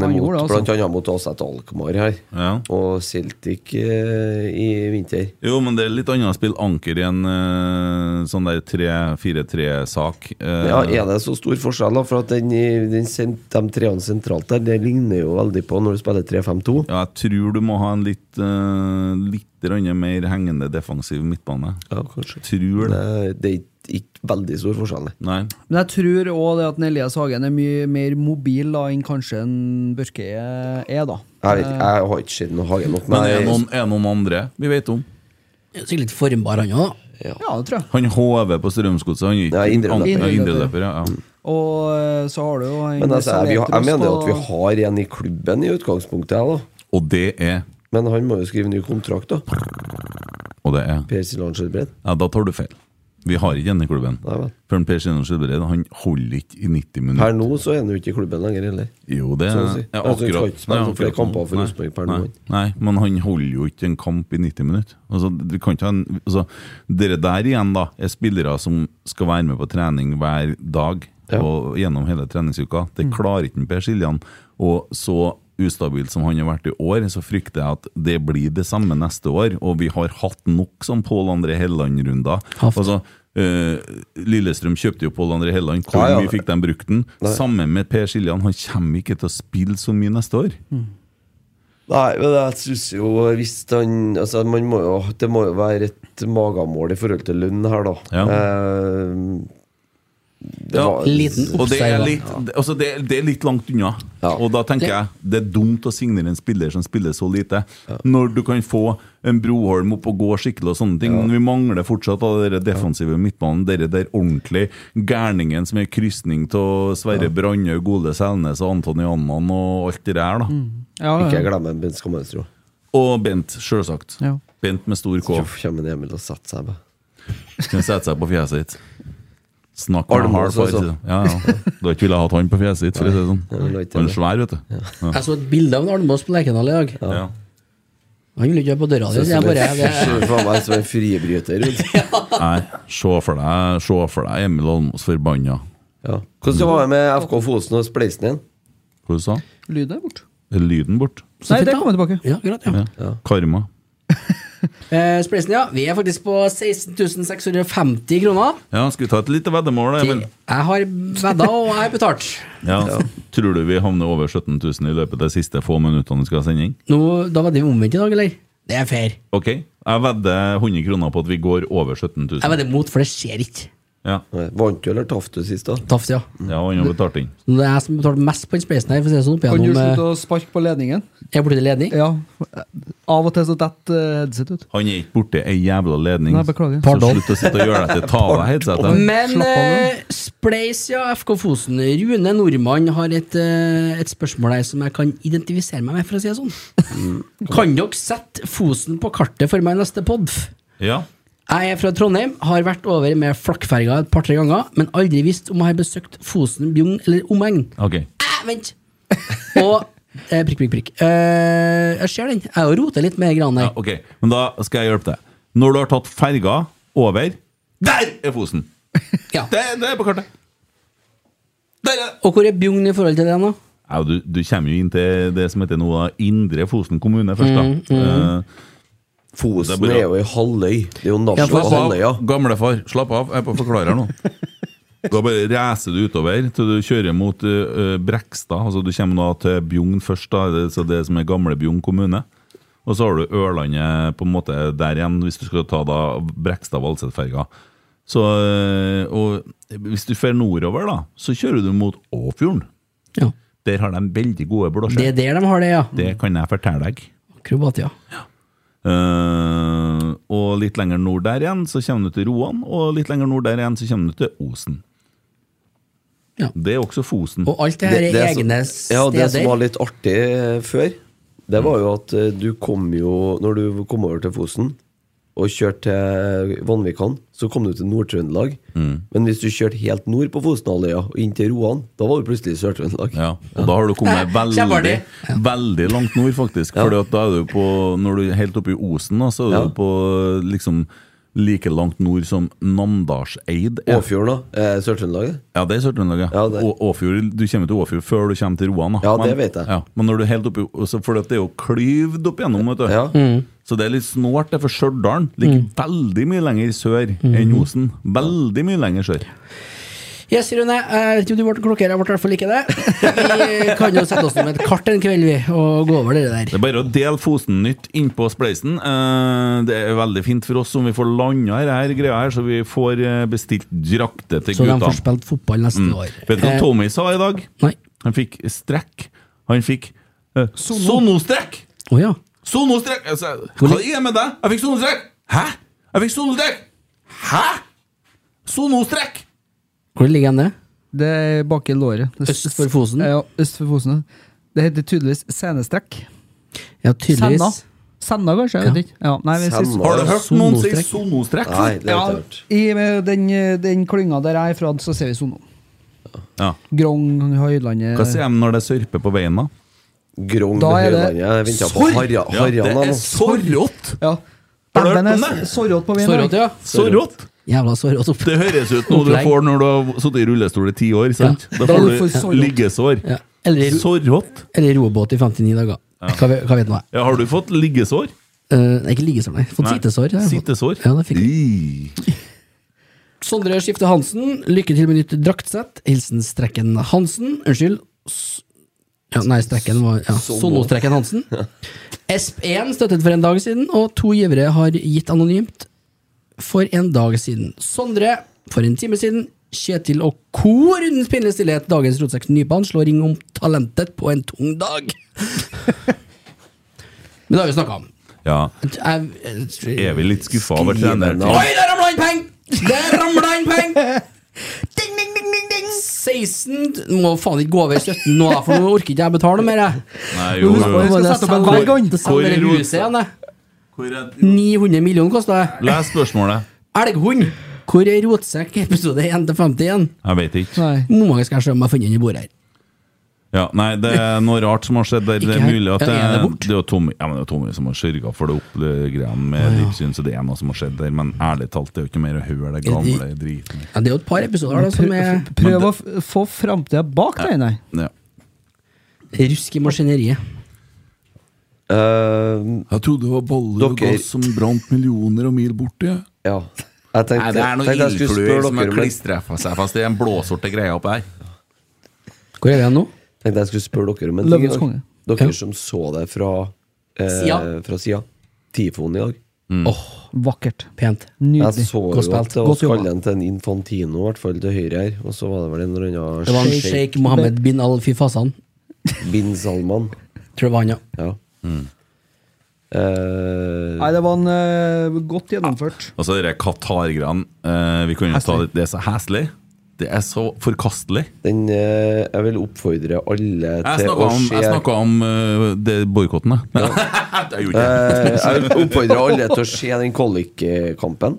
Speaker 5: Han
Speaker 6: mot-
Speaker 5: gjorde det, altså.
Speaker 6: blant annet mot Aset Alkmaar her,
Speaker 4: Ja.
Speaker 6: og Celtic eh, i vinter.
Speaker 4: Jo, men det er litt annet å spille anker i en eh, sånn der 3-4-3-sak. eh,
Speaker 6: Ja, Er det så stor forskjell, da? For at den, i- den, sen- de treene sentralt der, det ligner jo veldig på når du spiller 3-5-2.
Speaker 4: ja, jeg tror du må ha en litt, eh, litt grann mer hengende defensiv midtbane.
Speaker 6: Ja, kanskje. eh,
Speaker 4: Tror det.
Speaker 6: Det, det er ikke- ikke veldig stor forskjell, nei.
Speaker 4: Nei.
Speaker 5: Men jeg tror òg at en Elias Hagen er mye mer mobil da, enn kanskje en Børke er, da.
Speaker 6: Jeg, vet, ikke, jeg har ikke sett noe Hagen nok.
Speaker 4: Eh, Men er det
Speaker 6: nei.
Speaker 4: noen, er det noen andre vi vet om?
Speaker 2: er Sikkert litt formbar, han òg, da.
Speaker 5: Ja, det tror jeg.
Speaker 4: Han HV på Strømsgodset. Han er ikke
Speaker 6: Ja, indreløper. Mm.
Speaker 4: anker- ja,
Speaker 5: Indreløper.
Speaker 4: indreløper, ja, ja.
Speaker 5: Og eh, så har du jo en
Speaker 6: Men altså, jeg, vi, har- jeg
Speaker 5: Saletros
Speaker 6: mener jo
Speaker 5: på-
Speaker 6: at vi har en i klubben i utgangspunktet, jeg, da.
Speaker 4: Og det er
Speaker 6: Men han må jo skrive ny kontrakt, da.
Speaker 4: Og det er
Speaker 6: Per Silan Skjelbred.
Speaker 4: Ja, da tar du feil. Vi har ikke denne klubben.
Speaker 6: Nei vel.
Speaker 4: For en Per Sinan Skjelbred han holder ikke i 90
Speaker 6: Per
Speaker 4: minutter.
Speaker 6: nå så er han jo ikke i klubben lenger, heller.
Speaker 4: Jo, det
Speaker 6: Så å si.
Speaker 4: ja,
Speaker 6: Altså, han skal ikke spille
Speaker 4: Nei,
Speaker 6: så flere
Speaker 4: akkurat nå.
Speaker 6: kamper for
Speaker 4: Nei,
Speaker 6: Rosenborg per
Speaker 4: nei,
Speaker 6: nå.
Speaker 4: Nei, men han holder jo ikke en kamp i 90 minutter. Altså, du kan ikke ha en, altså, dere der igjen da er spillere som skal være med på trening hver dag
Speaker 6: Ja. Mm.
Speaker 4: og gjennom hele treningsuka. Det klarer ikke en Per Siljan. Og så ustabil som han har vært i år, så frykter jeg at det blir det samme neste år. Og vi har hatt nok som Pål André Helland-runder.
Speaker 2: Haft.
Speaker 4: Altså, eh, Lillestrøm kjøpte jo Pål André Helland. Hvor
Speaker 6: Ja, ja.
Speaker 4: mye fikk de brukt den? Sammen med Per Siljan, han kommer ikke til å spille så mye neste år.
Speaker 6: Nei, men jeg synes jo hvis han, altså man må jo, Det må jo være et magemål i forhold til lønn her, da.
Speaker 4: Ja.
Speaker 6: Eh, det
Speaker 4: Ja,
Speaker 6: var-
Speaker 2: liten
Speaker 4: Og det er
Speaker 2: Oppseiler.
Speaker 4: litt, det- altså det, det er litt langt unna.
Speaker 6: Ja.
Speaker 4: Og da tenker jeg det er dumt å signere en spiller som spiller så lite, når du kan få en Broholm opp og gå skikkelig og sånne ting. Men vi mangler fortsatt av den defensive midtbanen, dere der ordentlig gærningen som er krysning av Sverre Brandhaug, Ole Selnes og Antony Annan og alt det der, da.
Speaker 5: ja, ja.
Speaker 6: Ikke glem en Bent Skammelstro.
Speaker 4: Og Bent, sjølsagt.
Speaker 5: Ja.
Speaker 4: Bent med stor K.
Speaker 6: Uff, Kommer en Emil og setter seg på.
Speaker 4: Skal sette seg på fjeset ditt. Snakk med
Speaker 6: Almås
Speaker 4: hard, for å si
Speaker 6: også.
Speaker 4: det. Ja, ja. Du har ikke villet hatt han på fjeset ditt, for å si det
Speaker 6: Nei, jeg vil
Speaker 4: sånn.
Speaker 6: ikke
Speaker 4: Han er
Speaker 6: det.
Speaker 4: svær, vet du.
Speaker 2: Jeg så et bilde av en Almås på Lerkendal i dag.
Speaker 4: Ja.
Speaker 2: Han ville ikke være på døra di,
Speaker 6: Det
Speaker 2: så jeg bare det,
Speaker 6: ser faen meg som en fribryter. vet du.
Speaker 4: Nei, se for deg, se for deg Emil Almås forbanna.
Speaker 6: Ja. Hvordan var det med FK Fosen og spleisen igjen?
Speaker 4: Hva du sa
Speaker 5: Lyden er borte.
Speaker 4: Er lyden bort?
Speaker 5: Nei, det kommer tilbake.
Speaker 2: Ja, greit, ja.
Speaker 4: Ja. Karma.
Speaker 2: Eh, Spleisen, ja. Vi er faktisk på 16 650 kroner.
Speaker 4: Ja, skal vi ta et lite veddemål, da, Emil?
Speaker 2: Jeg har vedda, og jeg har betalt.
Speaker 4: Ja. Tror du vi havner over 17 000 i løpet av de siste få minuttene vi skal ha sending?
Speaker 2: Nå, da var det omvendt i dag, eller? Det er fair.
Speaker 4: Ok, jeg vedder 100 kroner på at vi går over 17 000.
Speaker 2: Jeg vedder mot, for det skjer ikke.
Speaker 4: Ja,
Speaker 6: Nei, Vant du eller tapte du sist, da?
Speaker 2: Taft, ja.
Speaker 4: ja og han har betalt inn.
Speaker 2: Så Det er jeg som betalte mest på den spleisen her. For å si det sånn, opp
Speaker 5: Kan du
Speaker 2: igjennom
Speaker 5: slutte
Speaker 2: eh,
Speaker 5: å sparke på ledningen?
Speaker 2: Jeg ble til ledning.
Speaker 5: Ja. Av og til så detter eh, headset ut.
Speaker 4: Han er ikke borti ei jævla ledning.
Speaker 5: Nei, beklager.
Speaker 4: Så
Speaker 2: Pardon.
Speaker 4: slutt å sitte og gjøre deg til tale, headsetet.
Speaker 2: Men
Speaker 5: Slapp av nå.
Speaker 2: eh, Spleis, ja. FK Fosen. Rune Nordmann har et, eh, et spørsmål her som jeg kan identifisere meg med, for å si det sånn.
Speaker 5: Mm.
Speaker 2: Kan dere sette Fosen på kartet for meg i neste pod?
Speaker 4: Ja.
Speaker 2: Jeg er fra Trondheim, har vært over med flakkferga et par-tre ganger, men aldri visst om jeg har besøkt Fosen, Bjugn eller omegn.
Speaker 4: Ok.
Speaker 2: Æ, vent! Og eh, prikk, prikk, prikk. Eh, jeg ser den. Jeg har rotet litt med de greiene
Speaker 4: Ja,
Speaker 2: der.
Speaker 4: ok, Men da skal jeg hjelpe deg. Når du har tatt ferga over Der er Fosen!
Speaker 2: Ja.
Speaker 4: Det, det er på kartet. Der er det!
Speaker 2: Og hvor er Bjugn i forhold til det, da?
Speaker 4: Ja, du, du kommer jo inn til det som heter nå da, Indre Fosen kommune først,
Speaker 2: Mm,
Speaker 4: da. Eh, Det er
Speaker 6: Fosen
Speaker 4: bra.
Speaker 6: er jo ei halvøy. Det er jo
Speaker 2: Ja, for-
Speaker 6: Nasjo og
Speaker 4: slapp av,
Speaker 6: halvøya.
Speaker 4: gamlefar. Slapp av, jeg er på forklarer nå. Da bare reiser du utover til du kjører mot eh, eh, Brekstad. altså Du kommer da til Bjugn først, da, det, så det som er gamle Bjugn kommune. Og så har du Ørlandet på en måte der igjen, hvis du skal ta da Brekstad-Valset-ferga. Så, eh, og Hvis du fer nordover, da, så kjører du mot Åfjorden.
Speaker 2: Ja.
Speaker 4: Der har de veldig gode
Speaker 2: Det
Speaker 4: blåskjell.
Speaker 2: er der de har det, ja.
Speaker 4: Det kan jeg fortelle deg.
Speaker 2: Akrobat, ja.
Speaker 4: Eh, og litt lenger nord der igjen så kommer du til Roan, og litt lenger nord der igjen så kommer du til Osen.
Speaker 2: Ja.
Speaker 4: Det er også Fosen.
Speaker 2: Og alt det her er
Speaker 6: som-
Speaker 2: egne
Speaker 6: Ja, det som var
Speaker 2: steder.
Speaker 6: litt artig eh, før, det var jo at eh, du kom jo Når du kom over til Fosen og kjørte til Vanvikan, så kom du til Nord-Trøndelag. Men hvis du kjørte helt nord på Fosenhalvøya og inn til Roan, da var du plutselig i Sør-Trøndelag.
Speaker 4: Ja, og da har du kommet veldig,
Speaker 2: Kjempeartig.
Speaker 4: veldig langt nord, faktisk. Fordi at da er du på, når du er helt oppe i Osen, da, så er
Speaker 6: Ja.
Speaker 4: du på liksom like langt nord som Namdalseid. er.
Speaker 6: Åfjorden, da. Eh, Sør-Trøndelag, det.
Speaker 4: Ja, det er Sør-Trøndelag.
Speaker 6: Ja,
Speaker 4: Ja,
Speaker 6: det-
Speaker 4: Å- Åfjord- du kommer til Åfjord før du kommer til Roan. da.
Speaker 6: Ja, det vet jeg.
Speaker 4: Ja, men når du er helt oppi, også, for at det er jo klyvd opp gjennom, vet du.
Speaker 6: Ja.
Speaker 2: Mm.
Speaker 4: Så det er litt snålt, det, for Stjørdal ligger veldig mye lenger sør
Speaker 2: Mm.
Speaker 4: enn Osen. Veldig mye lenger sør.
Speaker 2: Yes, Rune. eh, Jeg vet ikke om du ble klokkere, jeg ble i hvert fall ikke det. Vi kan jo sette oss ned med et kart en kveld, vi, og gå over det
Speaker 4: Det
Speaker 2: der.
Speaker 4: er bare å dele Fosen-nytt innpå spleisen. Eh, Det er veldig fint for oss om vi får landa her, her greia her, så vi får eh, bestilt drakter til
Speaker 2: Så de
Speaker 4: gutta.
Speaker 2: får spilt fotball neste år.
Speaker 4: Mm. Vet du hva
Speaker 2: Eh,
Speaker 4: Tommy sa i dag?
Speaker 2: Nei.
Speaker 4: Han fikk strekk. Han fikk eh, sonostrekk!
Speaker 2: Å ja.
Speaker 4: Sonostrekk! Jeg sa, Hva er det med deg? Jeg fikk sonostrekk! Hæ? Jeg fikk sonostrekk! Hæ? Sonostrekk!
Speaker 2: Hvor ligger den det?
Speaker 5: Det er bak i låret. Det er-
Speaker 2: Øst for Fosen?
Speaker 5: Ja, øst for Fosen. ja. Det heter tydeligvis senestrekk.
Speaker 2: Ja, tydeligvis.
Speaker 5: Senna. Senna, kanskje? Jeg vet ikke. Ja, nei, hvis
Speaker 6: Senna.
Speaker 4: Har du hørt noen si
Speaker 2: Sonostrekk?
Speaker 4: sonostrekk?
Speaker 6: Nei, det har
Speaker 5: Ja,
Speaker 6: jeg ikke hørt.
Speaker 5: i eh, den, eh, den klynga der jeg er fra, så ser vi Sono.
Speaker 4: Ja.
Speaker 5: Grong, Høylandet
Speaker 4: Hva sier de når det sørper på veien, da?
Speaker 6: Grong
Speaker 5: Da er det
Speaker 6: Høylandet. Jeg venta på
Speaker 5: sorg.
Speaker 6: Harja,
Speaker 4: Ja, det
Speaker 6: Harjan.
Speaker 4: er
Speaker 6: altså.
Speaker 4: så rått!
Speaker 5: Ja.
Speaker 4: Har du hørt
Speaker 5: Dæven,
Speaker 4: om
Speaker 5: jeg
Speaker 4: det?
Speaker 5: s- Sorrått på veien.
Speaker 2: Sårått, ja.
Speaker 4: Så rått!
Speaker 2: Jævla sårått opp.
Speaker 4: Det høres ut noe du
Speaker 2: Opplegg.
Speaker 4: får når du har sittet i rullestol i ti år. sant?
Speaker 2: Ja.
Speaker 4: Da
Speaker 2: Da
Speaker 4: får
Speaker 2: du
Speaker 4: du
Speaker 2: får sårrått.
Speaker 4: liggesår.
Speaker 2: Ja. Eller, i ro-
Speaker 4: Sårrått?
Speaker 2: eller i robåt i 59 dager. Hva, vet- hva vet man?
Speaker 4: Ja, har du fått liggesår?
Speaker 2: Uh, ikke liggesår, nei. Fått
Speaker 4: Nei.
Speaker 2: sittesår. har jeg fått.
Speaker 4: Sittesår?
Speaker 2: Ja, det fikk jeg.
Speaker 4: jeg.
Speaker 2: Sondre Skifte Hansen, lykke til med nytt draktsett. Hilsen Strekken Hansen. Unnskyld. S ja, nei, Strekken var ja. Sono-Strekken Hansen. Esp1 støttet for en dag siden, og to givere har gitt anonymt for en dag siden. Sondre for en time siden. Kjetil og co. rundens pinlige stillhet. Dagens Rotsekk Nypan slår ring om talentet på en tung dag. Men det har vi snakka om.
Speaker 4: Ja,
Speaker 2: Jeg,
Speaker 4: er vi litt skuffa over trener?
Speaker 6: Skrivende.
Speaker 2: Oi, der ramla inn peng! Der ramla inn peng! Ding, ding, ding, ding, ding 16 Må faen ikke gå over 17 nå, da, for nå orker ikke jeg betale mer. jeg.
Speaker 4: Nei, jo,
Speaker 2: Nå
Speaker 4: jo.
Speaker 2: må
Speaker 5: skal
Speaker 2: jeg
Speaker 5: sette opp en
Speaker 2: selge-
Speaker 5: vegg,
Speaker 2: selge
Speaker 5: han.
Speaker 2: det
Speaker 4: Hvor er
Speaker 2: huset igjen, jeg.
Speaker 4: Hvor er-
Speaker 2: 900 millioner kosta det.
Speaker 4: Les spørsmålet.
Speaker 2: Elghund! Hvor er Rotsekk episode 1 til 51?
Speaker 4: Jeg vet ikke.
Speaker 5: Nei.
Speaker 2: Hvor mange skal jeg se om jeg har funnet under bordet her?
Speaker 4: Ja, nei, det er noe rart som har skjedd. der. Det
Speaker 2: Ikke
Speaker 4: er
Speaker 2: her.
Speaker 4: mulig at
Speaker 2: Ja,
Speaker 4: det,
Speaker 2: er det bort?
Speaker 4: det er jo Tommy, ja, men det er Tommy som har sørga for det opplegget med Dipsyn, så det er noe som har skjedd der. Men ærlig talt, det er jo ikke mer å høre det gamle driten.
Speaker 2: Ja, det er jo et par episoder da, som er
Speaker 5: Pr- Prøv å f- få framtida bak deg, nei.
Speaker 4: Ja.
Speaker 2: rusk i maskineriet.
Speaker 6: Eh,
Speaker 4: Jeg trodde det var boller
Speaker 6: og Dere- gass
Speaker 4: som brant millioner og mil borti.
Speaker 6: ja. Jeg tenkte,
Speaker 4: Nei, det er noen
Speaker 6: tenkte jeg skulle
Speaker 4: ildfluer
Speaker 6: spørre
Speaker 4: som har
Speaker 6: dere om et-
Speaker 4: klistra seg fast i en blåsorte greie oppi her.
Speaker 2: Hvor er vi igjen nå?
Speaker 6: tenkte jeg skulle spørre dere om en ting. i
Speaker 5: Løvenes
Speaker 6: dag.
Speaker 5: konge.
Speaker 6: Dere
Speaker 2: Ja.
Speaker 6: som så det fra eh,
Speaker 2: Sida.
Speaker 6: Fra sida. Tifoen i dag.
Speaker 5: Vakkert.
Speaker 2: Pent.
Speaker 6: Jeg
Speaker 5: Nydelig.
Speaker 6: så
Speaker 2: Godt
Speaker 6: jo
Speaker 2: spilt.
Speaker 6: at det var
Speaker 5: Godt jobba.
Speaker 6: skallen til en Infantino, i hvert fall til høyre her. Og så var det vel en eller annen
Speaker 2: Det var en
Speaker 6: sjeik-
Speaker 2: sjeik Mohammed bin al-Fifasan.
Speaker 6: Bin Salman.
Speaker 2: Tror det var han, ja.
Speaker 6: Ja.
Speaker 4: Mm.
Speaker 6: Eh,
Speaker 5: Nei, det var en eh, godt gjennomført.
Speaker 4: Og så de Qatar-greiene. eh, vi kan jo ta det. Det er så heslig. Det er så forkastelig.
Speaker 6: den eh, Jeg vil oppfordre alle
Speaker 4: Jeg
Speaker 6: til
Speaker 4: snakka
Speaker 6: å
Speaker 4: om,
Speaker 6: se
Speaker 4: jeg snakket om eh, det boikotten, jeg. Men jeg gjorde ikke det.
Speaker 6: Eh, Jeg vil oppfordre alle til å se den kvalik-kampen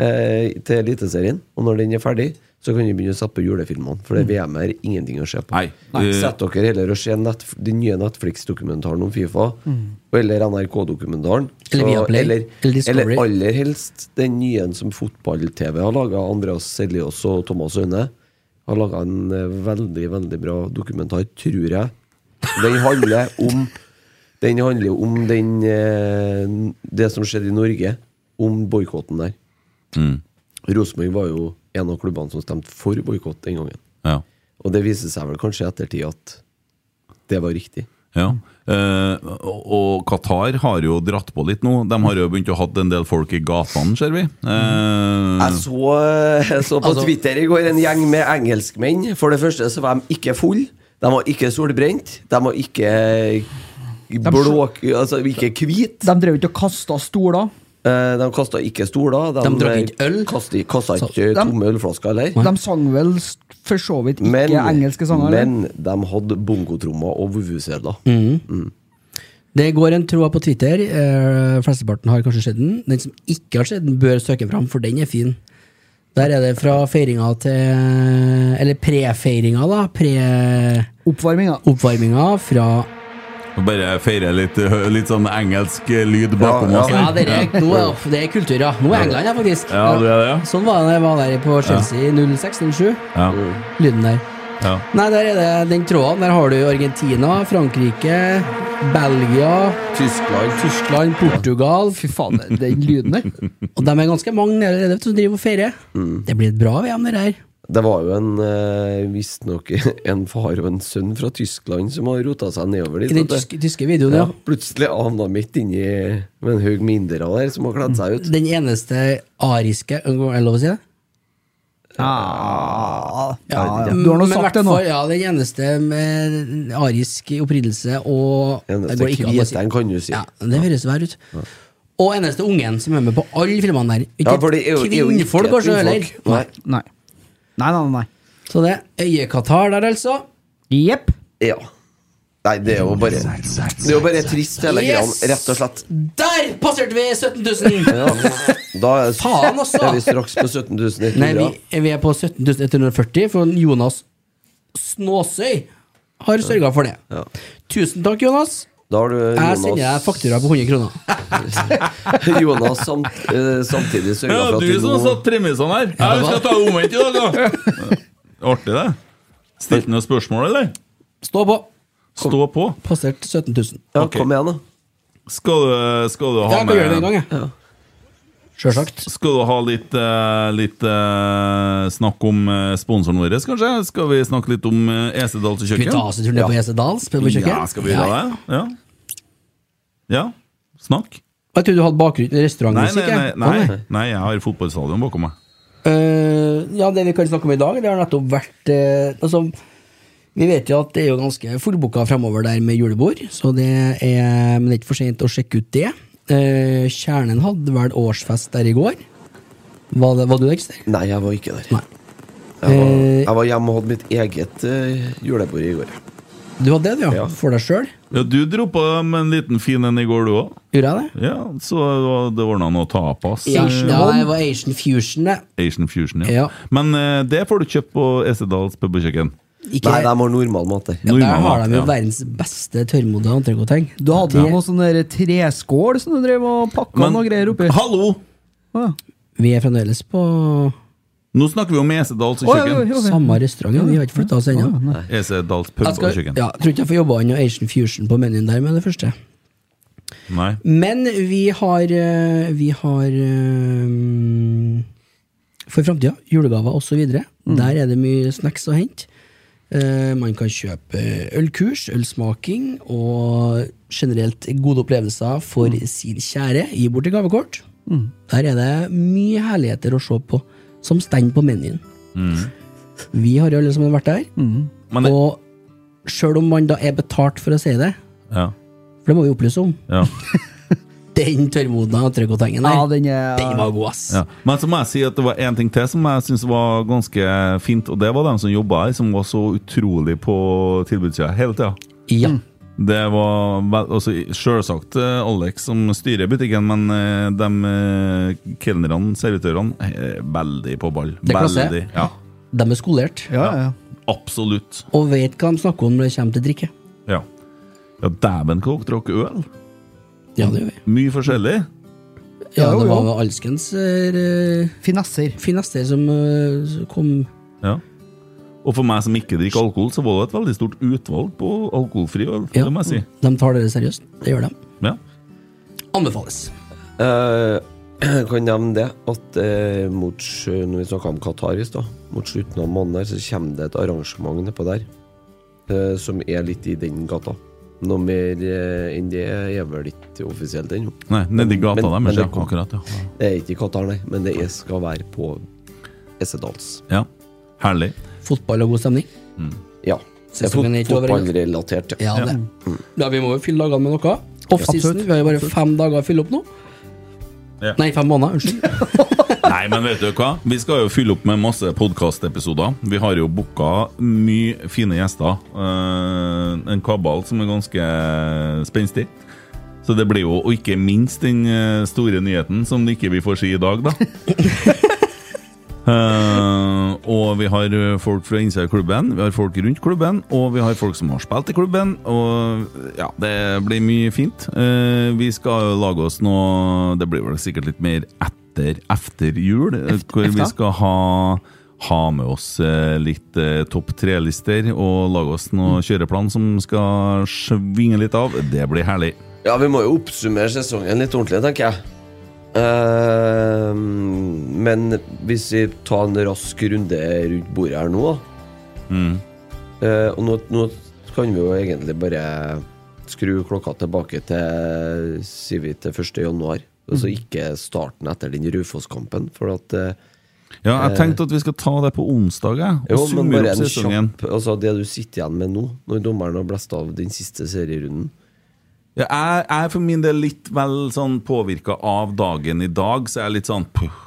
Speaker 6: eh, til Eliteserien. Og når den er ferdig, så kan vi begynne å sette på julefilmene. For det VM er ingenting å se på.
Speaker 4: Mm. Nei. Eh,
Speaker 6: Sett dere heller og se Netf den nye Netflix-dokumentaren om Fifa.
Speaker 4: Mm.
Speaker 6: Eller NRK-dokumentaren.
Speaker 2: Eller
Speaker 6: Så-
Speaker 2: Viaplay,
Speaker 6: eller,
Speaker 2: eller Discovery.
Speaker 6: eller aller helst den nye som fotball-TV har laga. Andreas Seljås og Thomas Aune har laga en eh, veldig, veldig bra dokumentar, tror jeg. Den handler om Den handler jo om den, eh, det som skjedde i Norge, om boikotten der. Rosenborg var jo en av klubbene som stemte for boikott den gangen.
Speaker 4: Ja.
Speaker 6: Og det viser seg vel kanskje i ettertid at det var riktig.
Speaker 4: ja. Eh, og- og Qatar har jo dratt på litt nå. De har jo begynt å ha en del folk i gatene, ser vi. Eh,
Speaker 6: Jeg så, jeg så på
Speaker 2: Altså-
Speaker 6: Twitter i går en gjeng med engelskmenn. For det første så var de ikke full De var ikke solbrent. De var ikke blåk... Altså ikke hvit
Speaker 5: De drev ikke og kasta stoler.
Speaker 6: Eh, De kasta ikke stoler.
Speaker 2: De drakk ikke øl.
Speaker 6: Kasta, kasta
Speaker 2: Så-
Speaker 6: ikke
Speaker 5: de-
Speaker 6: tomme ølflasker heller.
Speaker 5: De sang vel s- for så vidt ikke
Speaker 6: Men,
Speaker 5: engelske sanger. eller?
Speaker 6: men de hadde bongotrommer og vuvuzela.
Speaker 2: Mm. Det går en tråd på Twitter. Eh, flesteparten har kanskje sett den. Den som ikke har sett den, bør søke den fram, for den er fin. Der er det fra feiringa til Eller prefeiringa, da. Pre-oppvarminga
Speaker 5: Oppvarminga.
Speaker 2: fra
Speaker 4: Og Bare feire litt, hø- litt sånn engelsk lyd bakom
Speaker 6: Ja,
Speaker 4: oss.
Speaker 2: Ja,
Speaker 4: her.
Speaker 2: det er, nå er, det er kultur, ja. Nå er England her, faktisk.
Speaker 4: Ja, det er det.
Speaker 2: Sånn var det da jeg var der på Chelsea i 06-07.
Speaker 4: Ja,
Speaker 2: Lyden der.
Speaker 4: ja.
Speaker 2: Nei, der er det den tråden. Der har du Argentina, Frankrike, Belgia,
Speaker 6: Tyskland.
Speaker 2: Tyskland, Portugal.
Speaker 5: Fy faen, den lyden der.
Speaker 2: Og de er ganske mange nede allerede vet du, som driver og feirer.
Speaker 6: Mm.
Speaker 2: Det blir et bra VM, det her.
Speaker 6: Det var jo en eh, visstnok en far og en sønn fra Tyskland som har rota seg nedover dit.
Speaker 2: I den
Speaker 6: vet du.
Speaker 2: tyske, tyske videoen, ja.
Speaker 6: ja. Plutselig havna midt inni med en haug med indere der som har kledd seg ut.
Speaker 2: Den eneste ariske Er det lov å si det?
Speaker 5: Ja, Ah, du har nå
Speaker 2: Men
Speaker 5: sagt
Speaker 2: hvertfall,
Speaker 5: det nå.
Speaker 2: Ja, den eneste med arisk opprinnelse og det går ikke an
Speaker 6: Eneste
Speaker 2: å si-
Speaker 6: hviteren kan du si.
Speaker 2: Ja, det høres verre ut. Og eneste ungen som er med på alle filmene der. Ikke
Speaker 6: Ja, for det er jo- det er jo ikke
Speaker 2: kvinnfolk, kanskje,
Speaker 6: kvinnfolk.
Speaker 2: heller.
Speaker 6: Nei.
Speaker 5: Nei. Nei, nei, nei.
Speaker 2: Så det er øyekatar der, altså.
Speaker 5: Jepp.
Speaker 6: Ja. Nei, det er jo bare Det er jo bare trist, hele greia, rett og slett.
Speaker 2: Der passerte vi 17 000!
Speaker 6: Ja. Da er,
Speaker 2: Faen, altså!
Speaker 6: er vi straks på 17 000
Speaker 2: Nei, vi,
Speaker 6: etter
Speaker 2: vi er på 17 140, for Jonas Snåsøy har sørga for det.
Speaker 6: Ja.
Speaker 2: Tusen takk, Jonas.
Speaker 6: Da har du
Speaker 2: Jeg sender deg faktura på 100 kroner.
Speaker 6: Jonas samt, eh, samtidig sørga
Speaker 4: Ja,
Speaker 6: for at
Speaker 4: du
Speaker 6: du
Speaker 4: som
Speaker 6: nå
Speaker 4: satt premissene her. Ja, vi skal ta omvendt i dag, da. Artig, det. Stilte noen spørsmål, eller?
Speaker 2: Stå på.
Speaker 4: Stå på.
Speaker 2: Passert 17 000.
Speaker 6: Ja,
Speaker 4: Ok.
Speaker 6: kom igjen, da.
Speaker 4: Skal du, skal du
Speaker 2: Ja,
Speaker 4: ha
Speaker 2: jeg kan gjøre det
Speaker 4: med
Speaker 2: en gang, jeg. Sjølsagt.
Speaker 4: Skal du ha litt, eh, litt eh, snakk om eh, sponsoren vår, kanskje? Skal vi snakke litt om uh, Esedals
Speaker 2: Skal vi ta
Speaker 4: kjøkken?
Speaker 2: oss en tur ned på Jesse Dahls?
Speaker 4: Ja, skal vi gjøre det? Ja. ja. Snakk.
Speaker 2: Jeg trodde du hadde bakgrunn
Speaker 4: Nei,
Speaker 2: restaurantmusikk.
Speaker 4: nei, nei,
Speaker 2: jeg. Å,
Speaker 4: nei, nei, jeg har fotballstadion bakom meg.
Speaker 2: Eh, ja, det vi kan snakke om i dag, det har nettopp vært eh, altså, Vi vet jo at det er jo ganske fullbooka fremover der med julebord, så det er, men det er ikke for sent å sjekke ut det. Eh, kjernen hadde vel årsfest der i går. Var, det, var du der, Christer?
Speaker 6: Nei, jeg var ikke der.
Speaker 2: Nei.
Speaker 6: Jeg var,
Speaker 2: Eh,
Speaker 6: jeg var hjemme og hadde mitt eget eh, julebord i går.
Speaker 2: Du hadde det, du, ja?
Speaker 6: Ja.
Speaker 2: For deg sjøl?
Speaker 4: Ja, du dro på med en liten fin en i går, du òg.
Speaker 2: Gjorde jeg det?
Speaker 4: Ja, så det ordna noe tapas.
Speaker 2: Ja,
Speaker 4: eh,
Speaker 2: ja, det var Asian Fusion, det.
Speaker 4: Asian Fusion, ja.
Speaker 2: Ja.
Speaker 4: Men eh, det får du kjøpt på Esedals pub og kjøkken.
Speaker 2: Ikke,
Speaker 6: Nei, de har normal mat der.
Speaker 2: ja, der
Speaker 4: Nordmann,
Speaker 2: har de jo
Speaker 4: ja.
Speaker 2: verdens beste tørrmodne entrecôte.
Speaker 5: Du hadde jo noe sånn der treskål som du drev og pakka
Speaker 4: Men-
Speaker 5: noe greier oppi.
Speaker 4: Hallo!
Speaker 5: Å, ja.
Speaker 2: Vi er fremdeles på
Speaker 4: Nå snakker vi om Esedals
Speaker 5: Å, ja,
Speaker 4: kjøkken.
Speaker 5: ja, ja.
Speaker 2: samme restaurant, ja, vi har ikke flytta oss ennå.
Speaker 4: Esedals pub
Speaker 2: Jeg skal,
Speaker 4: og kjøkken.
Speaker 2: ja, jeg tror ikke jeg får jobba inn noe Asian Fusion på menyen der med det første.
Speaker 4: Nei.
Speaker 2: Men vi har eh, Vi har eh, For framtida, julegaver osv. videre
Speaker 4: Mm.
Speaker 2: Der er det mye snacks å hente. Eh, Man kan kjøpe ølkurs, ølsmaking og generelt gode opplevelser for
Speaker 4: Mm.
Speaker 2: sin kjære. Gi bort til gavekort. Der er det mye herligheter å se på, som stand på menyen. Vi har jo alle sammen vært der.
Speaker 4: Mm. Men det,
Speaker 2: Og sjøl om man da er betalt for å si det,
Speaker 4: ja,
Speaker 2: for det må vi opplyse om
Speaker 4: ja,
Speaker 2: Den tørrmodna trøkkotengen
Speaker 5: Ja,
Speaker 2: der,
Speaker 5: den er
Speaker 2: den var god, ass.
Speaker 4: ja. Men så må jeg si at det var én ting til som jeg syns var ganske fint, og det var dem som jobba her, som var så utrolig på tilbudssida hele tida.
Speaker 2: Ja.
Speaker 5: Mm.
Speaker 4: Det var vel- altså, selvsagt eh, Alex som styrer butikken, men eh, de eh, kelnerne, servitørene, er veldig på ball.
Speaker 2: Det er klasse.
Speaker 4: Veldig, ja,
Speaker 2: De er skolert
Speaker 5: Ja, ja, ja.
Speaker 4: absolutt.
Speaker 2: og vet hva de snakker om når det kommer til drikke.
Speaker 4: Ja, ja dæven kokte dere øl.
Speaker 2: Ja, det gjør vi.
Speaker 4: Mye forskjellig.
Speaker 2: Ja,
Speaker 5: Ja, jo,
Speaker 2: det var
Speaker 5: jo.
Speaker 2: vel alskens eh,
Speaker 5: Finesser.
Speaker 2: finesser som eh, kom
Speaker 4: Ja. Og for meg som ikke drikker alkohol, så var det et veldig stort utvalg på alkoholfri øl.
Speaker 2: Ja,
Speaker 4: Det må jeg si.
Speaker 2: de tar det seriøst. Det gjør de.
Speaker 4: Ja.
Speaker 2: Anbefales.
Speaker 6: Eh, Jeg kan nevne det at eh, mot, sj- når vi snakka om Qatar i stad, mot slutten av måneden her, så kommer det et arrangement nedpå der eh, som er litt i den gata. Noe mer eh, enn det er vel ikke offisielt ennå.
Speaker 4: Nei, nedi gata
Speaker 6: Men-
Speaker 4: der,
Speaker 6: men
Speaker 4: men,
Speaker 6: det
Speaker 4: ja,
Speaker 6: kom.
Speaker 4: akkurat, ja.
Speaker 6: Det er ikke i Qatar, nei, men det er, skal være på E Essedals.
Speaker 4: ja. Herlig.
Speaker 2: Fotball og god stemning.
Speaker 6: Ja.
Speaker 2: Se på den er ikke over ennå.
Speaker 6: Fotballrelatert, ja.
Speaker 2: Ja, det. Ja, vi må jo fylle dagene med noe. Offseason.
Speaker 5: Absolutt.
Speaker 2: Vi har jo bare fem dager å fylle opp nå.
Speaker 4: Ja.
Speaker 2: Nei, fem måneder. Unnskyld.
Speaker 4: Nei, men vet du hva? Vi skal jo fylle opp med masse podkastepisoder. Vi har jo booka mye fine gjester. Eh, en kabal som er ganske spenstig. Så det blir jo, og ikke minst den eh, store nyheten som det ikke vi får si i dag, da. Eh, og vi har eh, folk fra innsida i klubben, vi har folk rundt klubben, og vi har folk som har spilt i klubben. Og ja, det blir mye fint. Eh, vi skal lage oss noe Det blir vel sikkert litt mer etter efter jul, eh, hvor vi skal ha ha med oss eh, litt eh, topp tre-lister og lage oss
Speaker 6: Mm.
Speaker 4: noe kjøreplan som skal svinge litt av. Det blir herlig.
Speaker 6: Ja, vi må jo oppsummere sesongen litt ordentlig, tenker jeg. Eh, men hvis vi tar en rask runde rundt bordet her nå, da. Mm. Eh, og nå, nå kan vi jo egentlig bare skru klokka tilbake til sier vi til 1. januar. Altså ikke starten etter den Raufoss-kampen, for at eh,
Speaker 4: Ja, jeg tenkte at vi skal ta det på onsdag, jeg, og
Speaker 6: Jo, men
Speaker 4: summere
Speaker 6: bare
Speaker 4: opp
Speaker 6: en
Speaker 4: sesongen.
Speaker 6: kjapp Altså det du sitter igjen med nå, når dommeren har blæst av den siste serierunden
Speaker 4: Ja, jeg, jeg er for min del litt vel sånn påvirka av dagen i dag, så jeg er litt sånn puh.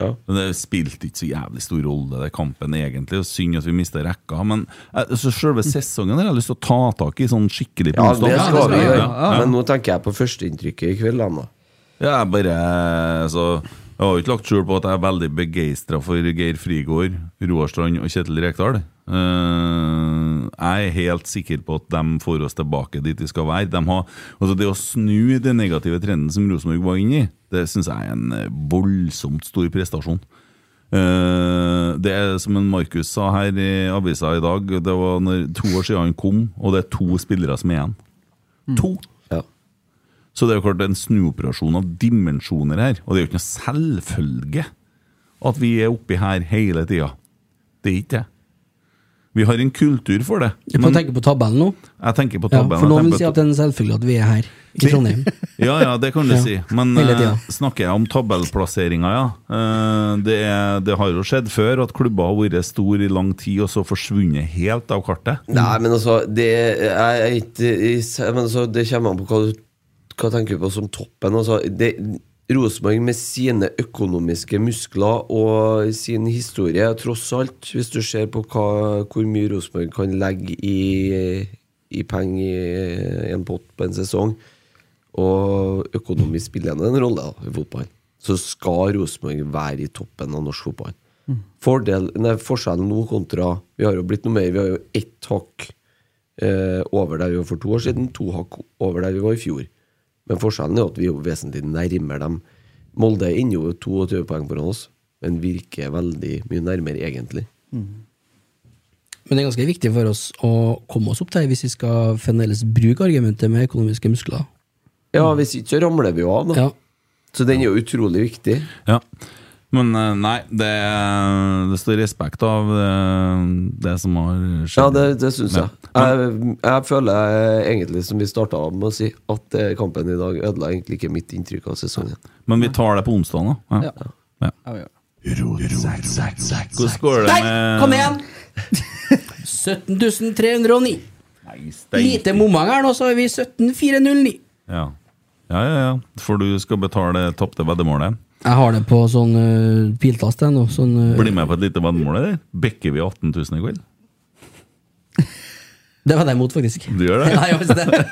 Speaker 6: Ja.
Speaker 4: Men Det spilte ikke så jævlig stor rolle, det kampen egentlig. og Synd at vi mista rekka. Men eh, så selve sesongen har jeg lyst til å ta tak i sånn skikkelig på
Speaker 6: Mm. Ja,
Speaker 4: onsdag.
Speaker 6: det skal vi
Speaker 5: vi
Speaker 6: gjøre.
Speaker 5: gjøre.
Speaker 6: Men nå tenker jeg på førsteinntrykket i kveld. da, nå.
Speaker 4: Ja, jeg bare altså, Jeg har jo ikke lagt skjul på at jeg er veldig begeistra for Geir Frigård, Roar Strand og Kjetil Rekdal. Eh, jeg er helt sikker på at de får oss tilbake dit vi skal være. De har, altså det å snu den negative trenden som Rosenborg var inne i, det syns jeg er en eh, voldsomt stor prestasjon. Eh, det er som en Markus sa her i avisa i dag, det var når, to år siden han kom, og det er to spillere som er igjen. To!
Speaker 6: Ja.
Speaker 4: Så det er jo klart en snuoperasjon av dimensjoner her, og det er jo ikke noe selvfølge at vi er oppi her hele tida. Det er ikke det. Vi har en kultur for det.
Speaker 2: Jeg kan tenke på tabellen nå.
Speaker 4: jeg tenker på
Speaker 2: Ja,
Speaker 4: tabben.
Speaker 2: for noen vil
Speaker 4: jeg
Speaker 2: si
Speaker 4: tenker
Speaker 2: at det er en selvfølgelig at vi er her i
Speaker 4: Det-
Speaker 2: Trondheim.
Speaker 4: ja, ja, det kan du
Speaker 2: Ja,
Speaker 4: si. Men
Speaker 2: hele tida.
Speaker 4: eh, snakker jeg om tabellplasseringa, ja. Eh, det, er, det har jo skjedd før at klubber har vært store i lang tid, og så forsvunnet helt av kartet.
Speaker 6: Nei, men altså Det, jeg, er ikke- jeg, men altså, det kommer an på hva du hva tenker du på som toppen. Altså, det, Rosenborg med sine økonomiske muskler og sin historie, tross alt, hvis du ser på hva, hvor mye Rosenborg kan legge i, i penger i en pott på en sesong, og økonomi spiller en rolle da, i fotball, så skal Rosenborg være i toppen av norsk fotball. Fordel, nei, forskjellen nå kontra Vi har jo blitt noe mer, vi har jo ett hakk eh, over der vi var for to år siden, to hakk over der vi var i fjor. Men forskjellen er jo at vi er jo vesentlig nærmere dem. Molde er inne jo 22 poeng foran oss, men virker veldig mye nærmere, egentlig.
Speaker 2: Men det er ganske viktig for oss å komme oss opp der hvis vi skal fremdeles bruke argumentet med økonomiske muskler.
Speaker 6: Ja, hvis ikke så ramler vi jo av, da.
Speaker 2: Ja.
Speaker 6: Så den er jo utrolig viktig.
Speaker 4: Ja. Men eh, nei, det, det står respekt av eh, det som har
Speaker 6: Ja,
Speaker 4: skjedd.
Speaker 6: det, det syns
Speaker 4: Ja.
Speaker 6: jeg. jeg. Jeg føler eh, egentlig, som vi starta med å si, at eh, kampen i dag ødela egentlig ikke mitt inntrykk av sesongen.
Speaker 4: Men vi tar det på onsdag, da. Ja. Ja. Hvordan går det
Speaker 2: Nei, kom
Speaker 4: med
Speaker 2: igjen! 17 309.
Speaker 4: Nei, steik.
Speaker 2: Lite momang her nå, så er vi 17 409.
Speaker 4: Ja. ja, ja, ja. For du skal betale det tapte veddemålet.
Speaker 2: Jeg har det på sånn eh, piltast, jeg nå. Sånn, eh,
Speaker 4: Bli med på et lite veddemål, eller? Bikker vi 18 000 i kveld?
Speaker 2: det var jeg imot, faktisk.
Speaker 4: Du gjør det?
Speaker 2: Nei, jeg visste det.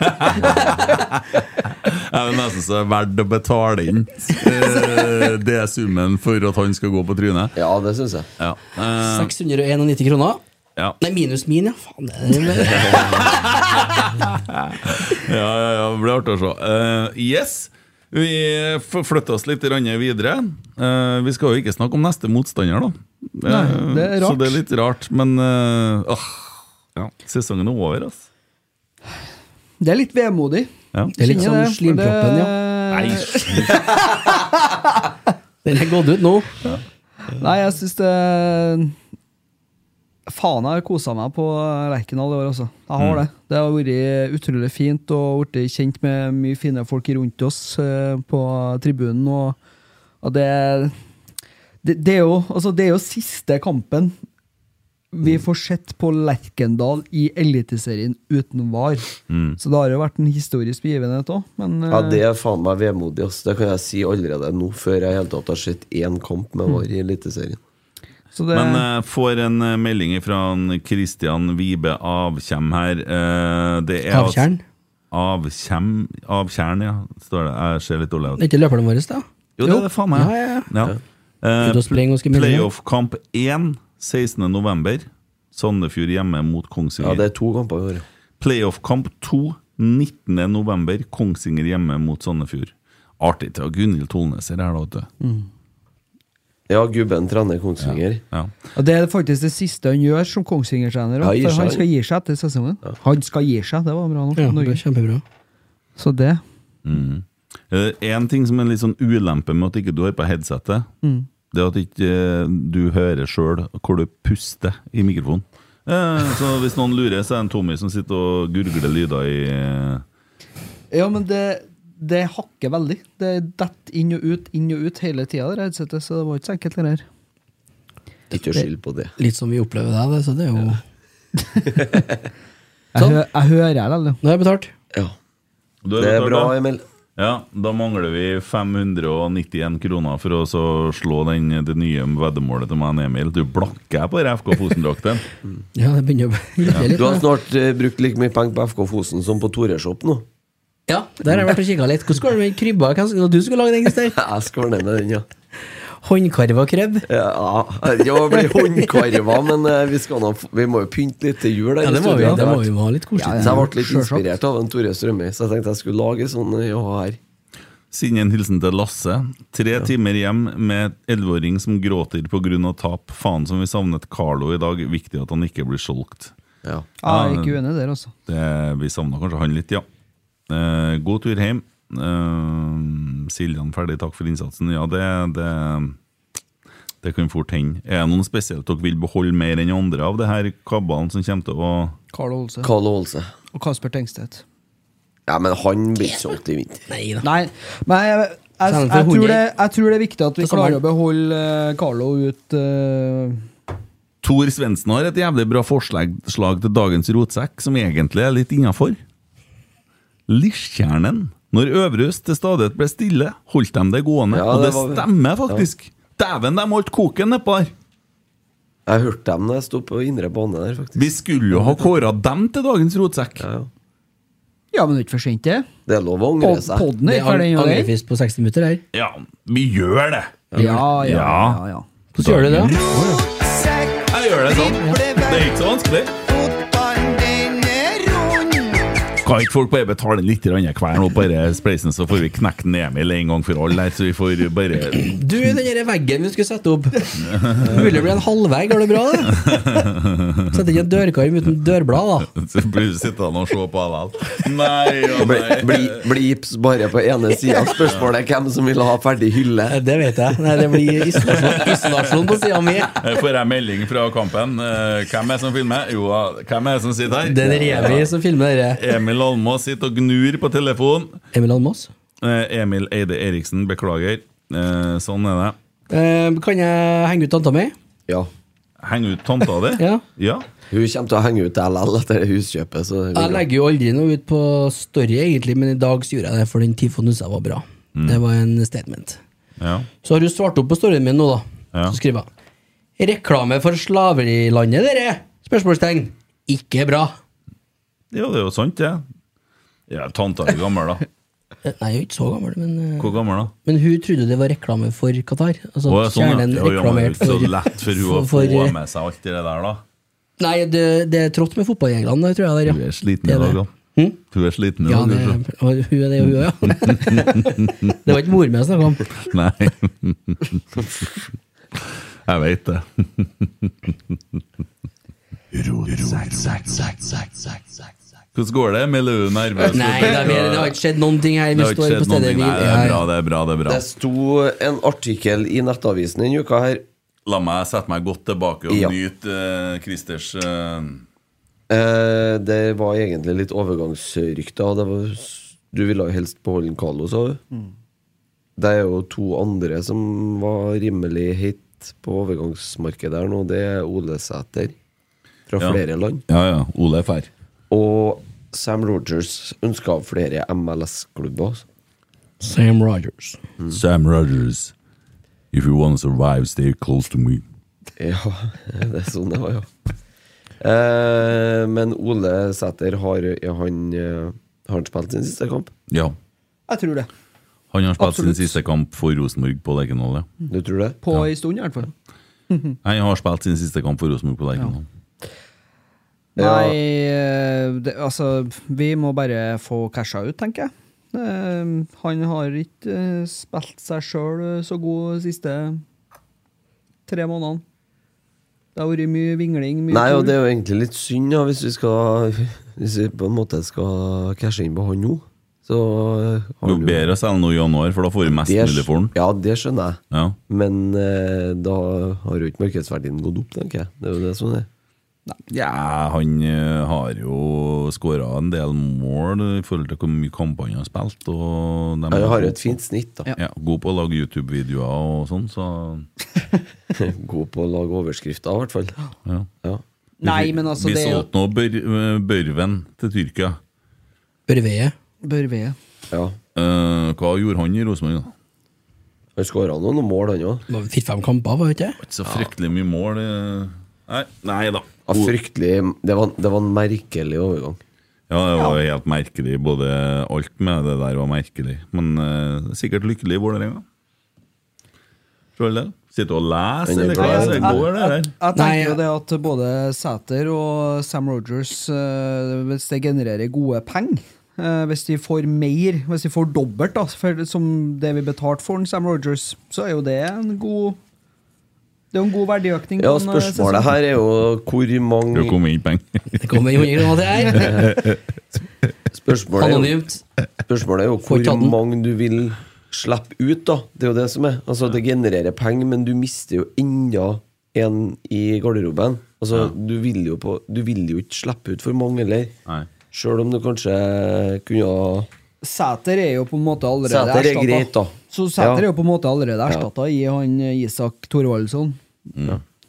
Speaker 4: Jeg vil nesten så det er verdt å betale inn eh, det er summen for at han skal gå på trynet.
Speaker 6: Ja, det syns jeg.
Speaker 4: Ja. Eh,
Speaker 2: 691 kroner.
Speaker 4: ja.
Speaker 2: Nei, minus min, ja. Faen, det er det.
Speaker 4: Ja, ja, ja, det blir artig å se. Eh, yes, vi f- flytter oss litt grann videre. Eh, vi skal jo ikke snakke om neste motstander, da.
Speaker 5: Nei, det er
Speaker 4: Eh, Så
Speaker 5: rart.
Speaker 4: det er litt rart, men eh, åh, ja. sesongen er over, altså.
Speaker 5: Det er litt vemodig.
Speaker 4: Ja.
Speaker 2: Det er litt
Speaker 5: Kjenner
Speaker 2: sånn
Speaker 5: det, for
Speaker 2: slimproppen, ja.
Speaker 5: det-
Speaker 2: Den er gått ut nå.
Speaker 5: Nei, jeg syns det Faen, jeg har kosa meg på Lerkendal i år, altså. Jeg har det. Det har vært utrolig fint og blitt kjent med mye fine folk rundt oss eh, på tribunen. Og, og det, det, det, er jo, altså, det er jo siste kampen vi får sett på Lerkendal i Eliteserien uten VAR. Så det har jo vært en historisk begivenhet òg, men eh,
Speaker 6: Ja, det er faen meg vemodig. ass. Det kan jeg si allerede nå, før jeg i hele tatt har sett én kamp med VAR i Eliteserien.
Speaker 5: eh, så det,
Speaker 4: Men eh, får en eh, melding fra Kristian Vibe Avkjem her. Eh, det er altså-
Speaker 2: Avtjern.
Speaker 4: Avkjem Avtjern, ja. Står det. Jeg ser litt dårlig
Speaker 2: Det
Speaker 4: ut.
Speaker 2: er ikke løperne våre, da?
Speaker 4: Jo, det er det faen meg.
Speaker 2: Ja, ja, ja.
Speaker 4: Ja. Eh,
Speaker 2: Ute og spiller en ganske mye.
Speaker 4: Playoff-kamp 1, 16. november. Sandefjord hjemme mot
Speaker 6: Ja,
Speaker 4: Kongsvinger.
Speaker 6: det er to kamper i år.
Speaker 4: Playoff-kamp 2, 19. november. Kongsvinger hjemme mot Sandefjord. Artig til å ha Gunhild Tollnes her, da, vet du.
Speaker 6: Mm. Ja, gubben trener Kongsvinger.
Speaker 4: Ja.
Speaker 5: og det er faktisk det siste han gjør som Kongsvinger-trener.
Speaker 6: Ja, gir
Speaker 5: for han
Speaker 6: seg.
Speaker 5: skal gi seg etter sesongen. Han skal gi seg, det var bra nok.
Speaker 2: Ja, det
Speaker 5: Norge.
Speaker 2: er kjempebra.
Speaker 5: Så det
Speaker 4: Én Eh, ting som er litt sånn ulempe med at ikke du har på headsetet,
Speaker 6: Mm.
Speaker 4: det er at ikke eh, du hører sjøl hvor du puster i mikrofonen. Eh, Så hvis noen lurer, så er det en Tommy som sitter og gurgler lyder i eh,
Speaker 5: Ja, men det, det hakker veldig. Det detter inn og ut, inn og ut hele tida, det headsetet, så det var ikke så enkelt, det der.
Speaker 6: Ikke skyld på det.
Speaker 2: Litt som vi opplever deg, det, så det er jo
Speaker 5: Jeg, hø jeg hører det, eller?
Speaker 2: Nå har jeg betalt.
Speaker 6: Ja.
Speaker 4: Du
Speaker 6: Det er
Speaker 4: betalt,
Speaker 6: bra,
Speaker 4: da?
Speaker 6: Emil.
Speaker 4: Ja, da mangler vi 591 kroner for å så slå den, det nye veddemålet til meg og Emil. Du blakker på den FK Fosen-drakten.
Speaker 2: Ja, det begynner å rykke litt.
Speaker 6: Du har
Speaker 2: da.
Speaker 6: snart eh, brukt like mye penger på FK Fosen som på Toreshop nå.
Speaker 2: Ja, Der har jeg vært og kikka litt. Hvordan går det med krybba? Hvem skal- Du skulle lage den, Christer.
Speaker 6: Jeg skal ordne med den, ja.
Speaker 2: Håndkarva krebb.
Speaker 6: Ja, Det blir håndkarva, men eh, vi, skal nå, f- vi må jo pynte litt til jul. her
Speaker 2: Ja,
Speaker 6: i
Speaker 2: det må vi,
Speaker 6: studio
Speaker 2: det må vi
Speaker 6: etter hvert.
Speaker 2: jo ha litt
Speaker 6: Så
Speaker 2: koselig.
Speaker 6: jeg ble litt
Speaker 5: Sjølsagt.
Speaker 6: inspirert av en Tore Strømøy, så jeg tenkte jeg skulle lage sånn eh, ja her.
Speaker 4: Send en hilsen til Lasse. Tre timer hjem med elleveåring som gråter pga. tap. Faen som vi savnet Carlo i dag. Viktig at han ikke blir solgt.
Speaker 6: Ja.
Speaker 5: Ja, jeg er ikke uenig der, altså.
Speaker 4: Det, eh, vi savna kanskje han litt, ja. Eh, god tur hjem. Eh, Siljan ferdig, takk for innsatsen. Ja, det, det, det kan fort hende. Er det noen spesielt dere vil beholde mer enn andre av det her kabbalen som kommer til å
Speaker 5: Carl Olse
Speaker 6: Karl Olse.
Speaker 5: og Kasper Tengstedt.
Speaker 6: Ja, men han blir ikke solgt i vinter.
Speaker 2: Nei da.
Speaker 5: Nei, men jeg, jeg, jeg,
Speaker 2: Selv for
Speaker 5: tror
Speaker 2: hunder.
Speaker 5: det, jeg tror det er viktig at vi
Speaker 2: Det samme.
Speaker 5: klarer å beholde eh, Carlo ut eh,
Speaker 4: Tor Svendsen har et jævlig bra forslag slag til dagens rotsekk, som egentlig er litt innafor. Liskjernen. Når Øverhus til stadighet ble stille, holdt de det gående.
Speaker 6: Ja,
Speaker 4: og
Speaker 6: det
Speaker 4: det
Speaker 6: var-
Speaker 4: stemmer faktisk! Dæven, de holdt koken nedpå der!
Speaker 6: Jeg hørte dem da jeg sto på indre bane der, faktisk.
Speaker 4: Vi skulle jo ha kåra dem til dagens rotsekk!
Speaker 6: Ja, ja.
Speaker 5: Ja, men det er ikke for sent, det.
Speaker 6: Det er lov å angre
Speaker 5: Pod-
Speaker 6: seg.
Speaker 5: Podden er
Speaker 2: Det
Speaker 5: ikke ferdig
Speaker 2: er
Speaker 5: ennå, det.
Speaker 2: angrefrist på 60 minutter her.
Speaker 4: Ja, vi gjør det!
Speaker 5: Ja, ja, ja, ja.
Speaker 2: Hvordan gjør du det? da?
Speaker 4: Jeg gjør det sånn. Det er ikke så vanskelig. Kan ikke folk bare betale litt grann hver nå, bare spleisen, så får vi knekt den Emil en gang for alle her, så vi får bare
Speaker 2: Du, den der veggen vi skulle sette opp Mulig det blir en halvvegg, går det bra? det? Sette ikke en dørkarm uten dørblad, da.
Speaker 4: Så blir du sittende og se på likevel. Nei og
Speaker 6: Bli,
Speaker 4: nei.
Speaker 6: bli, bli gips bare på ene sida. Spørsmålet er hvem som vil ha ferdig hylle.
Speaker 2: Eh, Det vet jeg. Nei, det blir isolasjon, isolasjon på sida mi.
Speaker 4: Her Eh, får jeg melding fra kampen. Eh, Hvem er det som filmer? Jo, hvem er det som sitter
Speaker 2: Det er
Speaker 4: her?
Speaker 2: Remi som filmer dette.
Speaker 4: Emil Almås sitter og gnur på telefon.
Speaker 2: Emil Almås.
Speaker 4: Eh, Emil Eide Eriksen, beklager. Eh, Sånn er det.
Speaker 2: Eh, kan jeg henge ut tanta mi?
Speaker 6: Ja.
Speaker 4: Heng ut tanta di.
Speaker 2: Ja.
Speaker 4: ja.
Speaker 6: Hun kommer til å henge ut LL etter det huskjøpet. Så det går
Speaker 2: Jeg
Speaker 6: bra.
Speaker 2: legger jo aldri noe ut på story, egentlig, men i dag så gjorde jeg det, for den tifonusa var bra.
Speaker 4: Mm.
Speaker 2: Det var en statement.
Speaker 4: ja.
Speaker 2: Så har du svart opp på storyen min nå, da.
Speaker 4: Ja.
Speaker 2: Så skriver jeg Reklame for slaverilandet, dere? Spørsmålstegn. Ikke bra.
Speaker 4: Jo, det er jo sant, det. Ja, tanta er gammel, da.
Speaker 2: Eh, Nei, jeg er jo ikke så gammel, men, eh,
Speaker 4: Hvor gammel, da?
Speaker 2: men hun trodde det var reklame for Qatar. Altså
Speaker 4: Å,
Speaker 2: oh,
Speaker 4: ja, sånn, ja. Jo, jo, men det er jo
Speaker 2: reklamert
Speaker 4: ikke
Speaker 2: for
Speaker 4: så lett for hun å
Speaker 2: for- for,
Speaker 4: få
Speaker 2: eh,
Speaker 4: med seg alt det der, da.
Speaker 2: Nei, det, det er trått med fotballreglene, det tror jeg. Der,
Speaker 4: Hun
Speaker 2: ja.
Speaker 4: er sliten i
Speaker 2: Det er
Speaker 4: dag,
Speaker 2: det.
Speaker 4: da. Hun er sliten i
Speaker 2: Ja,
Speaker 4: dag.
Speaker 2: det,
Speaker 4: kanskje.
Speaker 2: og hun er det, hun òg, ja. det var ikke mor mi jeg snakka om.
Speaker 4: Nei. Jeg veit det. Hvordan går det? Emil? Er du nervøs?
Speaker 2: Nei, det, er, mer- det har ikke skjedd noen ting her.
Speaker 4: Det
Speaker 2: Vi
Speaker 4: har ikke
Speaker 2: står
Speaker 4: skjedd
Speaker 2: på
Speaker 4: noen
Speaker 2: stedet
Speaker 4: ting.
Speaker 2: vi
Speaker 4: Nei, det er bra, det er bra. det er bra
Speaker 6: Det sto en artikkel i Nettavisen denne uka her.
Speaker 4: La meg sette meg godt tilbake og
Speaker 6: Ja.
Speaker 4: nyte eh, Christers eh,
Speaker 6: Eh, det var egentlig litt overgangsrykter. og det var s- Du ville jo helst beholde Carlo, sa du.
Speaker 5: Mm.
Speaker 6: Det er jo to andre som var rimelig hit på overgangsmarkedet her nå. Det er Ole Sæter fra
Speaker 4: Ja.
Speaker 6: flere land.
Speaker 4: Ja, ja. Ole er fær.
Speaker 6: Og Sam Rogers ønska flere MLS-klubber. altså.
Speaker 2: Sam Rogers.
Speaker 5: Mm.
Speaker 4: Sam Rogers. If you want to survive, stay close to me.
Speaker 6: Ja, det er sånn det var, ja. Eh, men Ole Sæter, har ja, han, eh, har han spilt sin siste kamp?
Speaker 4: Ja.
Speaker 5: Jeg tror det.
Speaker 4: Han har spilt sin
Speaker 5: Absolutt. Mm.
Speaker 4: siste kamp for Rosenborg på Lerkendal, ja.
Speaker 6: Du tror det?
Speaker 5: På en stund, i hvert fall.
Speaker 4: Nei, Han har spilt sin siste kamp for Rosenborg på Lerkendal.
Speaker 6: Ja.
Speaker 5: Nei, eh, det, altså Vi må bare få casha ut, tenker jeg. Eh, han har ikke eh, spilt seg sjøl så god de siste tre månedene. Det har vært mye vingling. Mye
Speaker 6: Nei, og
Speaker 5: tull.
Speaker 6: det er jo egentlig litt synd, da, hvis vi skal Hvis vi på en måte skal cashe inn på han nå. Så eh, har
Speaker 4: Jo
Speaker 6: han jo-
Speaker 4: bedre å selge nå i januar, for da får du mest
Speaker 6: Det-
Speaker 4: mulig for den.
Speaker 6: Ja, det skjønner jeg.
Speaker 4: Ja.
Speaker 6: Men eh, da har jo ikke markedsverdien gått opp, tenker jeg. Det er jo det som er.
Speaker 4: ja, han eh, har jo skåra en del mål i forhold til hvor mye kamper han har spilt. Og de
Speaker 6: Jeg
Speaker 4: er
Speaker 6: har
Speaker 4: gode
Speaker 6: jo et fint snitt, da.
Speaker 4: på- Ja, god på å lage YouTube-videoer og sånn, så
Speaker 6: God på å lage overskrifter, i hvert fall.
Speaker 4: ja.
Speaker 6: Ja.
Speaker 5: Nei, men altså,
Speaker 4: Vi
Speaker 5: det er jo
Speaker 4: solgte nå bør, eh, Børven til Tyrkia.
Speaker 2: Børveie.
Speaker 5: Børve.
Speaker 6: ja.
Speaker 4: Eh, hva gjorde han i Rosenborg, da?
Speaker 6: Han skåra noen mål, han òg.
Speaker 2: Det var Fire-fem kamper, var det ikke? det?
Speaker 4: Ikke så fryktelig mye mål. eh. Nei, nei da.
Speaker 6: Ja, fryktelig det var, det var en merkelig overgang.
Speaker 4: Ja, det var helt merkelig. Både alt med det der var merkelig. Men eh, sikkert lykkelig i Vålerenga. For all del. Sitter og leser,
Speaker 6: Men
Speaker 4: eller
Speaker 6: det
Speaker 4: hva er
Speaker 6: går-
Speaker 4: det som går der? der?
Speaker 2: Nei,
Speaker 5: Jeg tenker jo det at både Sæter og Sam Rogers, eh, hvis det genererer gode penger eh, Hvis de får mer, hvis de får dobbelt da, for, som det vi betalte for den, Sam Rogers, så er jo det en god Det er jo en god verdiøkning.
Speaker 6: Ja,
Speaker 5: på en, eh,
Speaker 6: spørsmålet
Speaker 5: sesong.
Speaker 6: her er jo hvor
Speaker 4: Det
Speaker 6: mange
Speaker 4: kom inn penger.
Speaker 2: Det kom 100 kroner til her.
Speaker 6: Spørsmålet er jo,
Speaker 2: Anonymt.
Speaker 6: spørsmålet er jo
Speaker 2: Får ikke ta
Speaker 6: hvor
Speaker 2: den.
Speaker 6: mange du vil slippe ut, da. Det er jo det som er. Altså, det genererer penger, men du mister jo enda en i garderoben. Altså, du vil jo på Du vil jo ikke slippe ut for mange, eller?
Speaker 4: Nei.
Speaker 6: Sjøl om du kanskje kunne ha
Speaker 5: Sæter er jo på en måte allerede
Speaker 6: Sæter er
Speaker 5: erstattet.
Speaker 6: greit, da.
Speaker 5: Så Sæter
Speaker 6: Ja.
Speaker 5: er jo på en måte allerede erstatta i han eh, Isak Thorvaldsson.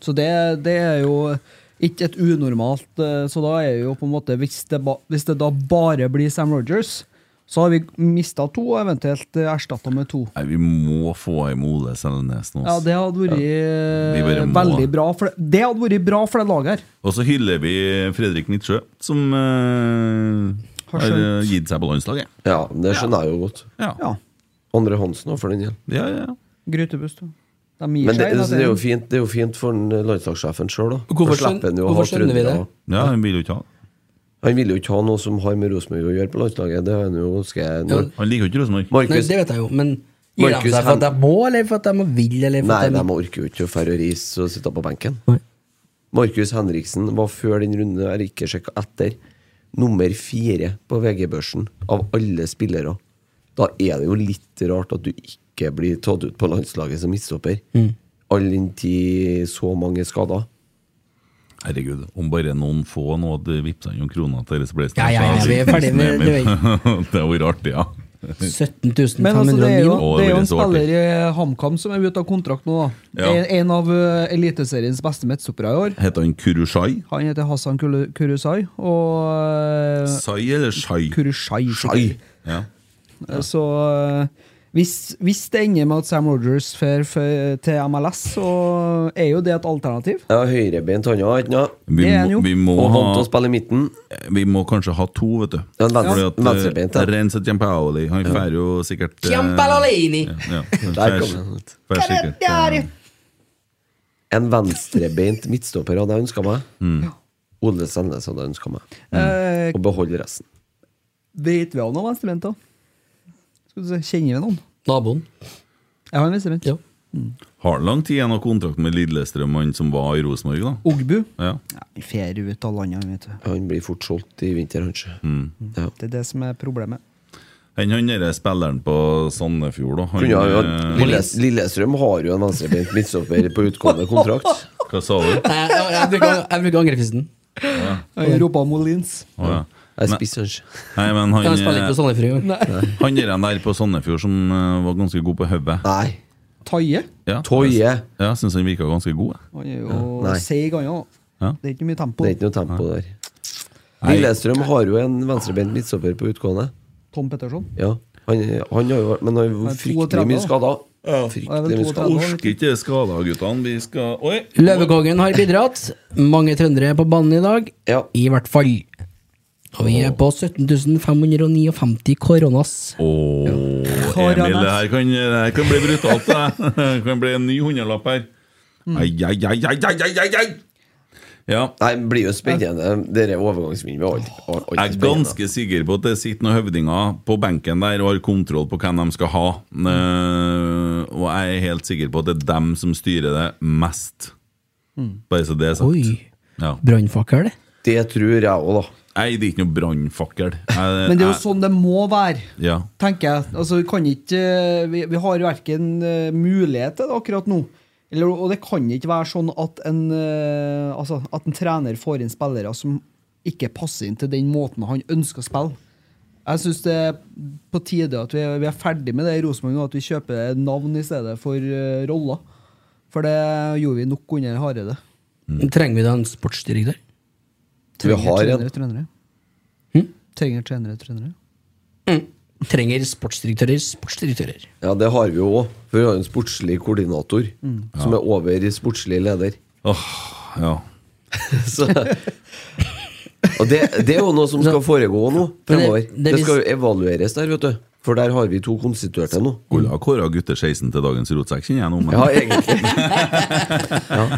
Speaker 5: Så det, det er jo ikke et unormalt eh, Så da er jo på en måte Hvis det, ba, hvis det da bare blir Sam Rogers, så har vi mista to, og eventuelt erstatta med to.
Speaker 4: Nei, vi må få i med Ole Selnes nå. altså.
Speaker 5: Ja,
Speaker 4: ass.
Speaker 5: det hadde vært
Speaker 4: Vi bare
Speaker 5: eh,
Speaker 4: må.
Speaker 5: veldig bra for det, det hadde vært bra for det laget her.
Speaker 4: Og så hyller vi Fredrik Midtsjø, som eh,
Speaker 5: Har
Speaker 4: har eh,
Speaker 5: skjønt.
Speaker 4: gitt seg på landslaget.
Speaker 6: Ja, det skjønner jeg jo godt.
Speaker 4: Ja.
Speaker 5: Ja.
Speaker 6: Andre Hansen òg, for den del.
Speaker 4: Ja, ja, ja.
Speaker 5: Grytebust. De gir
Speaker 6: Men det,
Speaker 5: seg. da,
Speaker 6: det, er jo
Speaker 5: det-
Speaker 6: fint, det er jo fint for den eh, landslagssjefen sjøl, da.
Speaker 2: Hvorfor
Speaker 6: For slipper han jo å
Speaker 2: skjøn-
Speaker 6: ha
Speaker 2: hvorfor skjønner vi
Speaker 6: trøndere.
Speaker 2: det?
Speaker 4: ja han vil jo ikke ha det.
Speaker 6: Han vil jo ikke ha noe som har med Rosenborg å gjøre på landslaget. Det er han jo ganske når,
Speaker 4: Han liker jo ikke Rosenborg.
Speaker 2: Nei,
Speaker 6: Markus
Speaker 2: det vet jeg jo, men gir de
Speaker 6: Markus,
Speaker 2: seg for
Speaker 6: han-
Speaker 2: at de må, eller for at de vil, eller for
Speaker 6: Nei,
Speaker 2: at
Speaker 6: de
Speaker 2: de
Speaker 6: orker jo ikke å færre ris og sitte på benken.
Speaker 2: Nei.
Speaker 6: Markus Henriksen var før den runden jeg har ikke sjekka etter, nummer fire på VG-børsen av alle spillere. Da er det jo litt rart at du ikke blir tatt ut på landslaget som midtstopper. All den tid så mange skader.
Speaker 4: Herregud, om bare noen få nå hadde vippsa inn noen kroner til disse
Speaker 2: Ja, ja, ja, vi er ferdig med-
Speaker 4: det. Det er jo artig, ja.
Speaker 2: 17
Speaker 5: Men altså, det er
Speaker 2: 509
Speaker 5: jo,
Speaker 2: nå.
Speaker 4: Å, det
Speaker 5: det er jo
Speaker 4: blir
Speaker 5: en
Speaker 4: så artig.
Speaker 5: spiller i HamKam som er ute av kontrakt nå. da
Speaker 4: Ja.
Speaker 5: En, en av eh, Eliteseriens beste midtstoppere i år.
Speaker 4: Heter han Kurushai?
Speaker 5: Han heter Hassan Kulu- Kurusai, og eh,
Speaker 4: Sai eller Shai?
Speaker 5: Kurusai.
Speaker 6: Shai.
Speaker 4: Ja.
Speaker 5: Eh, Så eh, hvis, hvis det ender med at Sam Rogers drar til MLS, så er jo det et alternativ.
Speaker 6: Ja, høyrebeint han har, ikke noe?
Speaker 4: Vi,
Speaker 5: Det er
Speaker 4: må,
Speaker 5: han jo.
Speaker 4: vi, må
Speaker 6: Og han til å
Speaker 4: ha,
Speaker 6: spille i midten.
Speaker 4: vi må kanskje ha to, vet du.
Speaker 6: Ja, en
Speaker 4: Fordi
Speaker 6: venstre-
Speaker 4: at, eh,
Speaker 6: venstrebeint, ja.
Speaker 4: Renzo Giampaoli Han får jo sikkert eh,
Speaker 2: Kjempalolini!
Speaker 4: ja, han
Speaker 6: Der
Speaker 4: får-
Speaker 6: kom den.
Speaker 4: får sikkert, eh,
Speaker 6: En venstrebeint midtstopper hadde jeg ønska meg.
Speaker 4: Mm.
Speaker 6: Ole Sandnes hadde jeg ønska meg.
Speaker 5: Eh,
Speaker 6: Og beholde resten.
Speaker 5: vet vi om noen venstrebenter? Skal du se, Kjenner vi noen?
Speaker 2: Naboen.
Speaker 5: Jeg har en venstrebent.
Speaker 2: Ja.
Speaker 4: Har lang tid igjen av kontrakten med Lillestrøm, han som var i Rosenborg, da.
Speaker 5: Ogbu.
Speaker 4: Ja.
Speaker 5: Nei, fer ut av landet, vet du.
Speaker 6: Han blir fort solgt i vinter, kanskje.
Speaker 4: Mm.
Speaker 6: Ja.
Speaker 5: Det er det som er problemet.
Speaker 4: Han han derre spilleren på Sandefjord, da. Han,
Speaker 6: Kunne ha-
Speaker 4: eh,
Speaker 6: Lille, Lillestrøm har jo en venstrebeint midtstopper på utgående kontrakt.
Speaker 4: Hva sa du?
Speaker 2: Nei, jeg, jeg, jeg bruker, jeg bruker angrepisten.
Speaker 5: Jeg roper Molins.
Speaker 4: Å, ja.
Speaker 6: Jeg spiser kanskje.
Speaker 4: Nei, men han
Speaker 2: Jeg spiller ikke
Speaker 4: eh,
Speaker 2: på Sandefjord engang.
Speaker 4: Han der han der på Sandefjord som eh, var ganske god på hodet.
Speaker 6: Nei.
Speaker 5: Taie?
Speaker 4: Ja,
Speaker 6: Toje.
Speaker 4: Ja, jeg syns han virka ganske god. jeg.
Speaker 5: Han er jo
Speaker 6: Nei.
Speaker 5: seig, han òg.
Speaker 4: Ja.
Speaker 5: Det er ikke mye tempo.
Speaker 6: Det er ikke noe tempo der. Lillestrøm har jo en venstrebeint midtstopper på utgående.
Speaker 5: Tom Petterson.
Speaker 6: Ja, han, han har jo vært Men han er jo
Speaker 5: er 32
Speaker 6: fryktelig mye skada.
Speaker 5: Han er
Speaker 6: Fryktelig
Speaker 5: vel
Speaker 6: mye skada.
Speaker 5: 32 år.
Speaker 4: Orker ikke skada, guttene. Vi skal Oi!
Speaker 2: Løvekongen har bidratt. Mange trøndere er på banen i dag.
Speaker 6: Ja.
Speaker 2: I hvert fall. Og vi er på 17.559 koronas.
Speaker 4: Åh, Emil, det her kan, det her kan bli brutalt. Det. det kan bli en ny hundrelapp her. Ai, ai, ai, ai, ai, ai, ai, ai. Ja,
Speaker 6: Nei, det blir jo spennende. Dere overgangsvinduet er alt- alt-
Speaker 4: jeg
Speaker 6: alt
Speaker 4: er
Speaker 6: spennende.
Speaker 4: ganske sikker på at det sitter noen høvdinger på benken der og har kontroll på hvem de skal ha. Eh, og jeg er helt sikker på at det er dem som styrer det mest. Bare så det er sagt.
Speaker 2: Oi.
Speaker 4: Ja.
Speaker 2: Brannfakkel.
Speaker 6: Det tror jeg òg, da.
Speaker 4: Jeg det er ikke noe brannfakkel. Jeg-
Speaker 5: Men det er jo
Speaker 4: jeg-
Speaker 5: sånn det må være,
Speaker 4: Ja.
Speaker 5: tenker jeg. Altså, vi kan ikke eh, Vi, vi har verken mulighet til det akkurat nå. Eller, og det kan ikke være sånn at en, eh, altså, at en trener får inn spillere som ikke passer inn til den måten han ønsker å spille. Jeg syns det er på tide at vi er, vi er ferdig med det i Rosenborg nå, at vi kjøper navn i stedet for eh, roller. For det gjorde vi nok under Hareide.
Speaker 6: Mm.
Speaker 2: Trenger vi da en sportsdirektør?
Speaker 6: Vi har en.
Speaker 5: trenere, trenere.
Speaker 2: Hm?
Speaker 5: Trenger trenere, trenere.
Speaker 2: Trenger sportsdirektører sportsdirektører.
Speaker 6: Ja, det har vi jo òg. For vi har jo en sportslig koordinator
Speaker 4: Mm.
Speaker 6: som er over i sportslig leder.
Speaker 4: Åh, ja.
Speaker 6: Så. Og det, det er jo noe som skal foregå nå
Speaker 2: Men det-
Speaker 6: fremover.
Speaker 2: det
Speaker 6: Det skal jo
Speaker 2: vis-
Speaker 6: evalueres der, vet du. For der har vi to konstituerte nå.
Speaker 4: Skulle ha kåra gutteskeisen til dagens rotsekk, kjenner jeg nå. Men
Speaker 6: Ja, egentlig.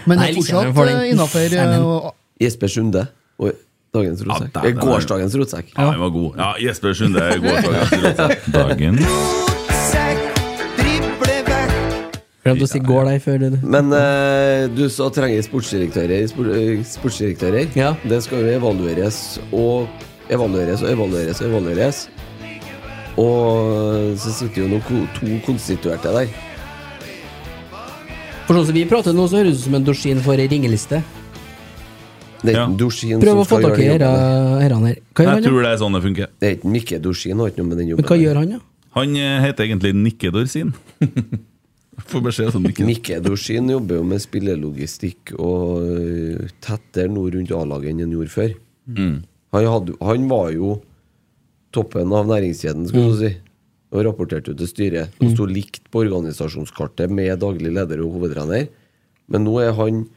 Speaker 7: Men det
Speaker 2: Nei,
Speaker 7: er
Speaker 2: litt
Speaker 7: fortsatt
Speaker 2: senere for den.
Speaker 7: eh, innenfor eh, og-
Speaker 6: Jesper Sunde. Og dagens rotsekk.
Speaker 4: Ja, der-
Speaker 6: Eh, Gårsdagens rotsekk.
Speaker 4: ja, den var god. Ja, Jesper Sunde er god. Dagen.
Speaker 2: Glemte å si går der før. det-
Speaker 6: Men eh, du sa trenger sportsdirektører. Spor, eh, sportsdirektører.
Speaker 2: Ja.
Speaker 6: Det skal jo evalueres og evalueres og evalueres og evalueres. Og så sitter jo noen ko- to konstituerte der.
Speaker 2: For sånn som vi prater nå, så høres det ut som en dorsin for ei ringeliste.
Speaker 6: Det er
Speaker 4: Ja.
Speaker 6: ikke Dorsin
Speaker 2: Prøv å få
Speaker 6: som skal
Speaker 2: tak i
Speaker 6: gjøre jobben.
Speaker 2: herra- herrene her. Hva gjør han,
Speaker 4: Jeg
Speaker 2: da?
Speaker 4: tror det er sånn det funker.
Speaker 6: Det er ikke Mikke Dorsin har ikke noe med den
Speaker 2: Men
Speaker 6: jobben
Speaker 2: hva gjør han, da?
Speaker 4: Han eh, heter egentlig Nikke Dorsin. Får beskjed som Nikke.
Speaker 6: Mikke Dorsin jobber jo med spillelogistikk og øh, tettere noe rundt A-laget enn han gjorde før.
Speaker 4: Mm.
Speaker 6: Han, hadde, han var jo toppen av næringskjeden, skulle
Speaker 4: Mm.
Speaker 6: du si. Og rapporterte jo til styret. Og sto likt på organisasjonskartet med daglig leder og hovedtrener. Men nå er han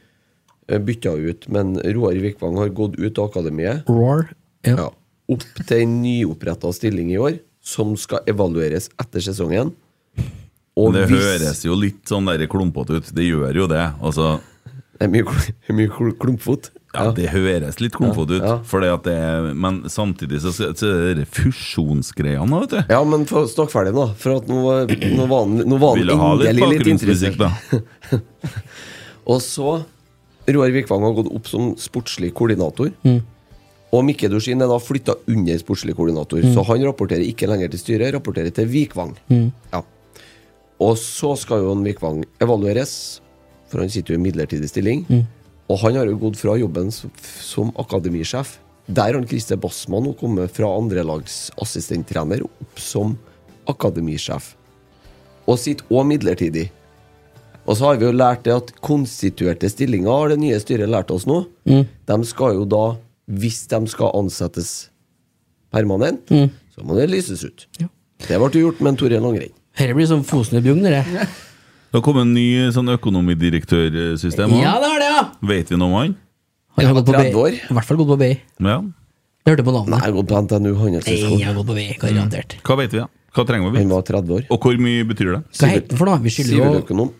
Speaker 6: øh, bytta ut. Men Roar Vikvang har gått ut av akademiet.
Speaker 2: Roar. Ja.
Speaker 6: Ja. Opp til en nyoppretta stilling i år, som skal evalueres etter sesongen. Og
Speaker 4: Det
Speaker 6: hvis-
Speaker 4: høres jo litt sånn der klumpete ut. Det gjør jo det. Altså,
Speaker 6: Det er mye, kl- mye kl- klumpfot.
Speaker 4: ja, det høres litt klumpete ut,
Speaker 6: Ja, ja.
Speaker 4: fordi at det er, men samtidig så, så er det de fusjonsgreiene, vet du.
Speaker 6: Ja, men få- snakk ferdig nå, for at nå, var- nå var han, nå var han
Speaker 4: Ville ha litt
Speaker 6: endelig litt
Speaker 4: bakgrunnsmusikk,
Speaker 6: interessert.
Speaker 4: da.
Speaker 6: Og så Roar Vikvang har gått opp som sportslig koordinator. Og Mikke Dorsin er da flytta under sportslig koordinator, så han rapporterer ikke lenger til styret, rapporterer til Vikvang. Ja. Og så skal jo han Vikvang evalueres, for han sitter jo i midlertidig stilling. Og han har jo gått fra jobben som, som akademisjef. Der har Christer Bassmann nå kommet fra andrelagsassistenttrener opp som akademisjef. Og sitter òg midlertidig. Og så har vi jo lært det at konstituerte stillinger har det nye styret lært oss nå. De skal jo da, hvis de skal ansettes permanent, så må det lyses ut. Det ble jo gjort med en Toril Langrenn.
Speaker 2: Dette blir som Fosen og Bjugn, dette.
Speaker 4: Det har kommet en ny sånn økonomidirektørsystem. også.
Speaker 2: Ja, det har det, ja!
Speaker 4: Vet vi noe om han?
Speaker 2: Han har
Speaker 6: Ja,
Speaker 2: gått på
Speaker 6: 30 år.
Speaker 2: BI. I hvert fall gått på BI.
Speaker 4: Ja.
Speaker 2: Jeg hørte på
Speaker 6: Nei,
Speaker 2: navnet.
Speaker 6: jeg har gått på
Speaker 2: Nei,
Speaker 6: NTNU
Speaker 2: jeg
Speaker 6: Handelshøyskolen.
Speaker 2: har gått på BI, garantert.
Speaker 4: Hva vet vi, da? Hva trenger vi å
Speaker 6: Han
Speaker 4: vite?
Speaker 6: var 30 år.
Speaker 4: Og hvor mye betyr det?
Speaker 2: Hva heter han for noe? Vi skylder jo
Speaker 6: Siviløkonom.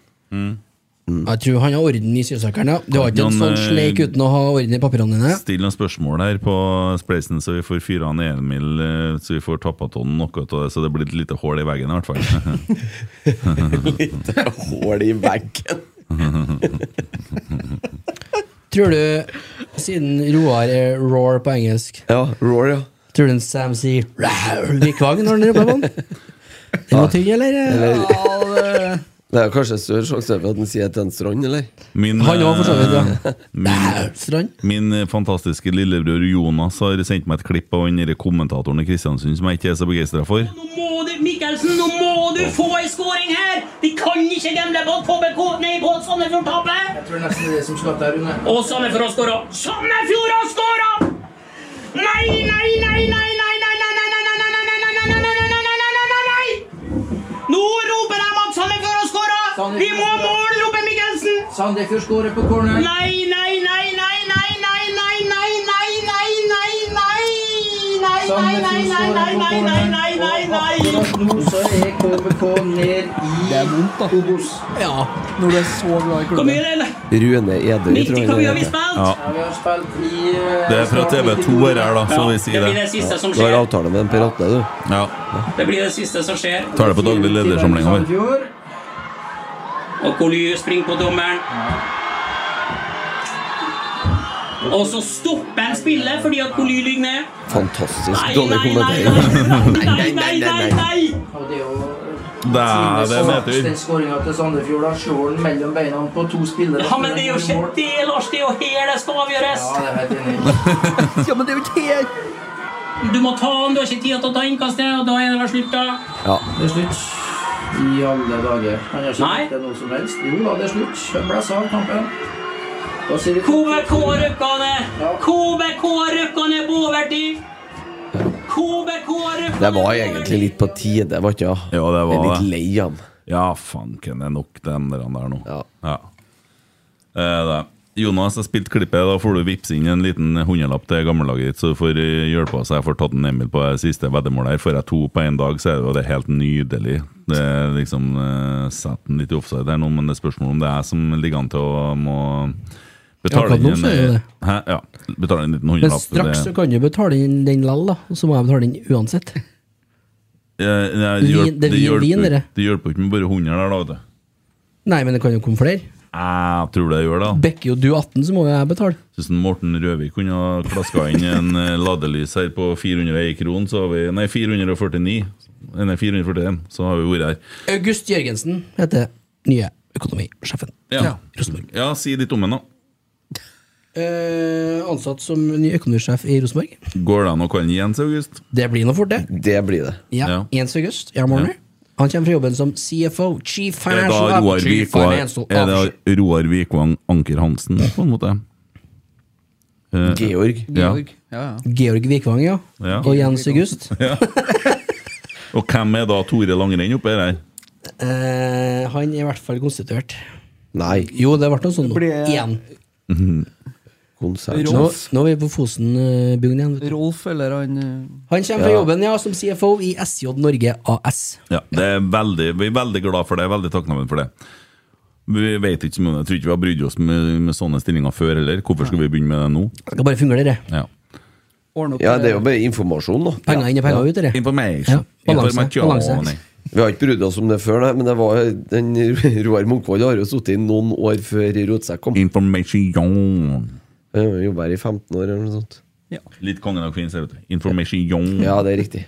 Speaker 2: Jeg tror han har orden i sysakeren, ja. Det var ikke en
Speaker 4: Noen,
Speaker 2: sånn sleik
Speaker 4: eh,
Speaker 2: uten å ha orden i papirene dine.
Speaker 4: Still noen spørsmål her på Spleisen, så vi får fyra han Emil, eh, så vi får tappa tonnen noe av det, så det blir et lite hull i veggen i hvert fall.
Speaker 6: Litt hål i veggen.
Speaker 2: Tror du, siden Roar er roar på engelsk,
Speaker 6: Ja, roar, ja.
Speaker 2: tror du en Sam sier rar Vikvang når han roper på han? Den var tynn, eller?
Speaker 5: Ja, det,
Speaker 6: Det er kanskje større sjanse for at han sier til en strand, eller?
Speaker 4: Min,
Speaker 2: Han òg, for så
Speaker 4: eh,
Speaker 2: vidt. ja.
Speaker 3: Mm.
Speaker 4: Min,
Speaker 2: Dæv, Strand.
Speaker 4: Min eh, fantastiske lillebror Jonas har sendt meg et klipp av den der kommentatoren i Kristiansund som jeg ikke er så begeistra for.
Speaker 8: Nå må du, Mikkelsen, nå må du få en scoring her! Vi kan ikke gamble på at KBK nei, på at Sandefjord taper! Jeg tror nesten det er det som skal til, Rune. Og Sandefjord har skåra! Sandefjord har skåra! Nei, nei, nei, nei, nei, nei, nei, nei, nei, nei, nei, nei, nei, nei, nei, nei, nei, nei, nei, nei, nei, nei! Nå roper de at Sandefjord har skåra! Vi må ha mål, roper Mikkelsen!
Speaker 3: Sandefjord skårer på corner.
Speaker 8: Nei, nei, nei, nei, nei, nei, nei, nei, nei, nei, nei, nei! Nei, nei, nei, nei, nei, nei, nei, nei, nei, nei!
Speaker 3: Nå så er KBK ned i Obos.
Speaker 2: Ja, når du er så glad i
Speaker 8: Hvor
Speaker 2: klubben.
Speaker 8: mye er det?
Speaker 6: Rune Edøy, tror
Speaker 8: 90
Speaker 6: jeg.
Speaker 8: hvor
Speaker 6: han
Speaker 8: mye har vi
Speaker 6: heter.
Speaker 8: spilt?
Speaker 4: Ja.
Speaker 3: Ja, vi har spilt i eh,
Speaker 4: Det er fra
Speaker 3: snart
Speaker 4: TV2 her,
Speaker 3: 92.
Speaker 4: da, så vi
Speaker 8: Det
Speaker 4: sier
Speaker 8: blir
Speaker 4: det.
Speaker 8: det siste som
Speaker 6: Du har
Speaker 8: skjer.
Speaker 6: avtale med en Per Atle, du.
Speaker 4: Ja.
Speaker 8: Det blir det siste som skjer.
Speaker 4: Tar det på daglig ledersamling over.
Speaker 3: Sandefjord.
Speaker 8: Og Coly springer på dommeren. Og så stopper han spillet fordi at Coly ligger ned.
Speaker 6: Fantastisk
Speaker 8: Nei,
Speaker 6: dårlig
Speaker 8: nei, nei, nei,
Speaker 6: kommentering.
Speaker 8: nei, nei, nei, nei!
Speaker 3: Og det er jo sånn.
Speaker 4: Dæven,
Speaker 3: den
Speaker 4: nedtur.
Speaker 3: skåringa til Sandefjord. da. Slår den mellom beina på to spillere.
Speaker 8: Ja, men det er jo ikke det, Lars. Det er jo her det skal avgjøres.
Speaker 3: Ja, det er helt enig.
Speaker 5: Ja, men det er jo ikke her!
Speaker 8: Du må ta han, du har ikke tid til å ta innkastet, og da er det vel slutt, da.
Speaker 6: Ja.
Speaker 3: Det er slutt. I alle dager. Han har ikke
Speaker 8: Nei.
Speaker 3: gjort det noe som helst. Jo da, det er slutt. Han ble av kampen. Da sier vi
Speaker 8: KBK rykka ned. KBK rykka ned på overtid. KBK rykka ned
Speaker 6: Det var
Speaker 8: på overtid.
Speaker 6: egentlig litt på tide, var ikke det?
Speaker 4: Ja, det
Speaker 6: Jeg er
Speaker 4: var
Speaker 6: litt
Speaker 4: det.
Speaker 6: lei av ham.
Speaker 4: Ja, fanken, det er nok den der der nå.
Speaker 6: Ja.
Speaker 4: Ja. Eh, det. Jonas, jeg spilte klippet. Da får du vippse inn en liten hundrelapp til gammellaget ditt, så du får eh, hjelpe oss. Jeg får tatt en Emil på det siste veddemålet her. Får jeg to på én dag, så er det jo det helt nydelig. Det er liksom eh, Setter den litt i offside her nå, men det er spørsmål om det er jeg som ligger an til å må
Speaker 2: Ja,
Speaker 4: betale
Speaker 2: akkurat nå
Speaker 4: inn
Speaker 2: så er
Speaker 4: en-
Speaker 2: det det.
Speaker 4: Hæ? Ja, betale en liten
Speaker 2: Men
Speaker 4: hundrelapp.
Speaker 2: straks så kan du betale inn den lell, da. Og så må jeg betale den uansett.
Speaker 4: Eh, nei,
Speaker 2: Vin-
Speaker 4: det, hjelper-
Speaker 2: det er
Speaker 4: det,
Speaker 2: vin- vin,
Speaker 4: hjelper,
Speaker 2: dere.
Speaker 4: det hjelper ikke med bare 100 der, da. vet du.
Speaker 2: Nei, men det kan jo komme flere.
Speaker 4: Jeg tror det gjør det. da.
Speaker 2: Bekker jo du 18, så må jo jeg betale.
Speaker 4: Hvis en Morten Røvik kunne ha klaska inn en eh, ladelys her på 401 kron, så har vi Nei, 449. Eh, Nei, 441, så har vi vært her.
Speaker 2: August Jørgensen heter nye økonomisjefen.
Speaker 4: Ja.
Speaker 2: Rosenborg.
Speaker 4: ja, si litt om den, da.
Speaker 2: Eh, ansatt som ny økonomisjef i Rosenborg.
Speaker 4: Går det an å kalle den Jens August?
Speaker 2: Det blir nå fort, det.
Speaker 6: Det blir det.
Speaker 2: Ja,
Speaker 4: Ja.
Speaker 2: 1. august. Ja, morgen.
Speaker 4: Ja.
Speaker 2: Han kommer fra jobben som CFO, Chief
Speaker 4: Er
Speaker 2: Financial
Speaker 4: da Roar
Speaker 2: Officer, Chief
Speaker 4: Vikvang,
Speaker 2: Financial
Speaker 4: er da
Speaker 2: Officer.
Speaker 4: Roar Vikvang Anker Hansen, på en måte? Eh,
Speaker 6: Georg.
Speaker 4: ja.
Speaker 5: Georg. Ja, ja.
Speaker 2: Georg Vikvang, ja.
Speaker 4: Ja.
Speaker 2: Og Jens August.
Speaker 4: Og hvem er da Tore Langrenn oppi her?
Speaker 2: Eh, han er i hvert fall konstituert.
Speaker 6: Nei.
Speaker 2: Jo, det ble noe sånn nå.
Speaker 5: Blir-
Speaker 2: Igjen.
Speaker 6: Konsert.
Speaker 2: Nå,
Speaker 5: Rolf.
Speaker 2: nå er vi på Fosenbugn igjen. vet du.
Speaker 5: Rolf eller han eh,
Speaker 2: Han kommer fra jobben ja, som CFO i SJ Norge AS.
Speaker 4: Ja, det er veldig, vi er veldig glad for det, veldig takknemlige for det. Vi vet ikke så mye, om det. Jeg tror ikke vi har brydd oss med, med sånne stillinger før heller. Hvorfor skal vi begynne med det nå?
Speaker 2: Det skal bare fungere, det.
Speaker 4: Ja.
Speaker 5: ordner opp
Speaker 6: Ja, det er jo bare informasjon, da.
Speaker 2: Penger inn og penger ut, det.
Speaker 4: Information.
Speaker 2: Ja, balanse,
Speaker 4: Information.
Speaker 2: balanse.
Speaker 6: Vi har ikke brydd oss om det før, nei, men det var den Roar Munkvold har jo sittet i noen år før Rotsekk
Speaker 4: Mm.
Speaker 6: kom.
Speaker 4: Information.
Speaker 6: Han jobba her i 15 år eller noe sånt.
Speaker 4: Litt kongen av kvinner, vet du. Information.
Speaker 6: Ja, det er riktig.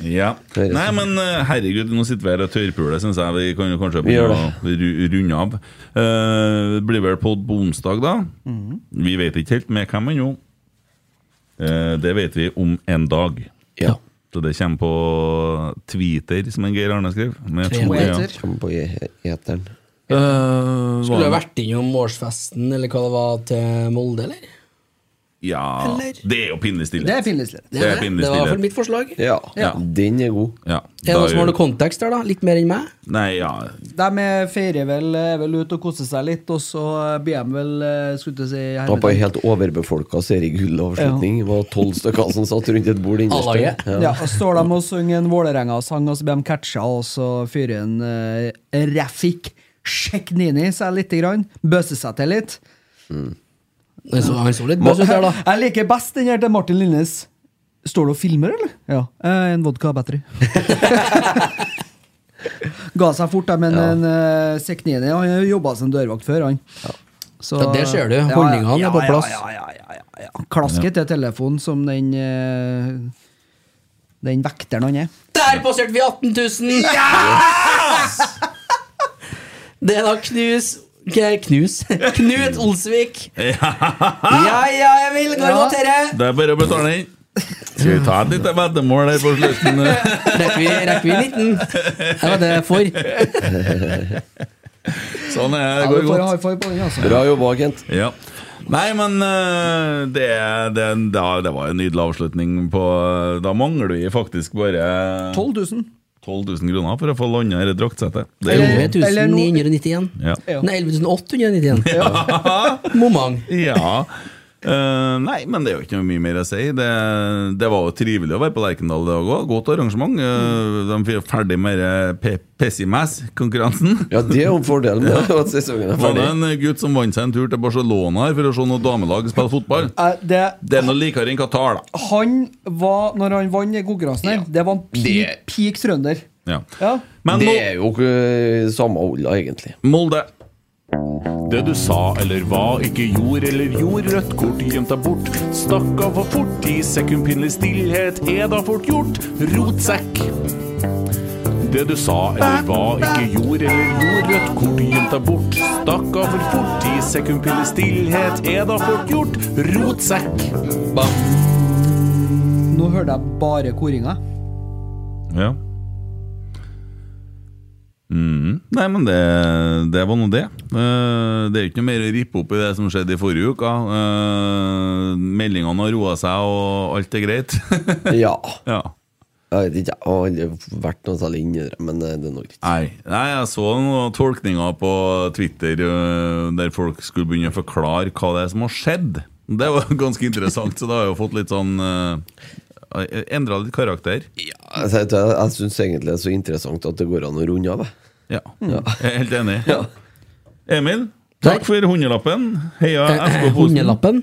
Speaker 4: Ja.
Speaker 6: Det er
Speaker 4: Nei, men eh, herregud, nå sitter vi her og tørrpuler, syns jeg. Vi kan jo kanskje
Speaker 6: Vi gjør
Speaker 4: begynne å ru- runde av. Eh, blir vel podd på onsdag, da.
Speaker 6: Mhm.
Speaker 4: Vi vet ikke helt med hvem ennå. Eh, det vet vi om en dag.
Speaker 6: Ja.
Speaker 4: Så det kommer på Twitter, som en Geir Arne skrev. Med
Speaker 2: Twitter.
Speaker 4: to e-er.
Speaker 6: Kom på e- eteren.
Speaker 4: Eh,
Speaker 2: Skulle
Speaker 4: var-
Speaker 2: ha vært innom årsfesten eller hva det var til Molde, eller?
Speaker 4: Ja,
Speaker 2: Eller?
Speaker 4: det er jo pinlig stille.
Speaker 5: Det er pinlig stille.
Speaker 4: Det er pinlig
Speaker 2: det var i hvert fall
Speaker 4: stillhet.
Speaker 2: mitt forslag.
Speaker 6: Ja,
Speaker 4: Ja.
Speaker 6: den er god.
Speaker 4: Ja,
Speaker 2: Er det
Speaker 4: da
Speaker 2: noen som har
Speaker 4: gjør-
Speaker 2: noe kontekst der, da? Litt mer enn meg?
Speaker 4: Nei, ja
Speaker 5: De er- feirer vel, er vel ute og koser seg litt, og så blir de vel eh, skulle til å si
Speaker 6: Da på ei
Speaker 5: hermetikk.
Speaker 6: helt overbefolka seriegull-avslutning. Det var tolv stykker som satt rundt et bord
Speaker 2: A-laget.
Speaker 6: innerst.
Speaker 5: Ja, og står de og synger en Vålerenga-sang, og så blir de catcha, og så fyrer en eh, Refik Sjeknini seg lite grann. Bøser seg til litt.
Speaker 2: Han så, han så litt bøs ut der, da.
Speaker 5: Jeg liker best den her til Martin Linnes. Står du og filmer, eller? Ja. Eh, en vodka og battery. Ga seg fort, da, men en eh, Seknini Han jobba som dørvakt før, han. Så,
Speaker 2: Ja, det ser du. Holdningene er på plass.
Speaker 5: Ja, ja, ja, ja, ja. Klasket til telefonen som den eh, Den vekteren han er.
Speaker 2: Der passerte vi 18 000! Det er da Knus K- Knus. Knut Olsvik. Ja, ja, jeg vil garantere.
Speaker 4: Det er bare å betale inn. Skal vi ta et lite veddemål her på slutten?
Speaker 2: Rekker vi, rekker vi 19? Jeg vet det er for.
Speaker 4: Sånn er det.
Speaker 5: Ja,
Speaker 4: Det går
Speaker 5: du får
Speaker 4: godt.
Speaker 5: en high five på den, altså.
Speaker 6: Bra jobba, Kent.
Speaker 4: Ja. Nei, men eh, det, det, da, det var jo en nydelig avslutning på eh, Da mangler vi faktisk bare
Speaker 5: 12 000.
Speaker 4: 12 000 kroner for å få landa dette draktsettet. Det er jo
Speaker 5: Eller- eller noe-
Speaker 2: 11.991.
Speaker 4: Ja.
Speaker 5: Ja.
Speaker 2: Nei, 11.891. Momang.
Speaker 4: ja. Eh, nei, men det er jo ikke noe mye mer å si. Det, det var jo trivelig å være på Lerkendal i dag òg. Godt arrangement. Eh, de er ferdig med det pe Pessimass-konkurransen.
Speaker 6: Ja, det er jo fordelen med at sesongen er
Speaker 4: Var det
Speaker 6: ferdig.
Speaker 4: en eh, gutt som vant seg en tur til Barcelona her for å se noe damelag spille fotball?
Speaker 5: Eh, Det,
Speaker 4: Det er noe likere enn Qatar, da.
Speaker 5: han var, når han vant den konkurransen her, det var en peak,
Speaker 6: Det-
Speaker 5: peak trønder.
Speaker 4: Ja.
Speaker 5: Ja.
Speaker 4: Men
Speaker 6: Det
Speaker 4: Mo-
Speaker 6: er jo ikke samme olla, egentlig.
Speaker 4: Molde
Speaker 9: Det du sa eller hva, ikke gjorde eller gjorde, rødt kort gjemt deg bort. Stakk av for fort i sekundpinlig stillhet, er da fort gjort, rotsekk. Det du sa eller hva, ikke gjorde eller gjorde, rødt kort gjemt deg bort. Stakk av for fort i sekundpinlig stillhet, er da fort gjort, rotsekk.
Speaker 5: Nå hørte jeg bare koringa.
Speaker 4: Ja. Mm. Nei, men det, det var nå det. Eh, det er jo ikke noe mer å rippe opp i det som skjedde i forrige uke. Eh, meldingene har roa seg, og alt er greit.
Speaker 6: Ja.
Speaker 4: ja.
Speaker 6: Jeg vet ikke, jeg har aldri vært noe særlig inni det, men eh, det er nok greit.
Speaker 4: Nei. Nei, jeg så noen tolkninger på Twitter eh, der folk skulle begynne å forklare hva det er som har skjedd. Det var ganske interessant, så det har jo fått litt sånn uh, Endra litt karakter.
Speaker 6: Altså, Jeg, jeg, jeg syns egentlig det er så interessant at det går an å runde av. jeg.
Speaker 4: Ja.
Speaker 6: Mm.
Speaker 4: Jeg er helt enig. Emil,
Speaker 2: Takk.
Speaker 4: takk for hundrelappen. Heia
Speaker 6: Eh,
Speaker 4: FK-posen.
Speaker 2: Hundelappen.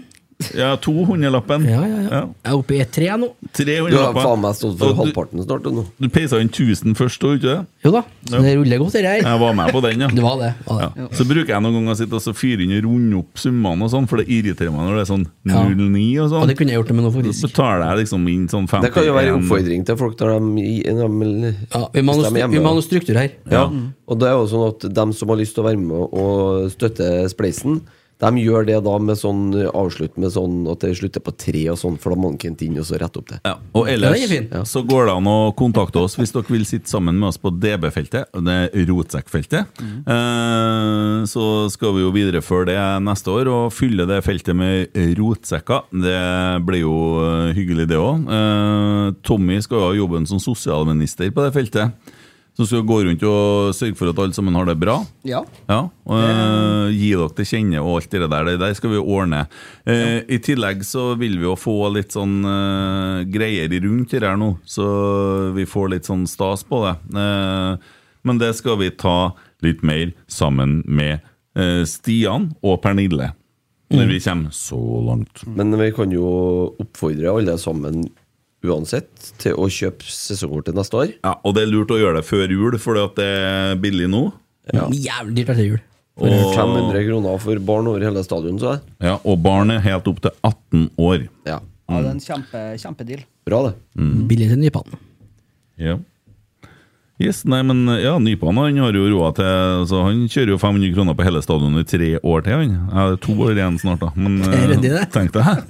Speaker 4: Ja, to hundrelappen.
Speaker 2: Ja, ja, ja. Jeg er oppe i E3 nå.
Speaker 4: Tre
Speaker 6: Du har faen
Speaker 4: hundrelapper.
Speaker 6: meg stått for
Speaker 4: Og du-
Speaker 6: halvparten snart. du, Nå.
Speaker 4: Du peisa inn 1000 først, og ikke det?
Speaker 2: Jo da, så det ruller godt, det her.
Speaker 4: Jeg var med på den, ja.
Speaker 2: Det var det. Var det.
Speaker 4: Ja. Så bruker jeg noen ganger å sitte og så fyre inn og runde opp summene, og sånn, for det irriterer meg når det er sånn 09 og
Speaker 2: Og det
Speaker 4: sånn.
Speaker 2: kunne jeg gjort det med noe
Speaker 4: Så
Speaker 2: faktisk.
Speaker 4: betaler jeg liksom inn sånn 50
Speaker 6: Det kan jo være en oppfordring til folk når de, i- når de
Speaker 2: Ja, vi må ha noe
Speaker 6: Hvis de er
Speaker 2: stru-
Speaker 6: hjemme,
Speaker 2: vi må ha
Speaker 6: da.
Speaker 2: noe struktur her.
Speaker 6: Ja. Og det er jo sånn at dem som har lyst til å være med og støtte Spleisen, de gjør det da med sånn avslutt med sånn at det slutter på tre og sånn, for da må Kent inn og så rette opp det.
Speaker 4: Ja, og ellers
Speaker 2: Ja, den er fin.
Speaker 4: så går det an å kontakte oss hvis dere vil sitte sammen med oss på DB-feltet, det er rotsekkfeltet. Eh, så skal vi jo videreføre det neste år og fylle det feltet med rotsekker. Det blir jo eh, hyggelig, det òg. Eh, Tommy skal jo ha jobben som sosialminister på det feltet. Som skal gå rundt og sørge for at alle sammen har det bra.
Speaker 5: Ja.
Speaker 4: Ja, og eh, gi dere til kjenne og alt det der. Det der skal vi ordne. Eh, I tillegg så vil vi jo få litt sånn eh, greier rundt det her nå, så vi får litt sånn stas på det. Eh, men det skal vi ta litt mer sammen med eh, Stian og Pernille. Når vi kommer så langt.
Speaker 6: Men vi kan jo oppfordre alle sammen uansett til å kjøpe sesongkort til neste år.
Speaker 4: Ja, Og det er lurt å gjøre det før jul, fordi at det er billig nå.
Speaker 2: Jævlig dyrt etter jul.
Speaker 6: For 500 kroner for barn over hele stadion, så jeg.
Speaker 4: Ja, Og barn er helt opp til 18 år.
Speaker 6: Ja,
Speaker 5: Ja, det er en kjempe, kjempedeal.
Speaker 6: bra det.
Speaker 2: Billig til nypannen.
Speaker 4: Ja. Yes, nei, men ja, Nypan han har jo roa til så Han kjører jo 500 kroner på hele stadionet i tre år til, han. Ja, det er to år igjen snart, da. Men
Speaker 2: Er det
Speaker 4: eh,
Speaker 2: det?
Speaker 4: tenk deg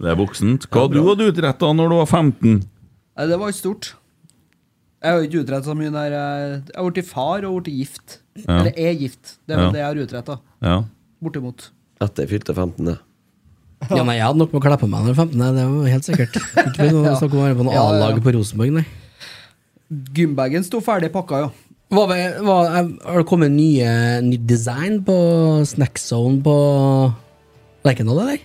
Speaker 4: Det er voksent. Hva du hadde utretta når du var 15?
Speaker 5: Nei, det var ikke stort. Jeg har jo ikke utrettet så mye der jeg jeg har blitt far og blitt gift. Eller er gift. Det er vel
Speaker 4: Ja.
Speaker 5: det jeg har utretta.
Speaker 4: Ja.
Speaker 5: Bortimot.
Speaker 6: Etter fylte 15. det.
Speaker 2: Ja, nei, jeg hadde nok med å kle på meg når jeg var 15, nei, det var helt sikkert. Ikke noe
Speaker 5: Ja.
Speaker 2: snakk om å være på noe
Speaker 5: Ja, ja, ja.
Speaker 2: A-lag på Rosenborg, nei.
Speaker 5: Gymbagen sto ferdig pakka, ja.
Speaker 2: Hva, var- hva, er- har det kommet nye, nytt design på Snack Zone på Lerkendal, eller?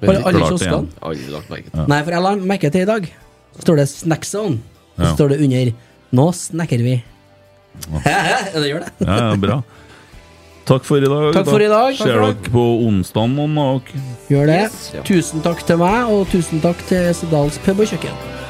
Speaker 2: Har
Speaker 6: Men
Speaker 2: alle
Speaker 4: klart
Speaker 2: kioskene?
Speaker 4: igjen.
Speaker 6: aldri lagt merke til.
Speaker 2: Nei, for jeg la merke til i dag, så står det Snack Zone. Så
Speaker 4: Ja.
Speaker 2: står det under 'Nå snakker vi'. Ja, det gjør det.
Speaker 4: ja, ja, bra. Takk for i dag.
Speaker 2: Takk for i dag.
Speaker 4: Ser dere på onsdag, noen av dere?
Speaker 2: Gjør det.
Speaker 6: Ja.
Speaker 2: Tusen takk til meg, og tusen takk til Sedals pub og kjøkken.